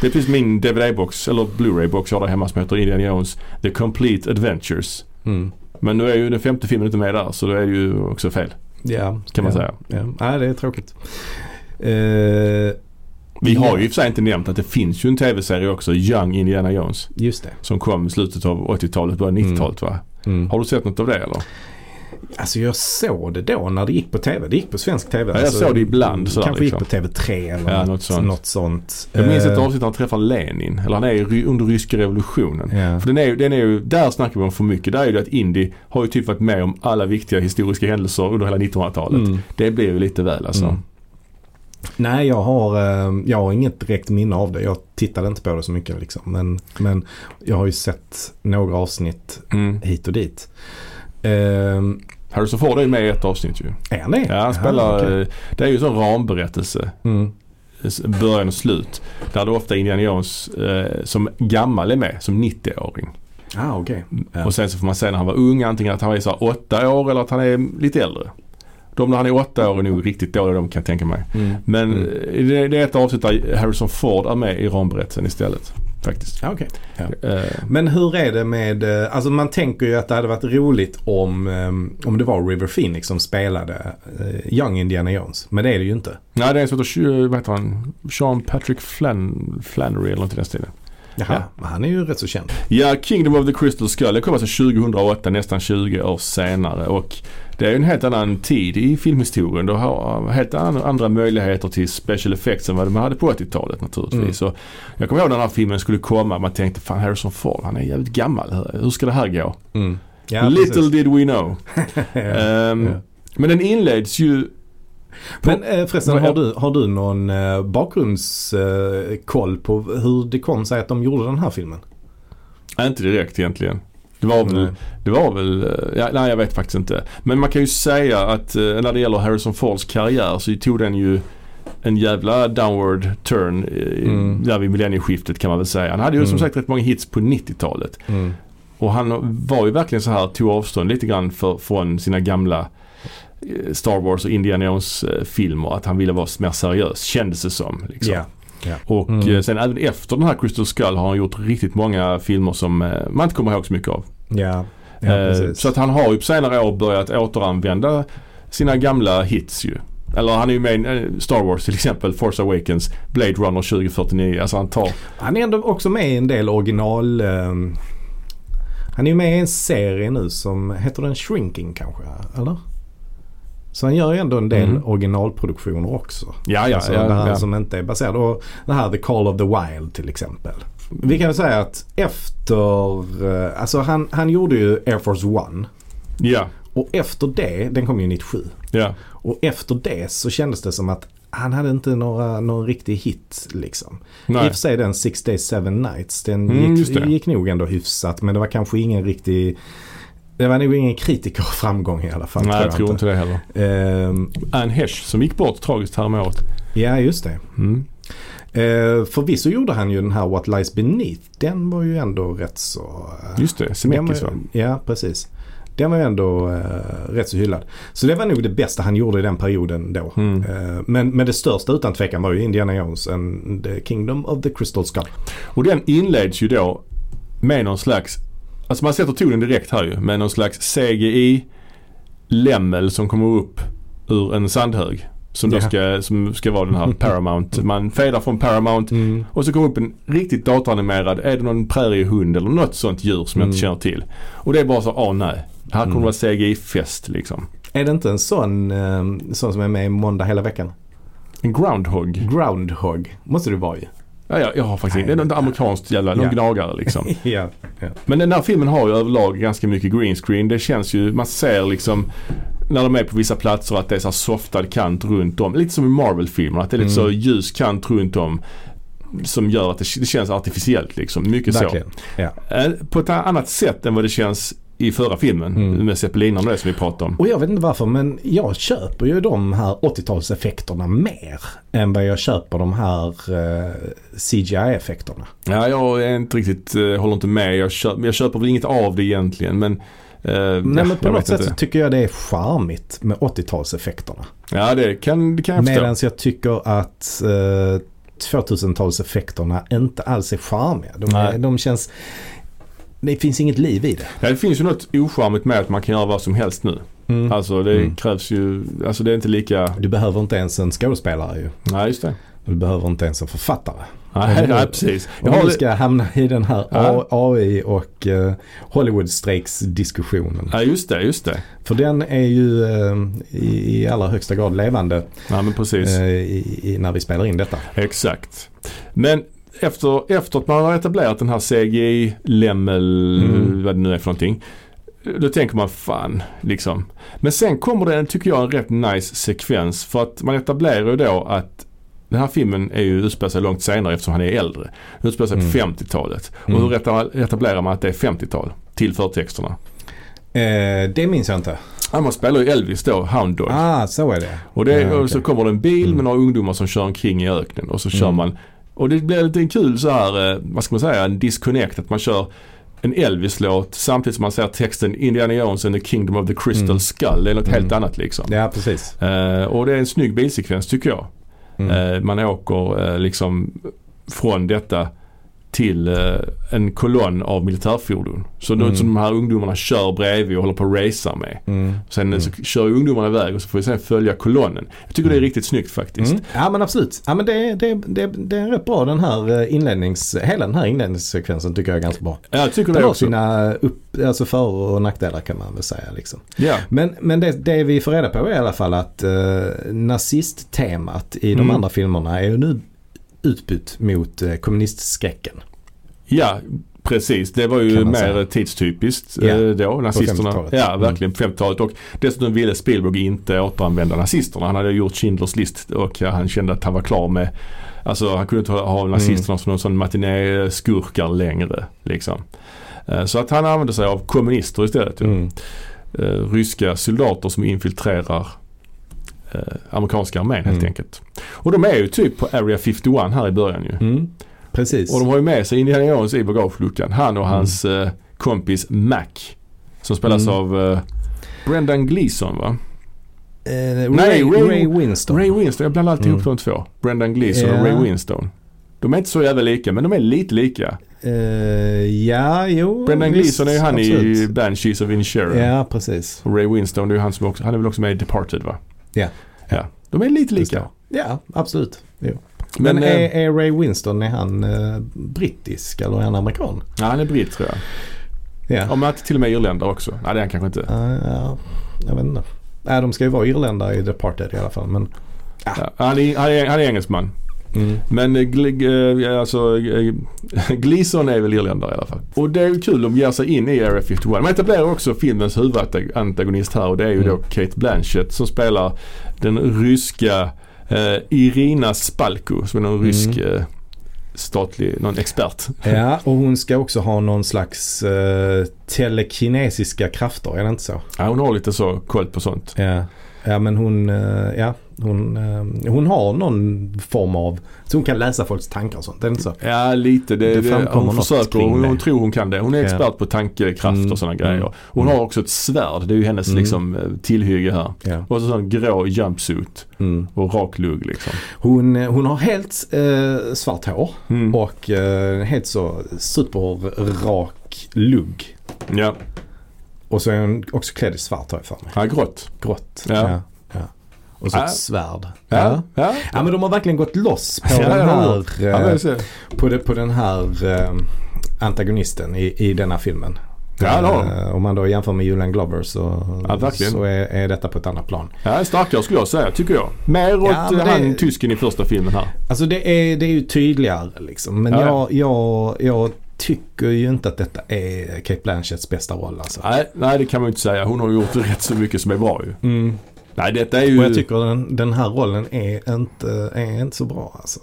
S1: Det finns min DVD-box, eller Blu-ray-box jag har där hemma som heter Indiana Jones The Complete Adventures.
S2: Mm.
S1: Men nu är ju den femte filmen inte med där så då är det ju också fel
S2: Ja,
S1: kan man
S2: ja,
S1: säga.
S2: Ja. Nej, det är tråkigt. Eh,
S1: Vi har ju i och för sig inte nämnt att det finns ju en tv-serie också, Young Indiana Jones.
S2: just det.
S1: Som kom i slutet av 80-talet, början av 90-talet va?
S2: Mm.
S1: Har du sett något av det eller?
S2: Alltså jag såg det då när det gick på tv. Det gick på svensk tv.
S1: Ja, jag
S2: alltså,
S1: såg det ibland, sådär,
S2: kanske gick
S1: liksom.
S2: på TV3 eller
S1: Ja,
S2: något,
S1: något
S2: något
S1: sånt.
S2: sånt.
S1: Jag minns ett
S2: Eh,
S1: avsnitt där han träffar Lenin. Eller han är i ry- under ryska revolutionen.
S2: Ja.
S1: För den är, ju- den är ju, där snackar vi om för mycket. Där är ju det att Indy har ju typ varit med om alla viktiga historiska händelser under hela 1900-talet.
S2: Mm.
S1: Det blir ju lite väl alltså.
S2: Mm. Nej, jag har, eh, jag har inget direkt minne av det. Jag tittade inte på det så mycket liksom. Men, men jag har ju sett några avsnitt
S1: Mm.
S2: hit och dit. Uh,
S1: Harrison Ford är ju med i ett avsnitt ju.
S2: är han det?
S1: Ja, han
S2: Jaha,
S1: spelar,
S2: okej.
S1: eh, det är ju en sån ramberättelse.
S2: Mm.
S1: s- Början och slut. Där det ofta är Indiana Jones eh, som gammal är med, som 90-åring.
S2: Ah, okej. Ja.
S1: Och sen så får man se när han var ung antingen att han är så här, åtta år eller att han är lite äldre. De när han är åtta år är nog riktigt dåliga de kan jag tänka mig.
S2: Mm.
S1: Men
S2: Mm.
S1: eh, det, det är ett avsnitt där Harrison Ford är med i ramberättelsen istället. Faktiskt.
S2: Ah, okej. Ja.
S1: Eh,
S2: Men hur är det med, eh, alltså man tänker ju att det hade varit roligt om, eh, om det var River Phoenix som spelade eh, Young Indiana Jones. Men det är det ju inte.
S1: nej, det är en som heter, Sh- vad heter han? Sean Patrick Flan, Flannery eller något i den stilen.
S2: Jaha. Han är ju rätt så känd.
S1: Ja, Kingdom of the Crystal Skull. Det kom alltså 2008, nästan 20 år senare. Och det är ju en helt annan tid i filmhistorien. Du har eh, helt an- andra möjligheter till special effects än vad man hade på 80-talet naturligtvis. Så jag kommer ihåg när den här filmen skulle komma. Man tänkte fan Harrison Ford, han är jävligt gammal. Hur- Hur ska det här gå?
S2: Mm. Ja,
S1: Little
S2: precis.
S1: did we know. Ehm,
S2: ja.
S1: Men den inleds ju
S2: Men eh, förresten,
S1: Vad-
S2: har du, har du någon eh, bakgrundskoll på hur det kom sig att de gjorde den här filmen? Mm.
S1: Nej, inte direkt egentligen. Det var väl,
S2: Nej.
S1: det var väl eh, ja, nej jag vet faktiskt inte. Men man kan ju säga att eh, när det gäller Harrison Fords karriär så tog den ju en jävla downward turn eh,
S2: Mm.
S1: där vid millennieskiftet kan man väl säga. Han hade ju som
S2: Mm.
S1: sagt rätt många hits på 90-talet. Och han var ju verkligen så här, tog avstånd lite grann för, från sina gamla eh, Star Wars och Indiana Jones eh, filmer. Att han ville vara mer seriös kändes det som. Liksom.
S2: Ja. Ja.
S1: Och
S2: Mm.
S1: eh, sen även efter den här Crystal Skull har han gjort riktigt många filmer som eh, man inte kommer ihåg så mycket av.
S2: Ja. Ja,
S1: Eh,
S2: precis.
S1: så att han har ju på senare år börjat återanvända sina gamla hits ju. Eller han är ju med i eh, Star Wars till exempel, Force Awakens, Blade Runner 2049. Alltså han tar...
S2: Han är ändå också med i en del original... eh, han är ju med i en serie nu som heter den Shrinking kanske? Eller? Så han gör ju ändå en del
S1: Mhm.
S2: originalproduktioner också.
S1: Ja, ja,
S2: alltså
S1: ja,
S2: det här
S1: ja.
S2: som inte är baserad. Och det här The Call of the Wild till exempel. Vi kan väl säga att efter... eh, Alltså han, han gjorde ju Air Force One.
S1: Ja,
S2: Och efter det, den kom ju 97.
S1: ja.
S2: Och efter det så kändes det som att han hade inte några, någon riktig hit liksom. I
S1: Nej.
S2: och för sig den Six Days Seven Nights, den
S1: Mm, just
S2: gick,
S1: det.
S2: gick nog ändå hyfsat. Men det var kanske ingen riktig, det var nog ingen kritikerframgång i alla fall.
S1: Nej, jag tror inte det heller.
S2: Ehm,
S1: Anne Hesh som gick bort tragiskt häromåret.
S2: ja, just det.
S1: Mm.
S2: Uh, förvisso gjorde han ju den här What Lies Beneath. Den var ju ändå rätt så... eh,
S1: Just det,
S2: den var,
S1: Zemeckis va?
S2: ja, precis. Den var ju ändå eh, rätt så hyllad. Så det var nog det bästa han gjorde i den perioden då.
S1: Mm.
S2: Eh, men, men det största utan tvekan var ju Indiana Jones and the Kingdom of the Crystal Skull.
S1: Och den inleds ju då med någon slags, alltså man sätter tonen direkt här ju, med någon slags CGI-lämmel som kommer upp ur en sandhög. Som då
S2: Ja.
S1: ska, som ska vara den här Paramount. Man fadar från Paramount
S2: Mm.
S1: och så kommer upp en riktigt datoranimerad, är det någon präriehund eller något sånt djur som jag
S2: Mm.
S1: inte känner till. Och det är bara så, åh nej. Här kommer det vara CGI-fest liksom.
S2: Är det inte en sån, eh, sån som är med i Måndag hela veckan?
S1: En groundhog.
S2: Groundhog måste det vara ju.
S1: Ja, jag, jag har faktiskt inte. Det är något amerikanskt jävla, någon
S2: Ja.
S1: gnagare liksom.
S2: ja, ja.
S1: Men den här filmen har ju överlag ganska mycket green screen. Det känns ju, man ser liksom när de är på vissa platser att det är så här softad kant runt om. Lite som i Marvel-filmerna, att det är lite så
S2: Mm.
S1: ljus kant runt om. Som gör att det, det känns artificiellt liksom. Mycket
S2: Verkligen. Ja.
S1: så. Eh, På ett annat sätt än vad det känns i förra filmen
S2: Mm.
S1: med zeppelinarna och det som vi pratade om.
S2: Och jag vet inte varför men jag köper ju de här 80-talseffekterna mer än vad jag köper de här eh, CGI-effekterna.
S1: Ja, jag är inte riktigt, eh, håller inte med. Jag köper, jag köper väl inget av det egentligen men... eh, ja,
S2: Nej men på
S1: jag
S2: något
S1: vet
S2: sätt så
S1: inte.
S2: tycker jag det är charmigt med 80-talseffekterna.
S1: Ja, det kan, det kan jag förstå.
S2: Medan jag tycker att eh, 2000-talseffekterna inte alls är charmiga. De, är,
S1: Nej.
S2: de känns... Det finns inget liv i det.
S1: Ja, det finns ju något ocharmigt med att man kan göra vad som helst nu. Alltså det krävs ju, alltså det är inte lika,
S2: Du behöver inte ens en skådespelare ju.
S1: nej just det.
S2: Du behöver inte ens en författare.
S1: Nej, nej precis. Jag
S2: Om
S1: har
S2: du
S1: li-
S2: ska hamna i den här
S1: Ja.
S2: AI och eh, Hollywood-strejks-diskussionen.
S1: Ja just det, just det.
S2: För den är ju eh, i, i allra högsta grad levande
S1: Ja men precis.
S2: eh, i, i, när vi spelar in detta.
S1: Exakt. Men efter, efter att man har etablerat den här CGI, Lemmel, vad det nu är för någonting. Då tänker man fan liksom. Men sen kommer det, tycker jag, en rätt nice sekvens. För att man etablerar ju då att den här filmen är ju utspelar sig långt senare eftersom han är äldre. Den utspelar sig på 50-talet. Och hur eta- etablerar man att det är 50-tal till förtexterna?
S2: Eh, det minns jag inte.
S1: Ja, man spelar ju Elvis då, Hound Dog.
S2: Ah, så är det.
S1: Och, det,
S2: Ja, okej. Mm.
S1: och så kommer det en bil med några ungdomar som kör omkring i öknen och så kör man och det blir lite en kul så här, eh, vad ska man säga, en disconnect att man kör en Elvis-låt samtidigt som man ser texten Indiana Jones and the Kingdom of the Crystal
S2: Mm.
S1: Skull. Det är något helt annat liksom.
S2: Ja, precis.
S1: Eh, och det är en snygg bilsekvens tycker jag.
S2: Mm.
S1: Eh, man åker eh, liksom från detta till eh, en kolonn av militärfordon. Så mm. som de här ungdomarna kör bredvid och håller på och racear med.
S2: Mm.
S1: Sen eh, så kör ju ungdomarna iväg och så får vi sen följa kolonnen. Jag tycker det är riktigt snyggt faktiskt.
S2: Mm. Ja men absolut. Ja, men det, det, det, det är rätt bra den här eh, inlednings, hela den här inledningssekvensen tycker jag är ganska bra.
S1: Ja, jag tycker
S2: Den
S1: det
S2: har
S1: också.
S2: sina upp, alltså för och nackdelar kan man väl säga. Liksom.
S1: Ja.
S2: Men, men det, det vi får reda på är i alla fall att eh, nazisttemat i de
S1: Mm.
S2: andra filmerna är ju nu utbytt mot eh, kommunistskräcken.
S1: ja, precis. Det var ju
S2: Kan man
S1: mer
S2: säga.
S1: tidstypiskt
S2: Ja. Mm.
S1: eh, då, nazisterna.
S2: 50-talet.
S1: ja, verkligen. på 50-talet. Och dessutom ville Spielberg inte återanvända nazisterna. Han hade gjort Schindler's list och ja, han kände att han var klar med Alltså han kunde inte ha- ha
S2: Mm.
S1: nazisterna som någon sån matinéskurkar längre. Liksom. Eh, Så att han använde sig av kommunister istället. ju.
S2: Mm.
S1: eh, ryska soldater som infiltrerar eh, amerikanska armén helt
S2: Mm.
S1: enkelt. Och de är ju typ på Area 51 här i början ju.
S2: Mm. Precis.
S1: Och de har ju med sig Indiana Jones i bagageluckan. Han och hans eh, kompis Mac. Som spelas
S2: Mm.
S1: av eh, Brendan Gleeson va?
S2: Eh,
S1: Nej,
S2: Ray,
S1: Ray-
S2: Ray, Winston.
S1: Ray Winston, jag blandar alltid ihop de två. Brendan Gleeson
S2: Mm. Ja.
S1: och Ray Winston. De är inte så jävla lika men de är lite lika.
S2: Eh, ja, jo.
S1: Brendan
S2: visst,
S1: Gleeson är ju han i
S2: absolut.
S1: Banshees of Inisherin.
S2: Ja, precis.
S1: Och Ray Winston det är ju han som också, han är väl också med i Departed va?
S2: Ja.
S1: Ja. De är lite
S2: Just
S1: lika.
S2: Ja, absolut. Jo.
S1: Men,
S2: Men,
S1: eh,
S2: är, är Ray Winston, är han eh, brittisk eller är han amerikan?
S1: Ja, han är britt tror jag.
S2: Ja.
S1: Ja, men att till och med irländare också. Nej, det är han kanske inte.
S2: Ja, ja, jag vet inte. Nej, de ska ju vara irländare i Departed i alla fall. Men,
S1: Ja, han, är, han, är, han är engelsman.
S2: Mm.
S1: Men eh, Gl- eh, ja, alltså, eh, Gleason är väl irländare i alla fall. Och det är ju kul, de ger sig in i Area 51. Man etablerar också filmens huvudantagonist här och det är ju då Kate Blanchett som spelar den ryska Eh, Irina Spalko som är någon rysk eh, statlig, någon expert.
S2: Ja, och hon ska också ha någon slags eh, telekinesiska krafter, är det inte så?
S1: Ja, hon har lite så koll på sånt.
S2: Ja, ja men hon, eh, ja, hon, eh, hon har någon form av, så hon kan läsa folks tankar och sånt, är det inte så?
S1: Ja lite.
S2: Det
S1: Det, det
S2: framkommer
S1: hon
S2: något
S1: försöker.
S2: kring
S1: Hon,
S2: det.
S1: hon tror hon kan det. Hon är
S2: Ja.
S1: expert på tankekraft
S2: Mm,
S1: och sådana
S2: mm,
S1: grejer. Hon har också ett svärd. Det är ju hennes
S2: Mm.
S1: liksom, eh, tillhygge här.
S2: Ja.
S1: Och så sån grå jumpsuit
S2: Mm.
S1: och rak lugg liksom.
S2: Hon, eh, hon har helt eh, svart hår
S1: Mm.
S2: och eh, helt så superrak lugg.
S1: Ja,
S2: Och så är hon också klädd i svart har jag för mig.
S1: ja grått.
S2: Grått.
S1: Ja.
S2: ja. Och så
S1: Ja.
S2: ett svärd.
S1: Ja, ja.
S2: Ja men de har verkligen gått loss på
S1: Ja, det har
S2: den
S1: de
S2: här,
S1: gjort.
S2: eh,
S1: ja, men så-
S2: på, det, på den här eh, antagonisten i, i denna filmen.
S1: Ja, det har de.
S2: Eh, Om man då jämför med Julian Glover så,
S1: Ja, verkligen.
S2: så är, är detta på ett annat plan.
S1: ja, starkare skulle jag säga tycker jag. Mer åt
S2: men
S1: eh,
S2: det-
S1: han tysken i första filmen här.
S2: Alltså det är, det är ju tydligare liksom. Men
S1: Ja, ja.
S2: jag, jag, jag tycker ju inte att detta är Kate Blanchetts bästa roll alltså.
S1: Nej, nej det kan man ju inte säga. Hon har ju gjort rätt så mycket som är bra ju.
S2: Mm.
S1: Nej detta är ju...
S2: Och jag tycker den, den här rollen är inte, är inte så bra alltså.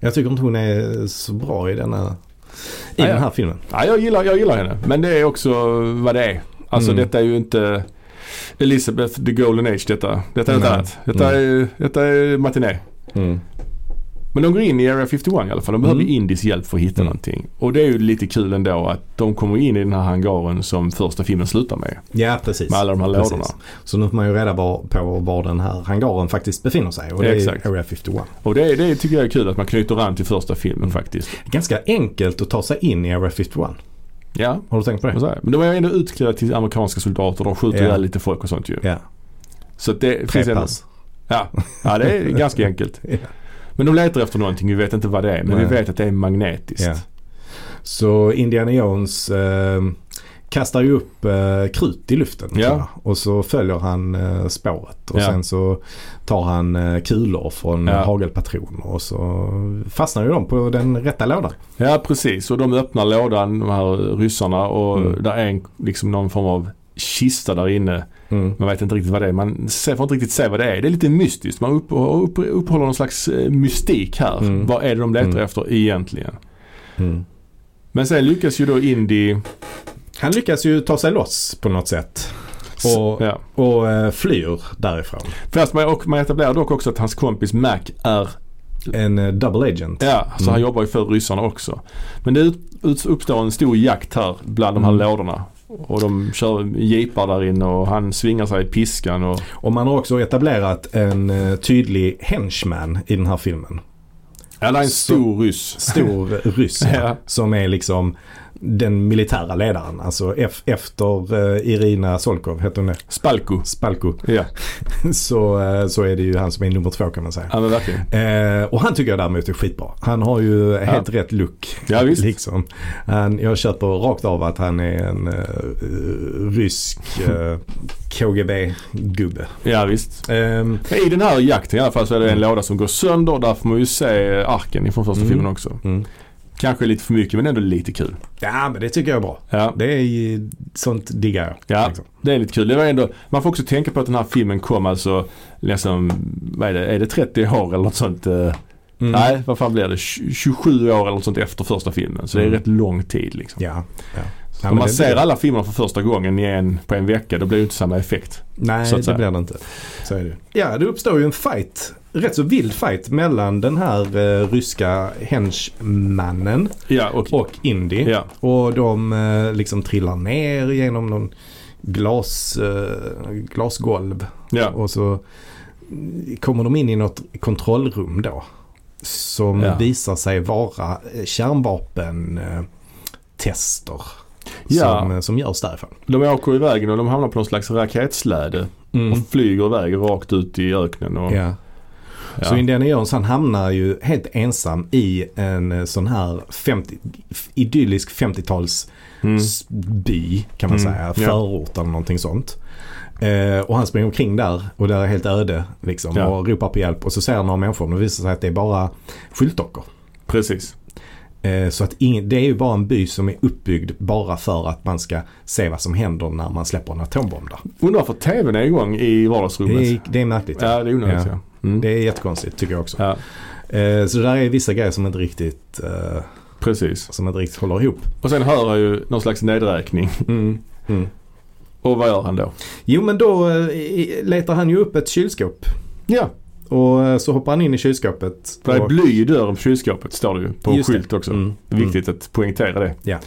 S2: Jag tycker inte hon är så bra i denna, i
S1: Ja, ja.
S2: den här filmen.
S1: Ja, jag gillar, jag gillar henne. Men det är också vad det är. Alltså
S2: Mm.
S1: detta är ju inte Elizabeth the Golden Age detta. Detta är något
S2: Nej.
S1: annat. Detta är, detta är matiné. Mm. Men de går in i Area 51 i alla fall. De behöver
S2: Mm.
S1: indisk hjälp för att hitta
S2: Mm.
S1: någonting. Och det är ju lite kul ändå att de kommer in i den här hangaren som första filmen slutar med.
S2: Ja precis.
S1: Med alla de här
S2: Precis.
S1: lådorna.
S2: Så nu får man ju reda på, på var den här hangaren faktiskt befinner sig. Och det
S1: Exakt.
S2: är Area 51.
S1: Och det, det tycker jag är kul att man knyter an till första filmen faktiskt.
S2: Ganska enkelt att ta sig in i Area 51.
S1: Ja,
S2: Har du tänkt på
S1: och
S2: det?
S1: så här. men de är ju ändå utklädda till amerikanska soldater. De skjuter
S2: Ja.
S1: ihjäl lite folk och sånt ju.
S2: Ja,
S1: Så att det
S2: tre
S1: finns ändå-
S2: pass.
S1: Ja. ja, det är ganska enkelt.
S2: Ja.
S1: Men de letar efter någonting, vi vet inte vad det är. Men
S2: Nej.
S1: vi vet att det är magnetiskt.
S2: Ja. Så Indiana Jones eh, kastar ju upp eh, krut i luften.
S1: Ja.
S2: tror jag. Och så följer han eh, spåret. Och
S1: Ja.
S2: sen så tar han eh, kulor från
S1: Ja.
S2: hagelpatroner. Och så fastnar ju de på den rätta lådan.
S1: Ja, precis. Och de öppnar lådan, de här ryssarna. Och
S2: Mm.
S1: där är en, liksom någon form av kista där inne.
S2: Mm.
S1: Man vet inte riktigt vad det är. Man ser, får inte riktigt se vad det är. Det är lite mystiskt. Man upp, upp, upphåller någon slags eh, mystik här.
S2: Mm.
S1: Vad är det de letar
S2: Mm.
S1: efter egentligen?
S2: Mm.
S1: Men sen lyckas ju då Indy...
S2: Han lyckas ju ta sig loss på något sätt. Och,
S1: Ja.
S2: och eh, flyr därifrån.
S1: Fast man, och man etablerar dock också att hans kompis Mac är
S2: En eh, double agent.
S1: Ja, så
S2: Mm.
S1: han jobbar ju för ryssarna också. Men det ut, ut, uppstår en stor jakt här bland de här
S2: Mm.
S1: lådorna. Och de kör jeepar där inne och han svingar sig i piskan och...
S2: Och man har också etablerat en eh, tydlig henchman i den här filmen.
S1: Ja, det är en
S2: Så-
S1: stor ryss.
S2: Stor ryss
S1: Ja.
S2: som är liksom den militära ledaren. Alltså ef- efter eh, Irina Solkov, heter hon det?
S1: Spalko.
S2: Spalko.
S1: Ja,
S2: Så, eh, så är det ju han som är nummer två kan man säga.
S1: ja men verkligen.
S2: Eh, och han tycker jag däremot är skitbra. Han har ju helt rätt look.
S1: Ja, visst.
S2: Liksom. Han, jag köper rakt av att han är en eh, rysk eh, KGB-gubbe.
S1: Ja, visst.
S2: Ehm,
S1: I den här jakten i alla fall så är det en låda som går sönder. Där får man ju se arken ifrån första filmen också.
S2: Mm.
S1: Kanske lite för mycket men ändå lite kul.
S2: ja men det tycker jag är bra.
S1: Ja,
S2: Det är ju- sånt diggar jag.
S1: ja
S2: liksom.
S1: det är lite kul. Det var ändå, man får också tänka på att den här filmen kom alltså, liksom, vad är det, är det 30 år eller något sånt? eh,
S2: Mm.
S1: Nej, vad fan blir det? Tj- 27 år eller något sånt efter första filmen. Så det är
S2: Mm.
S1: rätt lång tid liksom.
S2: Ja. ja.
S1: Om
S2: ja men
S1: man
S2: det-
S1: ser alla filmerna för första gången i en, på en vecka, då blir det ju inte samma effekt.
S2: Nej,
S1: så att
S2: det
S1: säga.
S2: blir det inte. Så är det ju. Ja, det uppstår ju en fight. Rätt så vild fight mellan den här eh, ryska henchmannen
S1: Ja, och...
S2: och Indy.
S1: ja.
S2: Och de eh, liksom trillar ner genom någon glas, eh, glasgolv.
S1: ja.
S2: Och så kommer de in i något kontrollrum då. Som
S1: Ja.
S2: visar sig vara eh, kärnvapen eh, tester
S1: Ja.
S2: som, eh, som görs därifrån.
S1: De åker iväg och de hamnar på någon slags raketsläde och flyger iväg rakt ut i öknen. Och,
S2: Mm. Ja.
S1: ja.
S2: Så Indiana Jones han hamnar ju helt ensam i en eh, sån här 50, f- idyllisk 50-tals
S1: Mm.
S2: s- by kan man
S1: Mm,
S2: säga.
S1: ja.
S2: Förort eller någonting sånt. Eh, och han springer omkring där och där är helt öde liksom
S1: Ja.
S2: och ropar på hjälp. Och så ser han några människor och det visar sig att det är bara skyltdockor.
S1: Precis.
S2: Eh, så att ingen, det är ju bara en by som är uppbyggd bara för att man ska se vad som händer när man släpper en atombomb där.
S1: Undrar varför TVn är igång i vardagsrummet.
S2: Det är, det är märkligt.
S1: Ja, det är onödigt ja. Mm.
S2: Det är jättekonstigt tycker jag också.
S1: Ja,
S2: Eh, så det där är vissa grejer som inte riktigt, eh,
S1: precis.
S2: som inte riktigt håller ihop.
S1: Och sen hör jag ju någon slags nedräkning.
S2: Mm.
S1: Och vad gör han då?
S2: Jo men då eh, i- letar han ju upp ett kylskåp.
S1: Ja,
S2: Och eh, så hoppar han in i kylskåpet.
S1: det är
S2: och-
S1: bly i dörren på kylskåpet står det ju på en
S2: Just det.
S1: skylt också.
S2: Mm.
S1: Det är viktigt att poängtera det.
S2: Ja.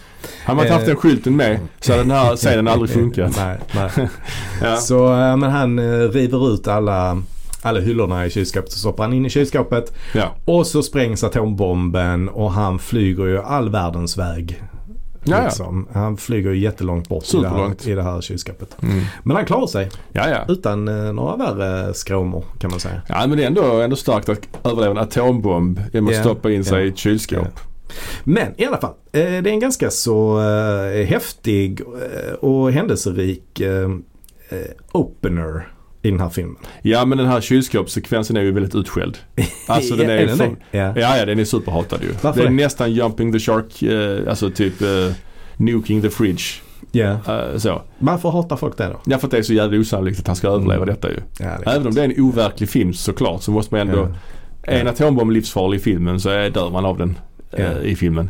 S1: Hade man inte haft
S2: Eh.
S1: den skylten med så hade den här scenen aldrig funkat.
S2: nej, nej.
S1: Ja.
S2: Så eh, men han eh, river ut alla, alla hyllorna i kylskåpet och så hoppar han in i kylskåpet.
S1: Ja.
S2: Och så sprängs atombomben och han flyger ju all världens väg.
S1: Ja, ja.
S2: liksom. Han flyger ju jättelångt bort i det,
S1: Superlångt.
S2: här, i det här kylskåpet.
S1: Mm.
S2: Men han klarar sig
S1: ja, ja.
S2: utan eh, några värre skråmor kan man säga.
S1: Ja men det är ändå, ändå starkt att överleva en atombomb genom att
S2: Ja.
S1: stoppa in sig
S2: Ja.
S1: i ett kylskåp.
S2: Men i alla fall, eh, det är en ganska så eh, häftig eh, och händelserik eh, eh, opener i den här filmen.
S1: Ja men den här kylskåpssekvensen är ju väldigt utskälld. Alltså den är, ju
S2: Eller
S1: som,
S2: det? Ja.
S1: Ja ja den är superhatad ju.
S2: Varför
S1: det är
S2: det?
S1: nästan Jumping the Shark, eh, alltså typ eh, Nuking the Fridge.
S2: Ja.
S1: Eh, så.
S2: Varför hatar folk det då?
S1: Ja för att det är så jävla osannolikt att han ska överleva
S2: Mm.
S1: detta ju.
S2: Ja, det
S1: Även om det är en overklig film såklart så måste man ändå, är en atombomb livsfarlig i filmen så är, dör man av den eh,
S2: Ja.
S1: i filmen.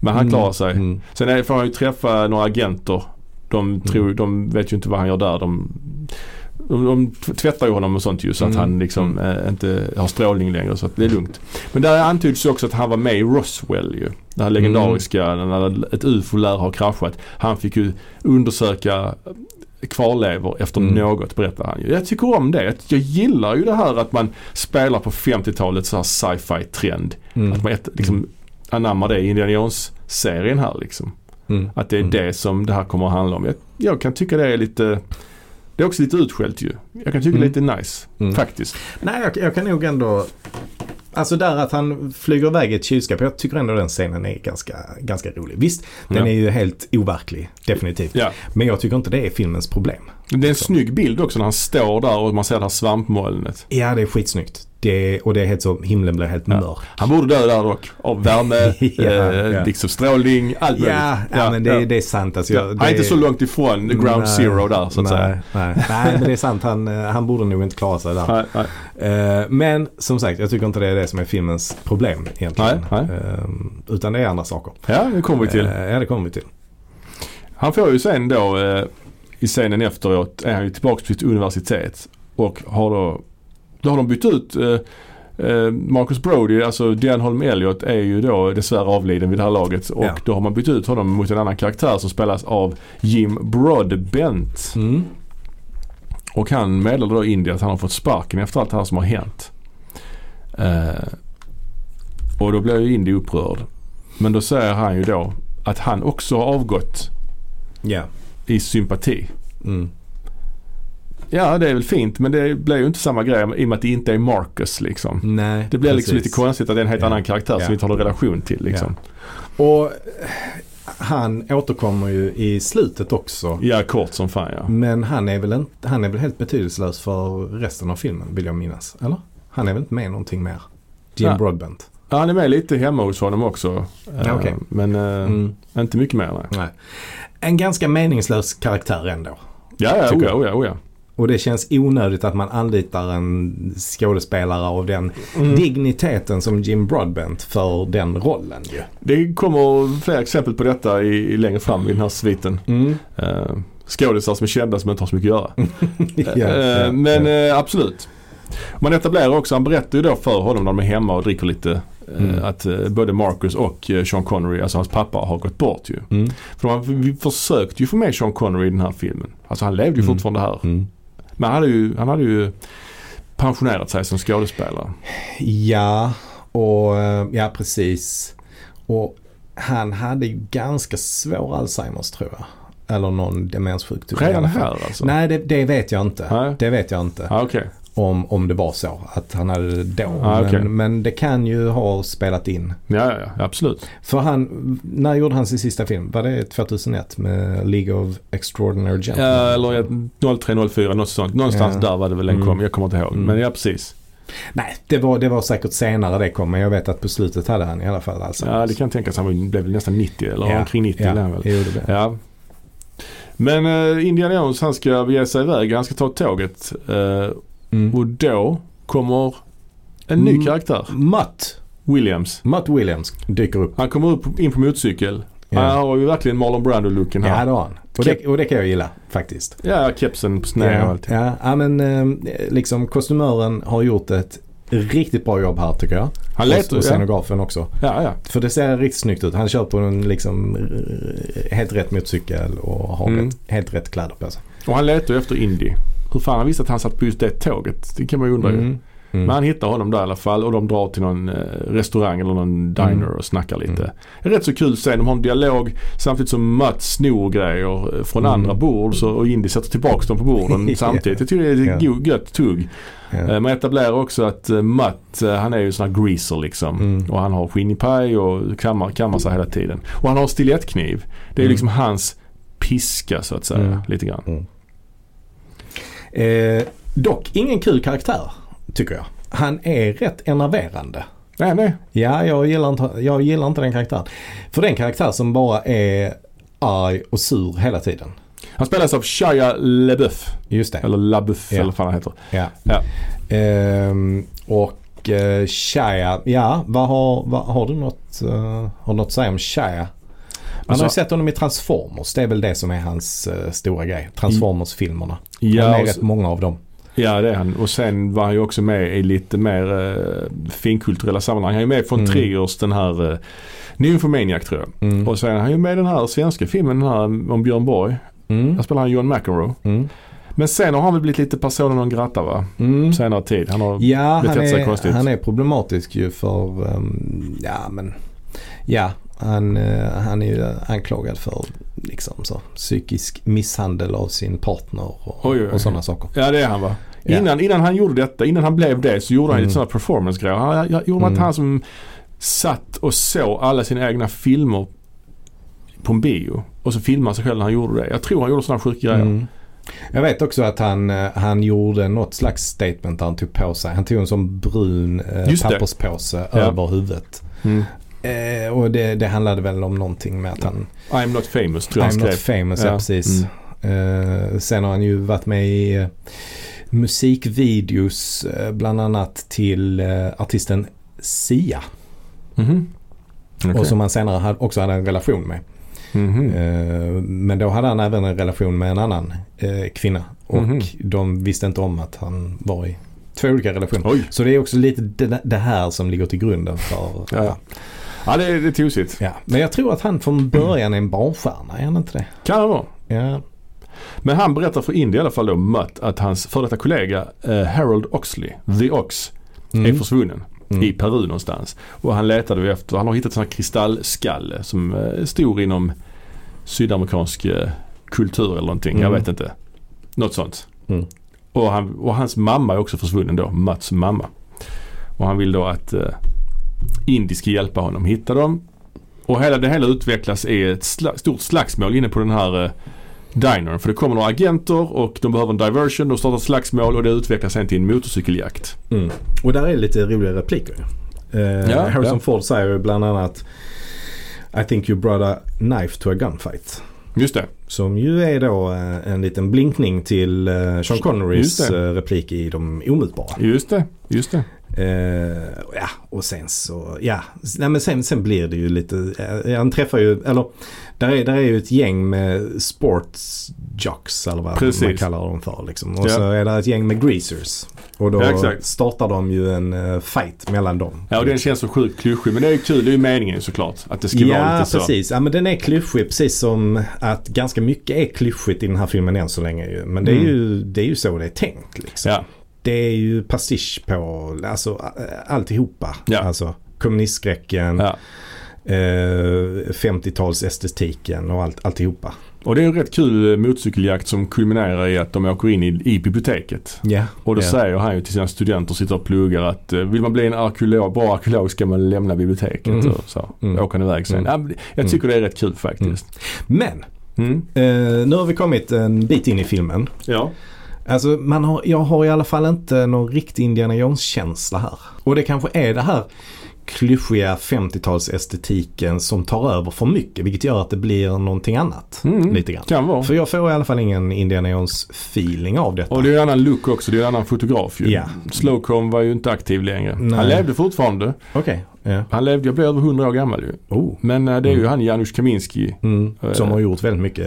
S1: Men han
S2: Mm.
S1: klarar sig.
S2: Mm.
S1: Sen är, får han ju träffa några agenter. De, tror, de vet ju inte vad han gör där. De, de, de tvättar ju honom och sånt ju så att
S2: Mm.
S1: han liksom eh, inte har strålning längre så att det är lugnt. Men där antyds ju också att han var med i Roswell ju. Det här legendariska
S2: Mm.
S1: när ett UFO lär ha kraschat. Han fick ju undersöka kvarlevor efter
S2: Mm.
S1: något berättar han ju. Jag tycker om det. Jag gillar ju det här att man spelar på 50-talets så här sci-fi trend.
S2: Mm.
S1: Att man ett, liksom anammar det i Indiana Jones-serien här liksom.
S2: Mm.
S1: Att det är
S2: Mm.
S1: det som det här kommer att handla om. Jag, jag kan tycka det är lite Det är också lite utskällt ju. Jag kan tycka
S2: Mm.
S1: det är lite nice
S2: Mm.
S1: faktiskt.
S2: Nej, jag, jag kan nog ändå... Alltså där att han flyger iväg i ett kylskåp. Jag tycker ändå den scenen är ganska, ganska rolig. Visst, den
S1: Ja.
S2: är ju helt overklig. Definitivt.
S1: Ja.
S2: Men jag tycker inte det är filmens problem.
S1: Det är en snygg bild också när han står där och man ser det här svampmolnet.
S2: Ja, det är skitsnyggt. Det är, och det är helt så, himlen blir helt
S1: Ja.
S2: mörk.
S1: Han borde dö där dock. Av värme,
S2: Ja,
S1: eh,
S2: ja.
S1: Liksom strålning, allt
S2: Ja,
S1: möjligt.
S2: ja, men det, det är sant. Alltså, jag,
S1: Han
S2: det
S1: är inte så långt ifrån the ground zero där så att
S2: nej,
S1: säga.
S2: Nej, nej, men det är sant. Han, eh, han borde nog inte klara sig där.
S1: Nej, nej.
S2: Eh, Men som sagt, jag tycker inte det är det som är filmens problem egentligen.
S1: Nej,
S2: Eh, Utan det är andra saker.
S1: Ja, det kommer vi till.
S2: Eh, Ja, det kommer vi till.
S1: Han får ju sen då eh, i scenen efteråt är han ju tillbaka på sitt universitet och har då, då har de bytt ut eh, eh, Marcus Brody, alltså Dan Holm Elliot är ju då dessvärre avliden vid det här laget och
S2: Ja.
S1: då har man bytt ut honom mot en annan karaktär som spelas av Jim Broadbent.
S2: Mm.
S1: Och han meddelar då Indy att han har fått sparken efter allt det här som har hänt. Eh, och då blir ju Indy upprörd. Men då säger han ju då att han också har avgått
S2: Ja.
S1: i sympati.
S2: Mm.
S1: Ja, det är väl fint men det blir ju inte samma grej i och med att det inte är Marcus liksom.
S2: Nej,
S1: Det blir liksom
S2: precis.
S1: lite konstigt att det är en helt
S2: Ja.
S1: annan karaktär
S2: Ja.
S1: som vi inte har någon relation till liksom.
S2: Och eh, han återkommer ju i slutet också.
S1: Ja, kort som fan ja.
S2: Men han är, väl en, han är väl helt betydelselös för resten av filmen vill jag minnas. Eller? Han är väl inte med någonting mer? Jim
S1: Ja.
S2: Broadbent.
S1: ja. Han är med lite hemma hos honom också. Eh,
S2: okej.
S1: Men eh,
S2: Mm.
S1: inte mycket mer nej.
S2: Nej. En ganska meningslös karaktär ändå.
S1: Ja, ja,
S2: Tycker
S1: oja, oja, oja.
S2: Och det känns onödigt att man anlitar en skådespelare av den
S1: Mm.
S2: digniteten som Jim Broadbent för den rollen ju.
S1: Det kommer fler exempel på detta i, i längre fram i den här sviten. Eh, skådisar som är kända som inte har så mycket att göra.
S2: ja,
S1: Eh,
S2: ja,
S1: men
S2: ja.
S1: eh, absolut. Man etablerar också, han berättar ju då för honom när de är hemma och dricker lite eh,
S2: Mm.
S1: att eh, både Marcus och eh, Sean Connery, alltså hans pappa, har gått bort ju.
S2: Mm.
S1: För man vi försökte ju få med Sean Connery i den här filmen. Alltså han levde ju
S2: Mm.
S1: fortfarande här.
S2: Mm.
S1: Men han hade, ju, han hade ju pensionerat sig som skådespelare.
S2: ja, och eh, ja precis. Och han hade ju ganska svår Alzheimers tror jag. Eller någon demenssjukdom. i
S1: Redan
S2: alla fall.
S1: här alltså?
S2: Nej, det, det vet jag inte.
S1: Nej.
S2: Det vet jag inte.
S1: Ah, okej.
S2: Om, om det var så att han hade det då.
S1: Ah, okej.
S2: men, men det kan ju ha spelat in.
S1: Ja, ja, ja, absolut.
S2: För han, när gjorde han sin sista film? Var det 2001 med League of Extraordinary
S1: Ja,
S2: Gentlemen?
S1: eller ett 0304, något sånt. Någonstans
S2: Ja.
S1: där var det väl den kom.
S2: Mm.
S1: Jag kommer inte ihåg.
S2: Mm.
S1: Men ja, precis.
S2: Nej, det var, det var säkert senare det kom. Men jag vet att på slutet hade han i alla fall alltså.
S1: Ja, det kan tänkas. Han blev väl nästan 90 eller
S2: Ja,
S1: omkring 90 lär han väl.
S2: Jo, det blev.
S1: Ja. Men eh, Indiana Jones han ska ge sig iväg. Han ska ta tåget. Eh,
S2: Mm.
S1: och då kommer en ny
S2: Mm.
S1: karaktär.
S2: Matt.
S1: Williams.
S2: Matt Williams dyker upp.
S1: Han kommer upp in på motorcykel.
S2: Ja.
S1: Han har ju verkligen Marlon Brando-looken här.
S2: Ja, det har han. Och det, och det kan jag gilla faktiskt.
S1: Ja, kepsen på sned och
S2: ja,
S1: allt.
S2: ja, ja, men eh, liksom kostymören har gjort ett riktigt bra jobb här tycker jag.
S1: Han lät
S2: och, och
S1: ja.
S2: scenografen också.
S1: ja, ja.
S2: För det ser riktigt snyggt ut. Han kör på en liksom eh, helt rätt motorcykel och har
S1: Mm.
S2: rätt, helt rätt kläder på sig.
S1: Och han letar ju efter Indy. Hur fan han visste att han satt på just det tåget? Det kan man ju undra ju.
S2: Mm. Mm.
S1: Men han hittar honom där i alla fall och de drar till någon eh, restaurang eller någon diner
S2: Mm.
S1: och snackar lite. En rätt så kul scen. De har en dialog samtidigt som Matt snor grejer eh, från
S2: Mm.
S1: andra bord så, och Indy sätter tillbaka dem på borden
S2: Ja.
S1: samtidigt. Jag tycker det är ett
S2: Ja.
S1: go- gött tugg.
S2: Ja.
S1: Eh, Man etablerar också att eh, Matt eh, han är ju en sån här greaser liksom.
S2: Mm.
S1: Och han har skinnpaj och kammar, kammar sig hela tiden. Och han har en stilettkniv. Det är ju
S2: Mm.
S1: liksom hans piska så att säga.
S2: Mm.
S1: Lite grann.
S2: Eh, dock ingen kul karaktär tycker jag. Han är rätt enerverande.
S1: Nej, nej.
S2: Ja, jag gillar, inte, jag gillar inte den karaktären. För den karaktär som bara är arg och sur hela tiden.
S1: Han spelas av Shia LaBeouf.
S2: Just det.
S1: Eller LaBeouf
S2: Ja.
S1: eller vad fan han heter.
S2: Ja.
S1: Ja.
S2: Ehm, och eh, Shia, ja vad har, vad, har du något, eh, har du något att säga om Shia? Man
S1: Alltså-
S2: har ju sett honom i Transformers. Det är väl det som är hans eh, stora grej. Transformers-filmerna.
S1: Ja,
S2: Han är
S1: och
S2: rätt
S1: så-
S2: många av dem.
S1: Ja det är han. Och sen var han ju också med i lite mer eh, finkulturella sammanhang. Han är ju med från
S2: Mm.
S1: Triggers den här eh, Nymphomaniac tror jag.
S2: Mm.
S1: Och sen är han ju med i den här svenska filmen den här om Björn Borg.
S2: Mm.
S1: Där spelar han John McEnroe.
S2: Mm.
S1: Men sen har han väl blivit lite personen non grata va?
S2: Mm.
S1: Senare tid. Han har,
S2: Ja, han
S1: betett sig
S2: är,
S1: konstigt.
S2: han är problematisk ju för, ehm, ja men, ja han, eh, han är ju anklagad för liksom så psykisk misshandel av sin partner och,
S1: Oj, oj, oj.
S2: och sådana saker.
S1: ja det är han va?
S2: Ja.
S1: Innan, innan han gjorde detta, innan han blev det så gjorde han
S2: Mm.
S1: lite sådana performance-grejer. Han, jag, gjorde att
S2: Mm.
S1: han som satt och såg alla sina egna filmer på en bio. Och så filmade han sig själv när han gjorde det. Jag tror han gjorde sådana sjuka grejer.
S2: Mm. Jag vet också att han, eh, han gjorde något slags statement där han tog på sig. Han tog en sån brun eh,
S1: Just det.
S2: papperspåse
S1: Ja.
S2: över huvudet.
S1: Mm.
S2: Eh, och det, det handlade väl om någonting med att han,
S1: I'm not famous tror jag
S2: I'm
S1: han
S2: not
S1: skrev.
S2: famous, ja,
S1: Ja. Mm.
S2: precis. Eh, sen har han ju varit med i eh, musikvideos eh, bland annat till eh, artisten Sia.
S1: Mhm. Okej.
S2: Och som han senare hade, också hade en relation med.
S1: Mhm.
S2: Eh, men då hade han även en relation med en annan eh, kvinna. Och
S1: Mhm.
S2: de visste inte om att han var i två olika relationer.
S1: Oj,
S2: Så det är också lite det, det här som ligger till grunden för...
S1: Ja, ja. ja det är, det är tosigt.
S2: Ja. Men jag tror att han från början är en barnstjärna, är han inte det?
S1: Kan det vara.
S2: Ja.
S1: Men han berättar för Indy i alla fall då, Matt, att hans före detta kollega eh, Harold Oxley, The Ox, är försvunnen.
S2: Mm.
S1: I Peru någonstans. Och han letade vi efter, han har hittat en sån här kristallskalle som eh, är stor inom sydamerikansk eh, kultur eller någonting. Jag
S2: Mm.
S1: vet inte. Något sånt.
S2: Mm.
S1: Och, han, och hans mamma är också försvunnen då, Mats mamma. Och han vill då att eh, Indy ska hjälpa honom hitta dem. Och hela, det hela utvecklas i ett sla, stort slagsmål inne på den här eh, dinern. För det kommer några agenter och de behöver en diversion. De startar ett slagsmål och det utvecklas sen till en motorcykeljakt.
S2: Mm. Och där är lite roliga repliker. Uh,
S1: Ja,
S2: Harrison
S1: ja.
S2: Ford säger ju bland annat I think you brought a knife to a gunfight.
S1: Just det.
S2: Som ju är då eh, en liten blinkning till eh, Sean Connerys
S1: Just det.
S2: eh, replik i De Omutbara.
S1: Just det. Just det.
S2: Eh, ja, och sen så, ja. Nej, men sen, sen blir det ju lite, eh, han träffar ju, eller där är, där är ju ett gäng med sportsjocks eller vad
S1: Precis.
S2: man kallar dem för. Liksom. Och
S1: Ja.
S2: så är det ett gäng med greasers. Och då
S1: Ja, exakt.
S2: startar de ju en eh, fight mellan dem.
S1: Ja och den känns så sjukt klyschig men det är ju kul. Det är ju meningen såklart. Att det ska vara
S2: Ja,
S1: lite så.
S2: precis. Ja, men den är klyschig precis som att ganska mycket är klyschigt i den här filmen än så länge. Ju. Men det är,
S1: Mm.
S2: ju, det är ju så det är tänkt. Liksom.
S1: Ja.
S2: Det är ju pastisch på alltså, ä- alltihopa.
S1: Ja.
S2: Alltså, kommunistskräcken,
S1: ja.
S2: eh, 50-talsestetiken och allt, alltihopa.
S1: Och det är en rätt kul eh, motorcykeljakt som kulminerar i att de åker in i, i biblioteket.
S2: Ja.
S1: Och då
S2: ja.
S1: säger han ju till sina studenter som sitter och pluggar att eh, vill man bli en arkeolog, bra arkeolog ska man lämna biblioteket
S2: Mm.
S1: och så.
S2: Mm.
S1: Åka iväg sen.
S2: Mm.
S1: Ja, men jag tycker det är rätt kul faktiskt.
S2: Men,
S1: Mm.
S2: eh, nu har vi kommit en bit in i filmen.
S1: Ja.
S2: Alltså, man har, jag har i alla fall inte någon riktig Indiana Jones-känsla här. Och det kanske är det här klyschiga 50-talsestetiken som tar över för mycket vilket gör att det blir någonting annat.
S1: Mm,
S2: Lite grann.
S1: Kan vara.
S2: För jag får i alla fall ingen Indiana Jones feeling av detta.
S1: Och det är ju en annan look också. Det är ju en annan fotograf ju.
S2: Ja.
S1: Slowcomb var ju inte aktiv längre.
S2: Nej.
S1: Han levde fortfarande.
S2: Okej. Ja.
S1: Han levde, jag blev över 100 år gammal ju.
S2: Oh.
S1: Men eh, det är ju
S2: Mm.
S1: han Janusz Kaminski.
S2: Mm.
S1: Eh.
S2: Som har gjort väldigt mycket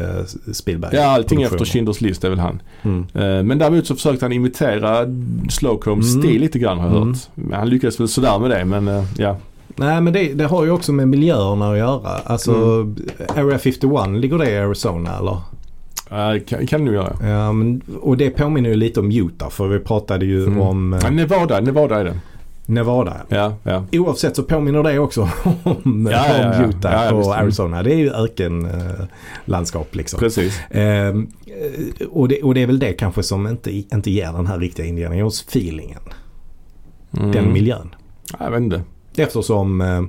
S2: Spielberg.
S1: Ja, allting efter
S2: Produktioner.
S1: Schindler's list är väl han.
S2: Mm.
S1: Eh, Men däremot så försökte han imitera Slowcombs
S2: Mm.
S1: stil lite grann har jag
S2: Mm.
S1: hört. Han lyckades väl sådär med det men eh, ja.
S2: Nej men det, det har ju också med miljöerna att göra. Alltså Area 51, ligger det i Arizona eller?
S1: Eh, Kan, kan du göra.
S2: Ja, men, och det påminner ju lite om Utah för vi pratade ju
S1: Mm.
S2: om eh,
S1: Ja, Nevada, Nevada är det.
S2: Nevada.
S1: Ja, ja.
S2: Oavsett så påminner det också om,
S1: Ja, ja, ja.
S2: om Utah
S1: Ja, ja,
S2: och
S1: visst. Mm.
S2: Arizona. Det är ju ökenlandskap liksom.
S1: Precis.
S2: Ehm, eh, och, det, och det är väl det kanske som inte, inte ger den här riktiga Indiana Jones-feelingen.
S1: Mm.
S2: Den miljön.
S1: Ja, Jag vet inte.
S2: Eftersom eh,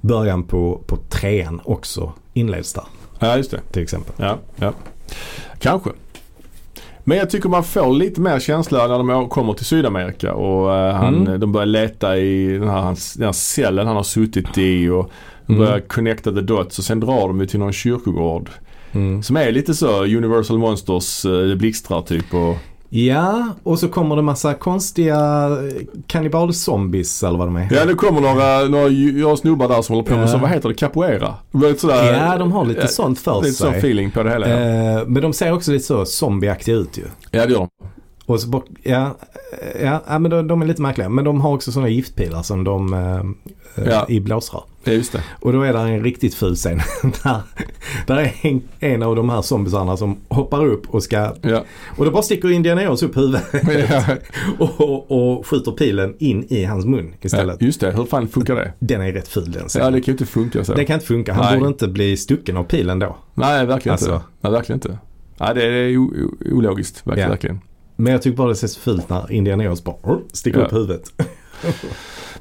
S2: början på, på trean också inleds där
S1: Ja, just det.
S2: till exempel.
S1: Ja, ja. Kanske. Men jag tycker man får lite mer känsla när de kommer till Sydamerika och eh, han,
S2: Mm.
S1: de börjar leta i den här, hans- den här cellen han har suttit i och de
S2: Mm.
S1: börjar connecta the dots och sen drar de ju till någon kyrkogård.
S2: Mm.
S1: Som är lite så Universal Monsters eh, blixtrar typ och
S2: Ja, och så kommer det massa konstiga eh, kannibalzombies eller vad de är.
S1: Ja det kommer några, några ju- jag snubbar där som håller på med
S2: Ja.
S1: så, vad heter det, capoeira? Det var lite sådär,
S2: Ja, de har lite
S1: ja,
S2: sånt för
S1: lite sån
S2: sig.
S1: feeling på det hela. ja.
S2: Eh, men de ser också lite så zombieaktiga ut ju.
S1: ja det gör de.
S2: Och så bak, ja, eh, ja, ja, men de, de är lite märkliga. Men de har också sådana giftpilar som de eh, eh,
S1: Ja.
S2: i blåsrör.
S1: Ja, just det.
S2: Och då är där en riktigt ful scen. där, där är en, en av de här zombisarna som hoppar upp och ska...
S1: Ja.
S2: Och då bara sticker Indiana Jones upp huvudet
S1: Ja.
S2: och, och skjuter pilen in i hans mun
S1: ja,
S2: istället.
S1: just det, hur fan funkar det?
S2: Den är rätt ful den
S1: Ja
S2: scenen.
S1: det kan ju inte funka så.
S2: det kan inte funka. Han
S1: Nej.
S2: borde inte bli stucken av pilen då.
S1: Nej, verkligen inte.
S2: Alltså.
S1: Nej, verkligen inte. Nej, det är o- o- ologiskt. Verkligen.
S2: Ja.
S1: verkligen.
S2: Men jag tycker bara det ser så fult när Indiana Jones bara "Orr", sticker
S1: Ja.
S2: upp huvudet.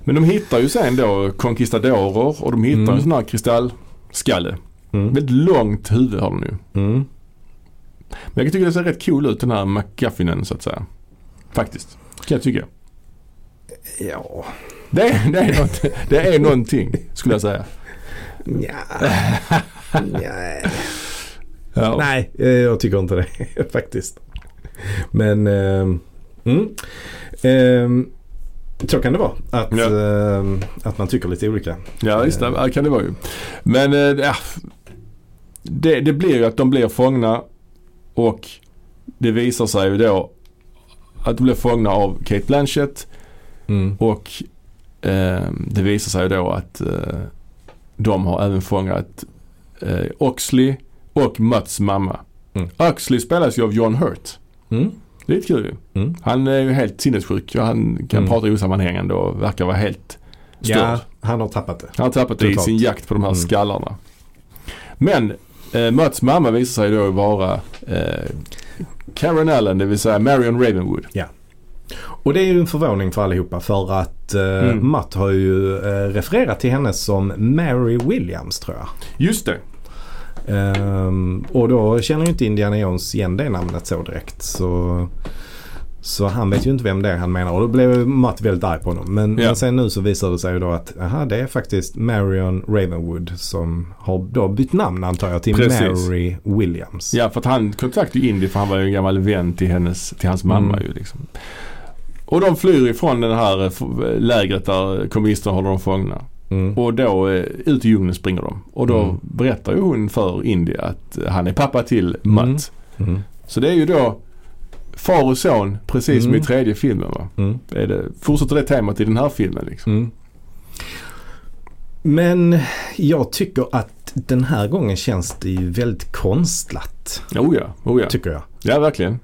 S1: Men de hittar ju sen då conquistadorer och de hittar
S2: Mm.
S1: en sån här kristallskalle.
S2: Mm.
S1: Väldigt långt huvud har den ju.
S2: Mm.
S1: Men jag kan tycka det ser rätt cool ut den här McGuffinen så att säga. Faktiskt. Kan jag tycka.
S2: Ja.
S1: Det är, det, är något, det är någonting skulle jag säga.
S2: Nja. Nej.
S1: Ja.
S2: Nej, eh, jag tycker inte det faktiskt. Men ehm, mm. Ehm, så kan det vara. Att,
S1: Ja.
S2: ehm, att man tycker lite olika.
S1: Ja, just det. Ja, kan det vara ju. Men eh, ja, det, det blir ju att de blir fångna och det visar sig ju då att de blir fångna av Kate Blanchett
S2: Mm.
S1: och eh, det visar sig ju då att eh, de har även fångat eh, Oxley och Mutts mamma.
S2: Mm.
S1: Oxley spelas ju av John Hurt.
S2: Mm.
S1: Det är lite kul ju.
S2: Mm.
S1: Han är ju helt sinnessjuk och han kan
S2: Mm.
S1: prata osammanhängande och verkar vara helt störd.
S2: Ja, han har tappat det.
S1: Han har tappat det i
S2: Totalt.
S1: sin jakt på de här
S2: Mm.
S1: skallarna. Men eh, Mats mamma visar sig då vara eh, Karen Allen, det vill säga Marion Ravenwood.
S2: Och det är ju en förvåning för allihopa för att eh,
S1: Mm.
S2: Matt har ju eh, refererat till henne som Mary Williams tror jag.
S1: Just det.
S2: Ehm, och då känner ju inte Indiana Jones igen det namnet så direkt. Så, så han vet ju inte vem det är han menar. Och då blev ju Matt väldigt arg på honom. Men,
S1: Ja.
S2: men sen nu så visar det sig ju då att aha, det är faktiskt Marion Ravenwood som har då bytt namn antar jag till
S1: Precis.
S2: Mary Williams.
S1: Ja, för att han kontaktade ju Indy för han var ju en gammal vän till, hennes, till hans mamma
S2: Mm.
S1: ju liksom. Och de flyr ifrån det här eh, f- lägret där kommunisterna håller dem fångna.
S2: Mm.
S1: Och då eh, ut i djungeln springer de. Och då
S2: Mm.
S1: berättar ju hon för Indy att eh, han är pappa till Matt.
S2: Mm. Mm.
S1: Så det är ju då far och son precis som i
S2: Mm.
S1: tredje filmen va.
S2: Mm.
S1: är det, fortsätter det temat i den här filmen liksom.
S2: Mm. Men jag tycker att den här gången känns det ju väldigt konstlat.
S1: Oh ja, oh ja.
S2: Tycker jag.
S1: Ja verkligen.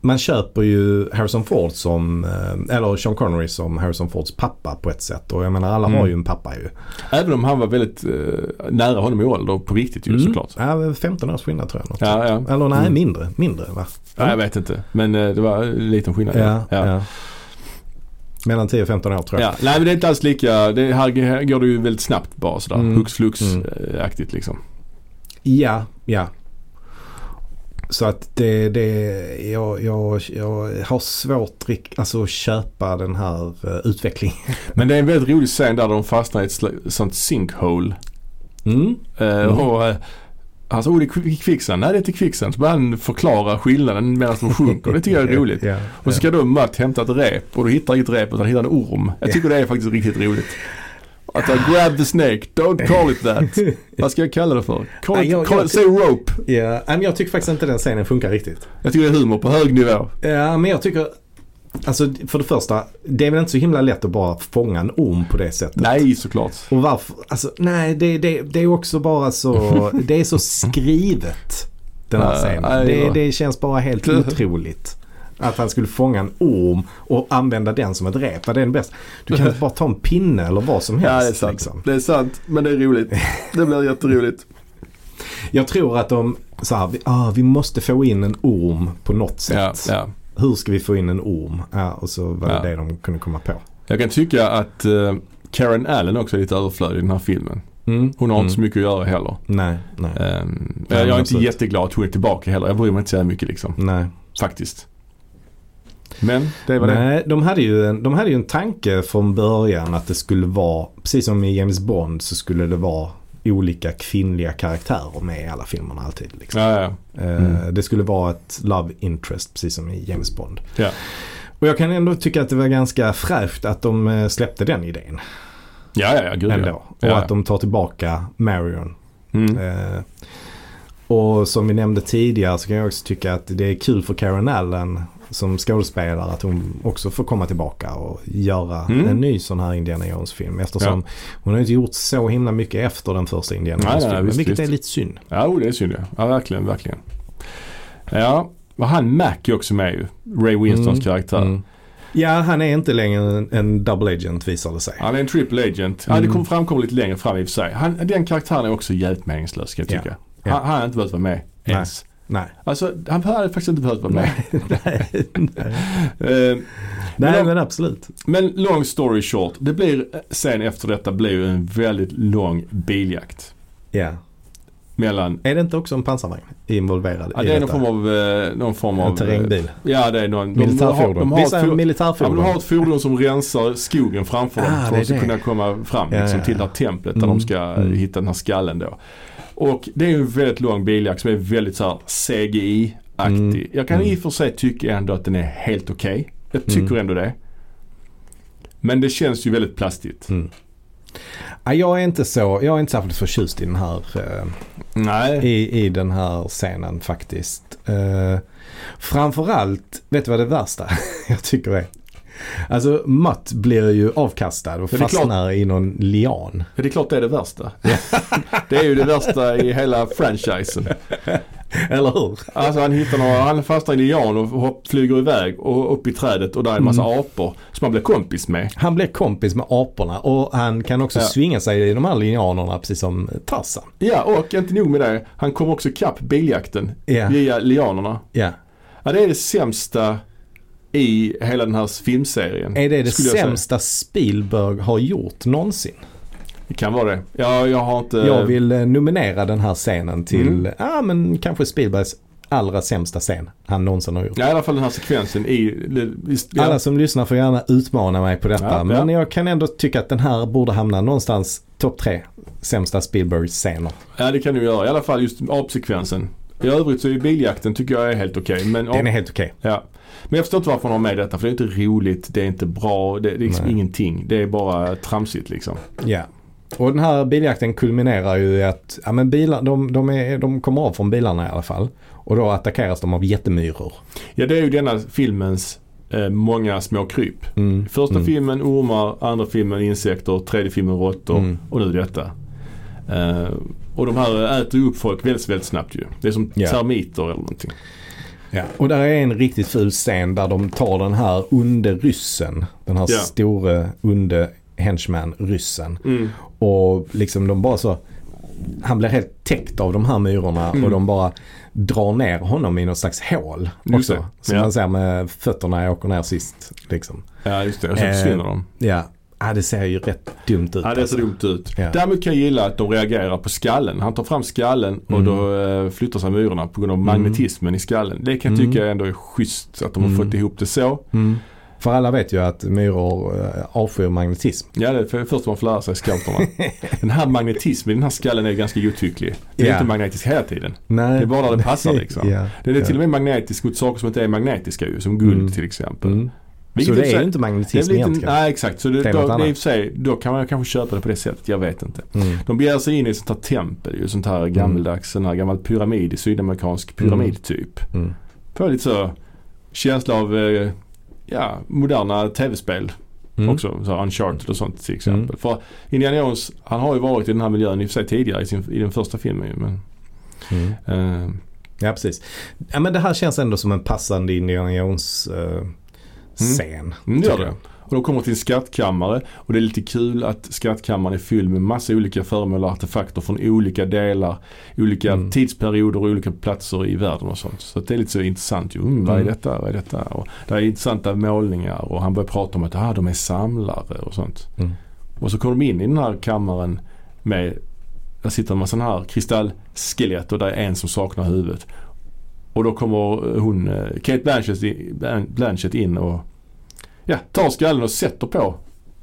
S2: man köper ju Harrison Ford som, eh, eller Sean Connery som Harrison Fords pappa på ett sätt. Och jag menar alla
S1: Mm.
S2: har ju en pappa ju.
S1: Även om han var väldigt eh, nära honom i ålder på riktigt
S2: Mm.
S1: ju såklart.
S2: Ja, 15 års skillnad tror jag. Något.
S1: Ja, ja.
S2: Eller nej,
S1: Mm.
S2: mindre. Mindre va?
S1: ja, jag vet inte. Men eh, det var en liten skillnad.
S2: Ja,
S1: ja.
S2: ja. Mellan 10 och 15 år tror jag.
S1: Ja. Nej men det är inte alls lika. Det, här här går det ju väldigt snabbt bara sådär.
S2: Mm.
S1: Hux flux
S2: Mm.
S1: eh, aktigt liksom.
S2: Ja, ja. Så att det, det jag, jag, jag har svårt rikt- alltså, att köpa den här eh, utvecklingen.
S1: Men det är en väldigt rolig scen där de fastnar i ett sl- sånt sinkhole. Eh,
S2: Mm.
S1: Och, eh, han sa, oh det är kvi- kvicksand. Nej det är inte kvicksand. Så börjar han förklara skillnaden medan de sjunker. Det tycker jag är roligt.
S2: Ja,
S1: Och så ska då Matt hämta ett rep och då hittar han inget rep utan han hittar en orm. Jag tycker det är faktiskt riktigt roligt. Att han grab the snake, don't call it that. Vad ska jag kalla det för? Call
S2: Nej,
S1: it,
S2: jag-
S1: call
S2: jag
S1: it, säg rope.
S2: ja. Ja, men jag tycker faktiskt inte den scenen funkar riktigt.
S1: Jag tycker det är humor på hög nivå.
S2: Ja, men jag tycker, alltså för det första, det är väl inte så himla lätt att bara fånga en orm på det sättet.
S1: Nej såklart.
S2: Och varför, alltså nej det, det, det är också bara så, det är så skrivet den här
S1: Ja,
S2: scenen.
S1: nej,
S2: Det,
S1: ja.
S2: det känns bara helt otroligt. Att han skulle fånga en orm och använda den som ett rep. Vad är den bästa? Du kan inte bara ta en pinne eller vad som helst.
S1: Ja det är sant.
S2: liksom.
S1: Det är sant men det är roligt. Det blir jätteroligt.
S2: Jag tror att de, så här, vi, ah, vi måste få in en orm på något
S1: Ja,
S2: sätt.
S1: ja.
S2: Hur ska vi få in en orm? Ja, och så var det
S1: Ja.
S2: det de kunde komma på.
S1: Jag kan tycka att eh, Karen Allen också är lite överflödig i den här filmen. Mm, Hon har
S2: Mm.
S1: inte så mycket att göra heller.
S2: Nej, nej,
S1: Ehm,
S2: Ja,
S1: jag är inte
S2: absolut.
S1: jätteglad att hon är tillbaka heller. Jag bryr mig inte så här mycket liksom.
S2: nej.
S1: Faktiskt. Men det var det.
S2: Nej, de hade, ju en, de hade ju en tanke från början att det skulle vara, precis som i James Bond så skulle det vara olika kvinnliga karaktärer med i alla filmerna alltid. Liksom.
S1: Ja, ja. Mm.
S2: Eh, Det skulle vara ett love interest precis som i James Bond.
S1: ja.
S2: Och jag kan ändå tycka att det var ganska fräscht att de eh, släppte den idén
S1: Ja, ja, ja. Gud,
S2: ändå.
S1: ja.
S2: Och
S1: ja.
S2: att de tar tillbaka Marion.
S1: Mm.
S2: Eh, Och som vi nämnde tidigare så kan jag också tycka att det är kul för Karen Allen som skådespelare att hon också får komma tillbaka och göra
S1: Mm.
S2: en ny sån här Indiana Jones-film. Eftersom hon har ju inte gjort så himla mycket efter den första Indiana
S1: Nej, nej,
S2: Jones-filmen.
S1: visst,
S2: Vilket är
S1: visst.
S2: lite synd.
S1: Ja, oh, det är synd ja. ja. verkligen, verkligen. Ja, och han Mac är också med ju. Ray Winstons
S2: Mm.
S1: karaktär.
S2: Mm. Ja, han är inte längre en, en double agent visar det sig.
S1: Han är en triple agent. Ja, det
S2: Mm.
S1: kom, framkommer lite längre fram i och för sig. Han, den karaktären är också jävligt meningslös kan jag
S2: Ja.
S1: tycka.
S2: Ja.
S1: Han, han hade inte behövt vara med
S2: Nej.
S1: ens.
S2: Nej.
S1: Alltså, han hade faktiskt inte behövt vara med.
S2: nej,
S1: Eh,
S2: nej,
S1: då-
S2: men absolut.
S1: Men long story short. Det blir eh, sen efter detta blir ju en väldigt lång biljakt.
S2: Ja.
S1: Mellan,
S2: Är det inte också en pansarvagn involverad
S1: ja,
S2: i
S1: det är någon
S2: detta?
S1: form av, eh, någon form av...
S2: en terrängbil.
S1: eh, Ja det är någon. de-
S2: Militärfordon.
S1: De har, de
S2: Visst är
S1: har,
S2: det
S1: ett, for, ja,
S2: militärfordon?
S1: men de har ett fordon som rensar skogen framför dem.
S2: Ah,
S1: För
S2: det
S1: att
S2: är
S1: de ska
S2: det.
S1: kunna komma fram
S2: Ja,
S1: liksom,
S2: ja,
S1: till det
S2: ja.
S1: här templet där
S2: Mm.
S1: de ska eh,
S2: Mm.
S1: hitta den här skallen då. Och det är ju en väldigt lång biljakt som är väldigt så här CGI-aktig.
S2: Mm.
S1: Jag kan i
S2: Mm.
S1: och för sig tycka ändå att den är helt okej. Jag tycker
S2: Mm.
S1: ändå det. Men det känns ju väldigt plastigt.
S2: Ja, jag är inte så, jag är inte särskilt förtjust i den här eh,
S1: Nej.
S2: i, i den här scenen faktiskt. Eh, framförallt, vet du vad det värsta jag tycker är? Alltså Matt blir ju avkastad och
S1: Ja, det är klart.
S2: fastnar i någon lian.
S1: Ja, det är klart det är det värsta. det är ju det värsta i hela franchisen.
S2: Eller hur?
S1: Alltså han hittar några, han fastnar i en lian och hopp, flyger iväg och upp i trädet och där är en
S2: Mm.
S1: massa apor som han blir kompis med.
S2: Han blir kompis med aporna och han kan också
S1: Ja.
S2: svinga sig i de här lianerna precis som Tarzan.
S1: Ja, och inte nog med det. Han kommer också kapp biljakten
S2: Ja.
S1: via lianerna.
S2: Ja.
S1: Ja, det är det sämsta i hela den här filmserien.
S2: Är det det
S1: skulle jag säga.
S2: sämsta Spielberg har gjort någonsin?
S1: Det kan vara det. Ja, jag har inte...
S2: Jag vill eh, nominera den här scenen till,
S1: Mm.
S2: ja men kanske Spielbergs allra sämsta scen han någonsin har gjort.
S1: Ja, i alla fall den här sekvensen i... i- i-
S2: Alla som lyssnar får gärna utmana mig på detta.
S1: Ja, ja.
S2: Men jag kan ändå tycka att den här borde hamna någonstans topp tre sämsta Spielberg-scener.
S1: Ja, det kan du göra. I alla fall just apsekvensen. I övrigt så är biljakten tycker jag är helt okej. men
S2: Den är helt okej.
S1: Ja. Men jag förstår inte varför hon har med detta. För det är inte roligt, det är inte bra, det det är liksom
S2: Nej.
S1: ingenting. Det är bara tramsigt liksom.
S2: Ja. Och den här biljakten kulminerar ju i att ja, men bilar, de, de, är, de kommer av från bilarna i alla fall. Och då attackeras de av jättemyror.
S1: Ja, det är ju denna filmens eh, många små kryp.
S2: Mm.
S1: Första
S2: Mm.
S1: filmen ormar, andra filmen insekter, tredje filmen råttor
S2: Mm.
S1: och nu detta. Eh, och de här äter ju upp folk väldigt, väldigt snabbt ju. Det är som
S2: Ja.
S1: termiter eller någonting.
S2: Ja. Och där är en riktigt ful scen där de tar den här onde ryssen. Den här
S1: Ja.
S2: store onde henchman ryssen.
S1: Mm.
S2: Och liksom de bara så han blir helt täckt av de här myrorna
S1: Mm.
S2: och de bara drar ner honom i något slags hål
S1: Just
S2: också.
S1: det,
S2: Som
S1: ja.
S2: man ser med fötterna jag åker ner sist. Liksom. Eh,
S1: Ja, just det. Och sen försvinner de.
S2: Ja. Ja, det ser ju rätt dumt ut.
S1: Eh, Ja, det ser
S2: alltså.
S1: dumt ut.
S2: Ja.
S1: Däremot kan jag gilla att de reagerar på skallen. Han tar fram skallen
S2: Mm.
S1: och då eh, flyttar sig myrorna på grund av magnetismen i skallen. Det kan jag
S2: Mm.
S1: tycka ändå är schysst att de har fått ihop det så.
S2: För alla vet ju att myror eh, avskyr magnetism.
S1: Ja, det är för- först man får lära sig scouterna. den här magnetismen i den här skallen är ganska godtycklig. Den är
S2: Ja.
S1: inte magnetisk hela tiden.
S2: Nej.
S1: Det är bara där det passar liksom.
S2: Ja.
S1: Den är
S2: Ja.
S1: till och med magnetisk mot saker som inte är magnetiska ju, som guld till exempel.
S2: Mm.
S1: Vilket
S2: Så
S1: i och
S2: det
S1: för
S2: är
S1: sig-
S2: ju inte
S1: Det är
S2: magnetism
S1: väl inte,
S2: egentligen.
S1: nej exakt, så det,
S2: Det är
S1: då,
S2: något
S1: det är i och
S2: annat.
S1: för sig, då kan man kanske köpa det på det sättet, jag vet inte.
S2: Mm.
S1: De beger sig in i ett sånt här tempel, ju, sånt här gammeldags, sån här gammal pyramid, sydamerikansk pyramid typ.
S2: Mm.
S1: Får lite så känsla av eh, ja, moderna tv-spel
S2: Mm.
S1: också, så här Uncharted och sånt till exempel. För Indiana Jones, han har ju varit i den här miljön i och för sig tidigare i, sin, i den första filmen ju, men
S2: Mm.
S1: eh,
S2: Ja, precis. Ja, men det här känns ändå som en passande Indiana eh, Jones-scen.
S1: Mm, det gör det. Och de kommer till en skattkammare och det är lite kul att skattkammaren är fylld med massa olika föremål och artefakter från olika delar, olika
S2: Mm.
S1: tidsperioder och olika platser i världen och sånt. Så att det är lite så intressant ju. Mm, vad är
S2: Mm.
S1: detta? Vad är detta? Och det är intressanta målningar och han börjar prata om att ah, de är samlare och sånt.
S2: Mm.
S1: Och så kommer de in i den här kammaren med, där sitter en massa sådana här kristallskelett och där är en som saknar huvudet. Och då kommer hon, eh, Kate Blanchett, i- Blan- Blanchett in och ja, tar skallen och sätter på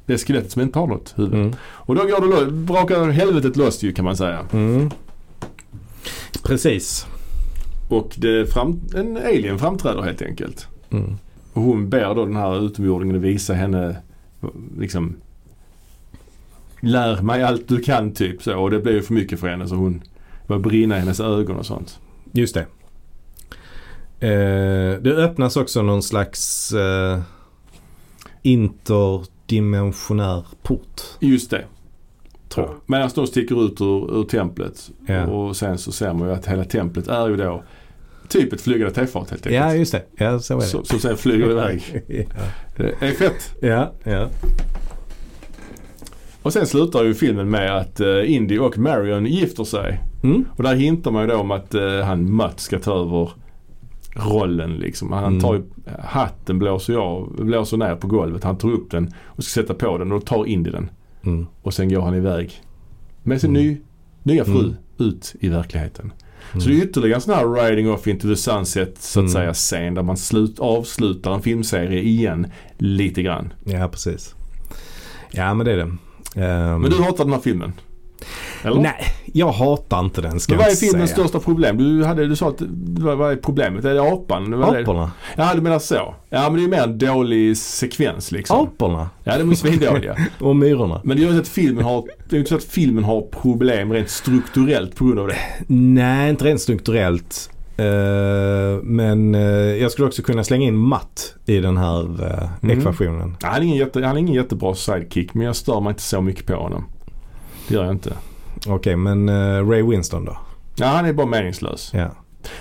S1: det skelettet som inte har något huvud.
S2: Mm.
S1: Och då går det, lo- brakar helvetet loss ju kan man säga.
S2: Mm. Precis.
S1: Och det fram, en alien framträder helt enkelt.
S2: Mm.
S1: Och hon ber då den här utomjordingen att visa henne liksom Lär mig allt du kan typ så. Och det blev ju för mycket för henne så hon började brinna i hennes ögon och sånt.
S2: Just det. Eh, det öppnas också någon slags eh, interdimensionär port.
S1: Just det.
S2: Tror jag.
S1: Medan de sticker ut ur, ur templet.
S2: Ja.
S1: Och sen så ser man ju att hela templet är ju då typ ett flygande tefat helt
S2: Ja,
S1: enkelt.
S2: just det. Ja, så är det.
S1: som, som sen flyger iväg. Det är fett.
S2: ja, ja.
S1: Och sen slutar ju filmen med att eh, Indy och Marion gifter sig.
S2: Mm.
S1: Och där hintar man ju då om att eh, han Matt ska ta över rollen liksom.
S2: Mm.
S1: Han tar ju, hatten blåser, ju av, blåser ner på golvet. Han tar upp den och ska sätta på den och då tar Indy den.
S2: Mm.
S1: Och sen går han iväg med sin ny, nya fru
S2: Mm.
S1: ut i verkligheten. Så det är ytterligare en sån här riding off into the sunset så att
S2: Mm.
S1: säga scen där man slut, avslutar en filmserie igen lite grann.
S2: Ja, precis. Ja, men det är det. Ehm,
S1: Men du hatar den här filmen? Eller?
S2: Nej, jag hatar inte den ska
S1: Men vad
S2: jag
S1: är
S2: inte
S1: filmens
S2: säga.
S1: största problem? Du, hade, du sa att, vad, vad är problemet? Är det apan? Vad är det?
S2: Aporna.
S1: Ja, du menar så. Ja, men det är ju mer en dålig sekvens liksom.
S2: Aporna
S1: Ja, de är svindåliga.
S2: och myrorna.
S1: men det är ju inte så att filmen har, det är ju inte så att filmen har problem rent strukturellt på grund av det.
S2: Nej, inte rent strukturellt. Eh, men eh, jag skulle också kunna slänga in matt i den här eh,
S1: Mm.
S2: ekvationen.
S1: Ja, Han är, ingen jätte, han är ingen jättebra sidekick, men jag stör mig inte så mycket på honom. Det gör jag inte.
S2: Okej, men eh, Ray Winston då?
S1: Ja, han är bara meningslös.
S2: Ja.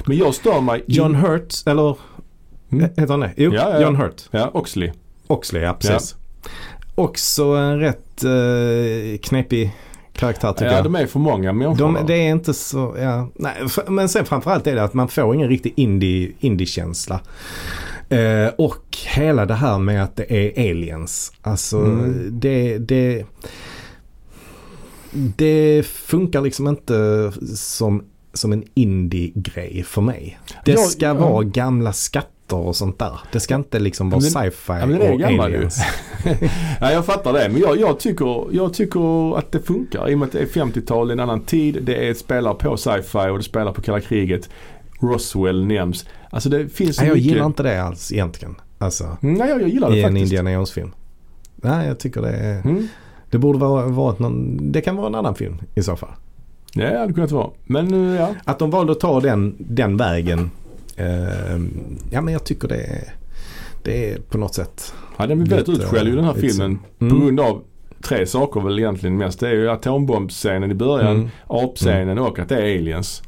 S1: Men jag stör mig...
S2: John Hurt, eller eh,
S1: Mm.
S2: heter han det? Jo,
S1: Ja, ja, ja.
S2: John Hurt.
S1: Ja, Oxley.
S2: Oxley, ja precis. Också en rätt eh, knepig karaktär tycker
S1: Ja,
S2: jag.
S1: de är för många människor.
S2: De,
S1: där.
S2: det är inte så, ja. Nej, f- men sen framförallt är det att man får ingen riktig indie- indie-känsla. eh, och hela det här med att det är aliens. Alltså
S1: Mm.
S2: det, det, det funkar liksom inte som, som en indie-grej för mig. Det
S1: Ja,
S2: ska
S1: ja.
S2: vara gamla skatter och sånt där. Det ska inte liksom vara
S1: Men-
S2: sci-fi
S1: Ja, men det är
S2: och
S1: gammal ju.
S2: aliens.
S1: Ja, jag fattar det. Men jag, jag, tycker, jag tycker att det funkar. I och med att det är 50-tal, det är en annan tid. Det är, spelar på sci-fi och det spelar på kalla kriget. Roswell nämns. Alltså det finns så
S2: Nej, jag
S1: mycket.
S2: gillar inte det alls egentligen. Alltså,
S1: Nej, jag, jag gillar det
S2: i en
S1: faktiskt.
S2: Indiana Jones-film. Nej, jag tycker det är...
S1: Mm.
S2: Det borde vara, vara ett någon, det kan vara en annan film i så fall.
S1: Ja, det hade kunnat vara. Men eh, ja.
S2: Att de valde att ta den, den vägen. Eh, ja men jag tycker det är, det är på något sätt.
S1: ja den blir väldigt
S2: Lite,
S1: utskälld ju den här
S2: lite
S1: filmen.
S2: Mm.
S1: På grund av tre saker väl egentligen mest. Det är ju atombombscenen i början,
S2: Mm.
S1: apscenen och att det är aliens.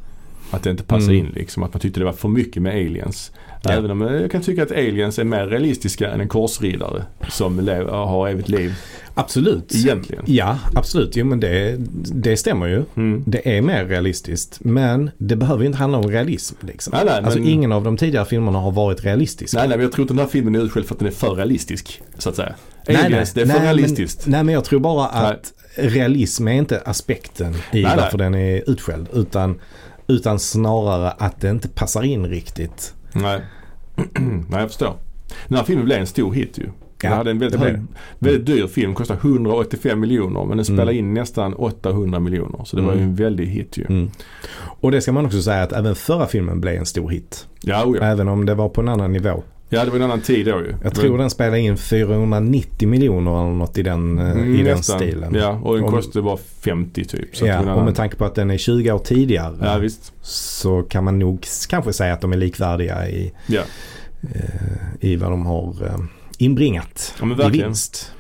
S1: Att det inte passar
S2: Mm.
S1: in liksom. Att man tyckte det var för mycket med aliens.
S2: Ja.
S1: Även om eh, jag kan tycka att aliens är mer realistiska än en korsriddare som lev, har evigt liv.
S2: Absolut.
S1: Egentligen.
S2: Ja absolut, jo men det, det stämmer ju.
S1: Mm.
S2: Det är mer realistiskt men det behöver ju inte handla om realism. Liksom.
S1: Nej, nej,
S2: alltså
S1: men-
S2: ingen av de tidigare filmerna har varit realistisk.
S1: Nej, nej, men jag tror inte den här filmen är utskälld för att den är för realistisk. Så att säga. Aliens, det är för realistiskt.
S2: Men, nej men jag tror bara att realism är inte aspekten i
S1: nej.
S2: varför den är utskälld. Utan, utan snarare att det inte passar in riktigt.
S1: Nej. Nej, jag förstår. Den här filmen blev en stor hit ju.
S2: Ja,
S1: den hade en väldigt,
S2: det Mm. blev
S1: hög, väldigt dyr film, kostade 185 miljoner men den spelade in nästan 800 miljoner. Så det var ju
S2: Mm.
S1: en väldig hit ju.
S2: Och det ska man också säga att även förra filmen blev en stor hit.
S1: Ja, oh ja.
S2: Även om det var på en annan nivå.
S1: ja, det var en annan tid då ju.
S2: Mm. Jag tror den spelade in 490 miljoner eller något i den, eh, i den
S1: Mm, Nästan.
S2: stilen.
S1: Ja, och den
S2: Om-
S1: kostade bara 50 typ. Så att det var
S2: Ja,
S1: en
S2: och med
S1: annan-
S2: tanke på att den är 20 år tidigare
S1: ja, visst.
S2: så kan man nog s- kanske säga att de är likvärdiga i,
S1: Ja.
S2: i vad de har eh, inbringat
S1: Ja, men
S2: i
S1: verkligen.
S2: vinst.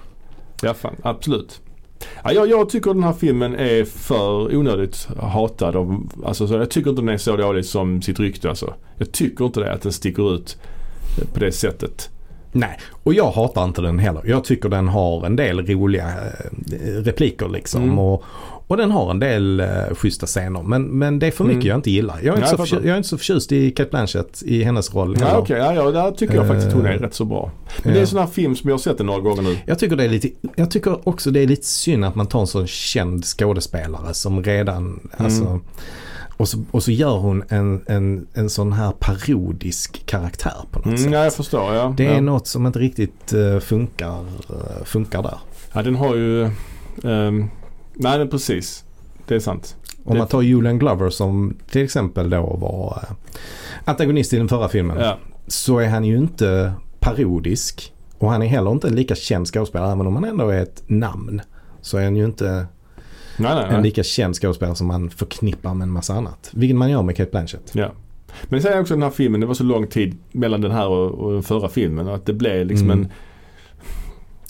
S1: Ja, fan. Absolut. Ja, jag, jag tycker den här filmen är för onödigt hatad. Av, alltså, så jag tycker inte den är så dålig som sitt rykte alltså. Jag tycker inte det, att den sticker ut eh, på det sättet.
S2: Nej, och jag hatar inte den heller. Jag tycker den har en del roliga eh, repliker liksom.
S1: Mm.
S2: Och, och den har en del eh, schyssta scener. Men, men det är för mycket
S1: Mm.
S2: jag inte gillar. Jag är,
S1: Ja,
S2: inte så
S1: jag
S2: förtjust,
S1: fattar.
S2: jag är inte så förtjust i Cate Blanchett i hennes roll
S1: Ja,
S2: heller.
S1: okej. Ja, ja, där tycker jag faktiskt hon är rätt så bra. Men det är
S2: Eh, ja.
S1: en sån här film som jag har sett den några gånger nu.
S2: Jag tycker, det är lite, jag tycker också det är lite synd att man tar en sån känd skådespelare som redan,
S1: Mm.
S2: alltså, och, så, och så gör hon en, en, en sån här parodisk karaktär på något
S1: Mm,
S2: sätt.
S1: ja, jag förstår. Ja.
S2: Det är
S1: ja.
S2: något som inte riktigt eh, funkar, eh, funkar där.
S1: ja, den har ju... ehm, nej, men precis. Det är sant.
S2: Om
S1: Det-
S2: man tar Julian Glover som till exempel då var eh, antagonist i den förra filmen.
S1: Ja.
S2: Så är han ju inte parodisk. Och han är heller inte en lika känd skådespelare. Även om han ändå är ett namn. Så är han ju inte
S1: Nej, nej,
S2: en
S1: nej.
S2: lika känd skådespelare som man förknippar med en massa annat. Vilket man gör med Cate Blanchett.
S1: Ja. Men sen är också den här filmen, det var så lång tid mellan den här och, och den förra filmen. och Att det blev liksom
S2: Mm.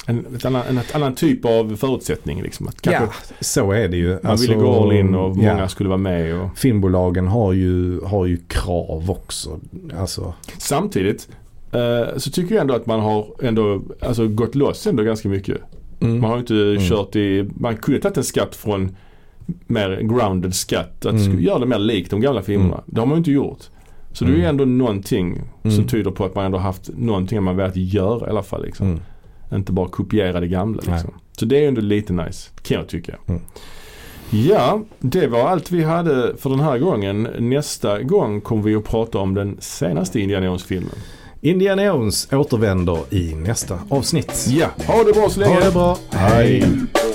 S1: en, en, ett annan, en ett annan typ av förutsättning. Liksom. Att kanske
S2: ja, så är det ju. Alltså,
S1: Man ville gå all in och många skulle vara med. Och...
S2: Filmbolagen har ju, har ju krav också. Alltså,
S1: Samtidigt eh, så tycker jag ändå att man har ändå, alltså, gått loss ändå ganska mycket.
S2: mm.
S1: Man har ju inte kört i, man kunde tagit en skatt från mer grounded skatt. Att
S2: Mm.
S1: mm. göra det mer likt de gamla filmerna. Det har man ju inte gjort. Så det är ju
S2: Mm.
S1: ändå någonting som
S2: Mm.
S1: tyder på att man ändå haft någonting man velat göra i alla fall. Liksom.
S2: Mm.
S1: Inte bara kopiera det gamla.
S2: Nej.
S1: Liksom. Så det är ju ändå lite nice, kan jag tycka.
S2: Mm.
S1: Ja, det var allt vi hade för den här gången. Nästa gång kommer vi att prata om den senaste Indiana Jones-filmen.
S2: Indiana Jones återvänder i nästa avsnitt.
S1: Ja, ha det bra så länge!
S2: Ha det bra. Hej.
S1: Hej.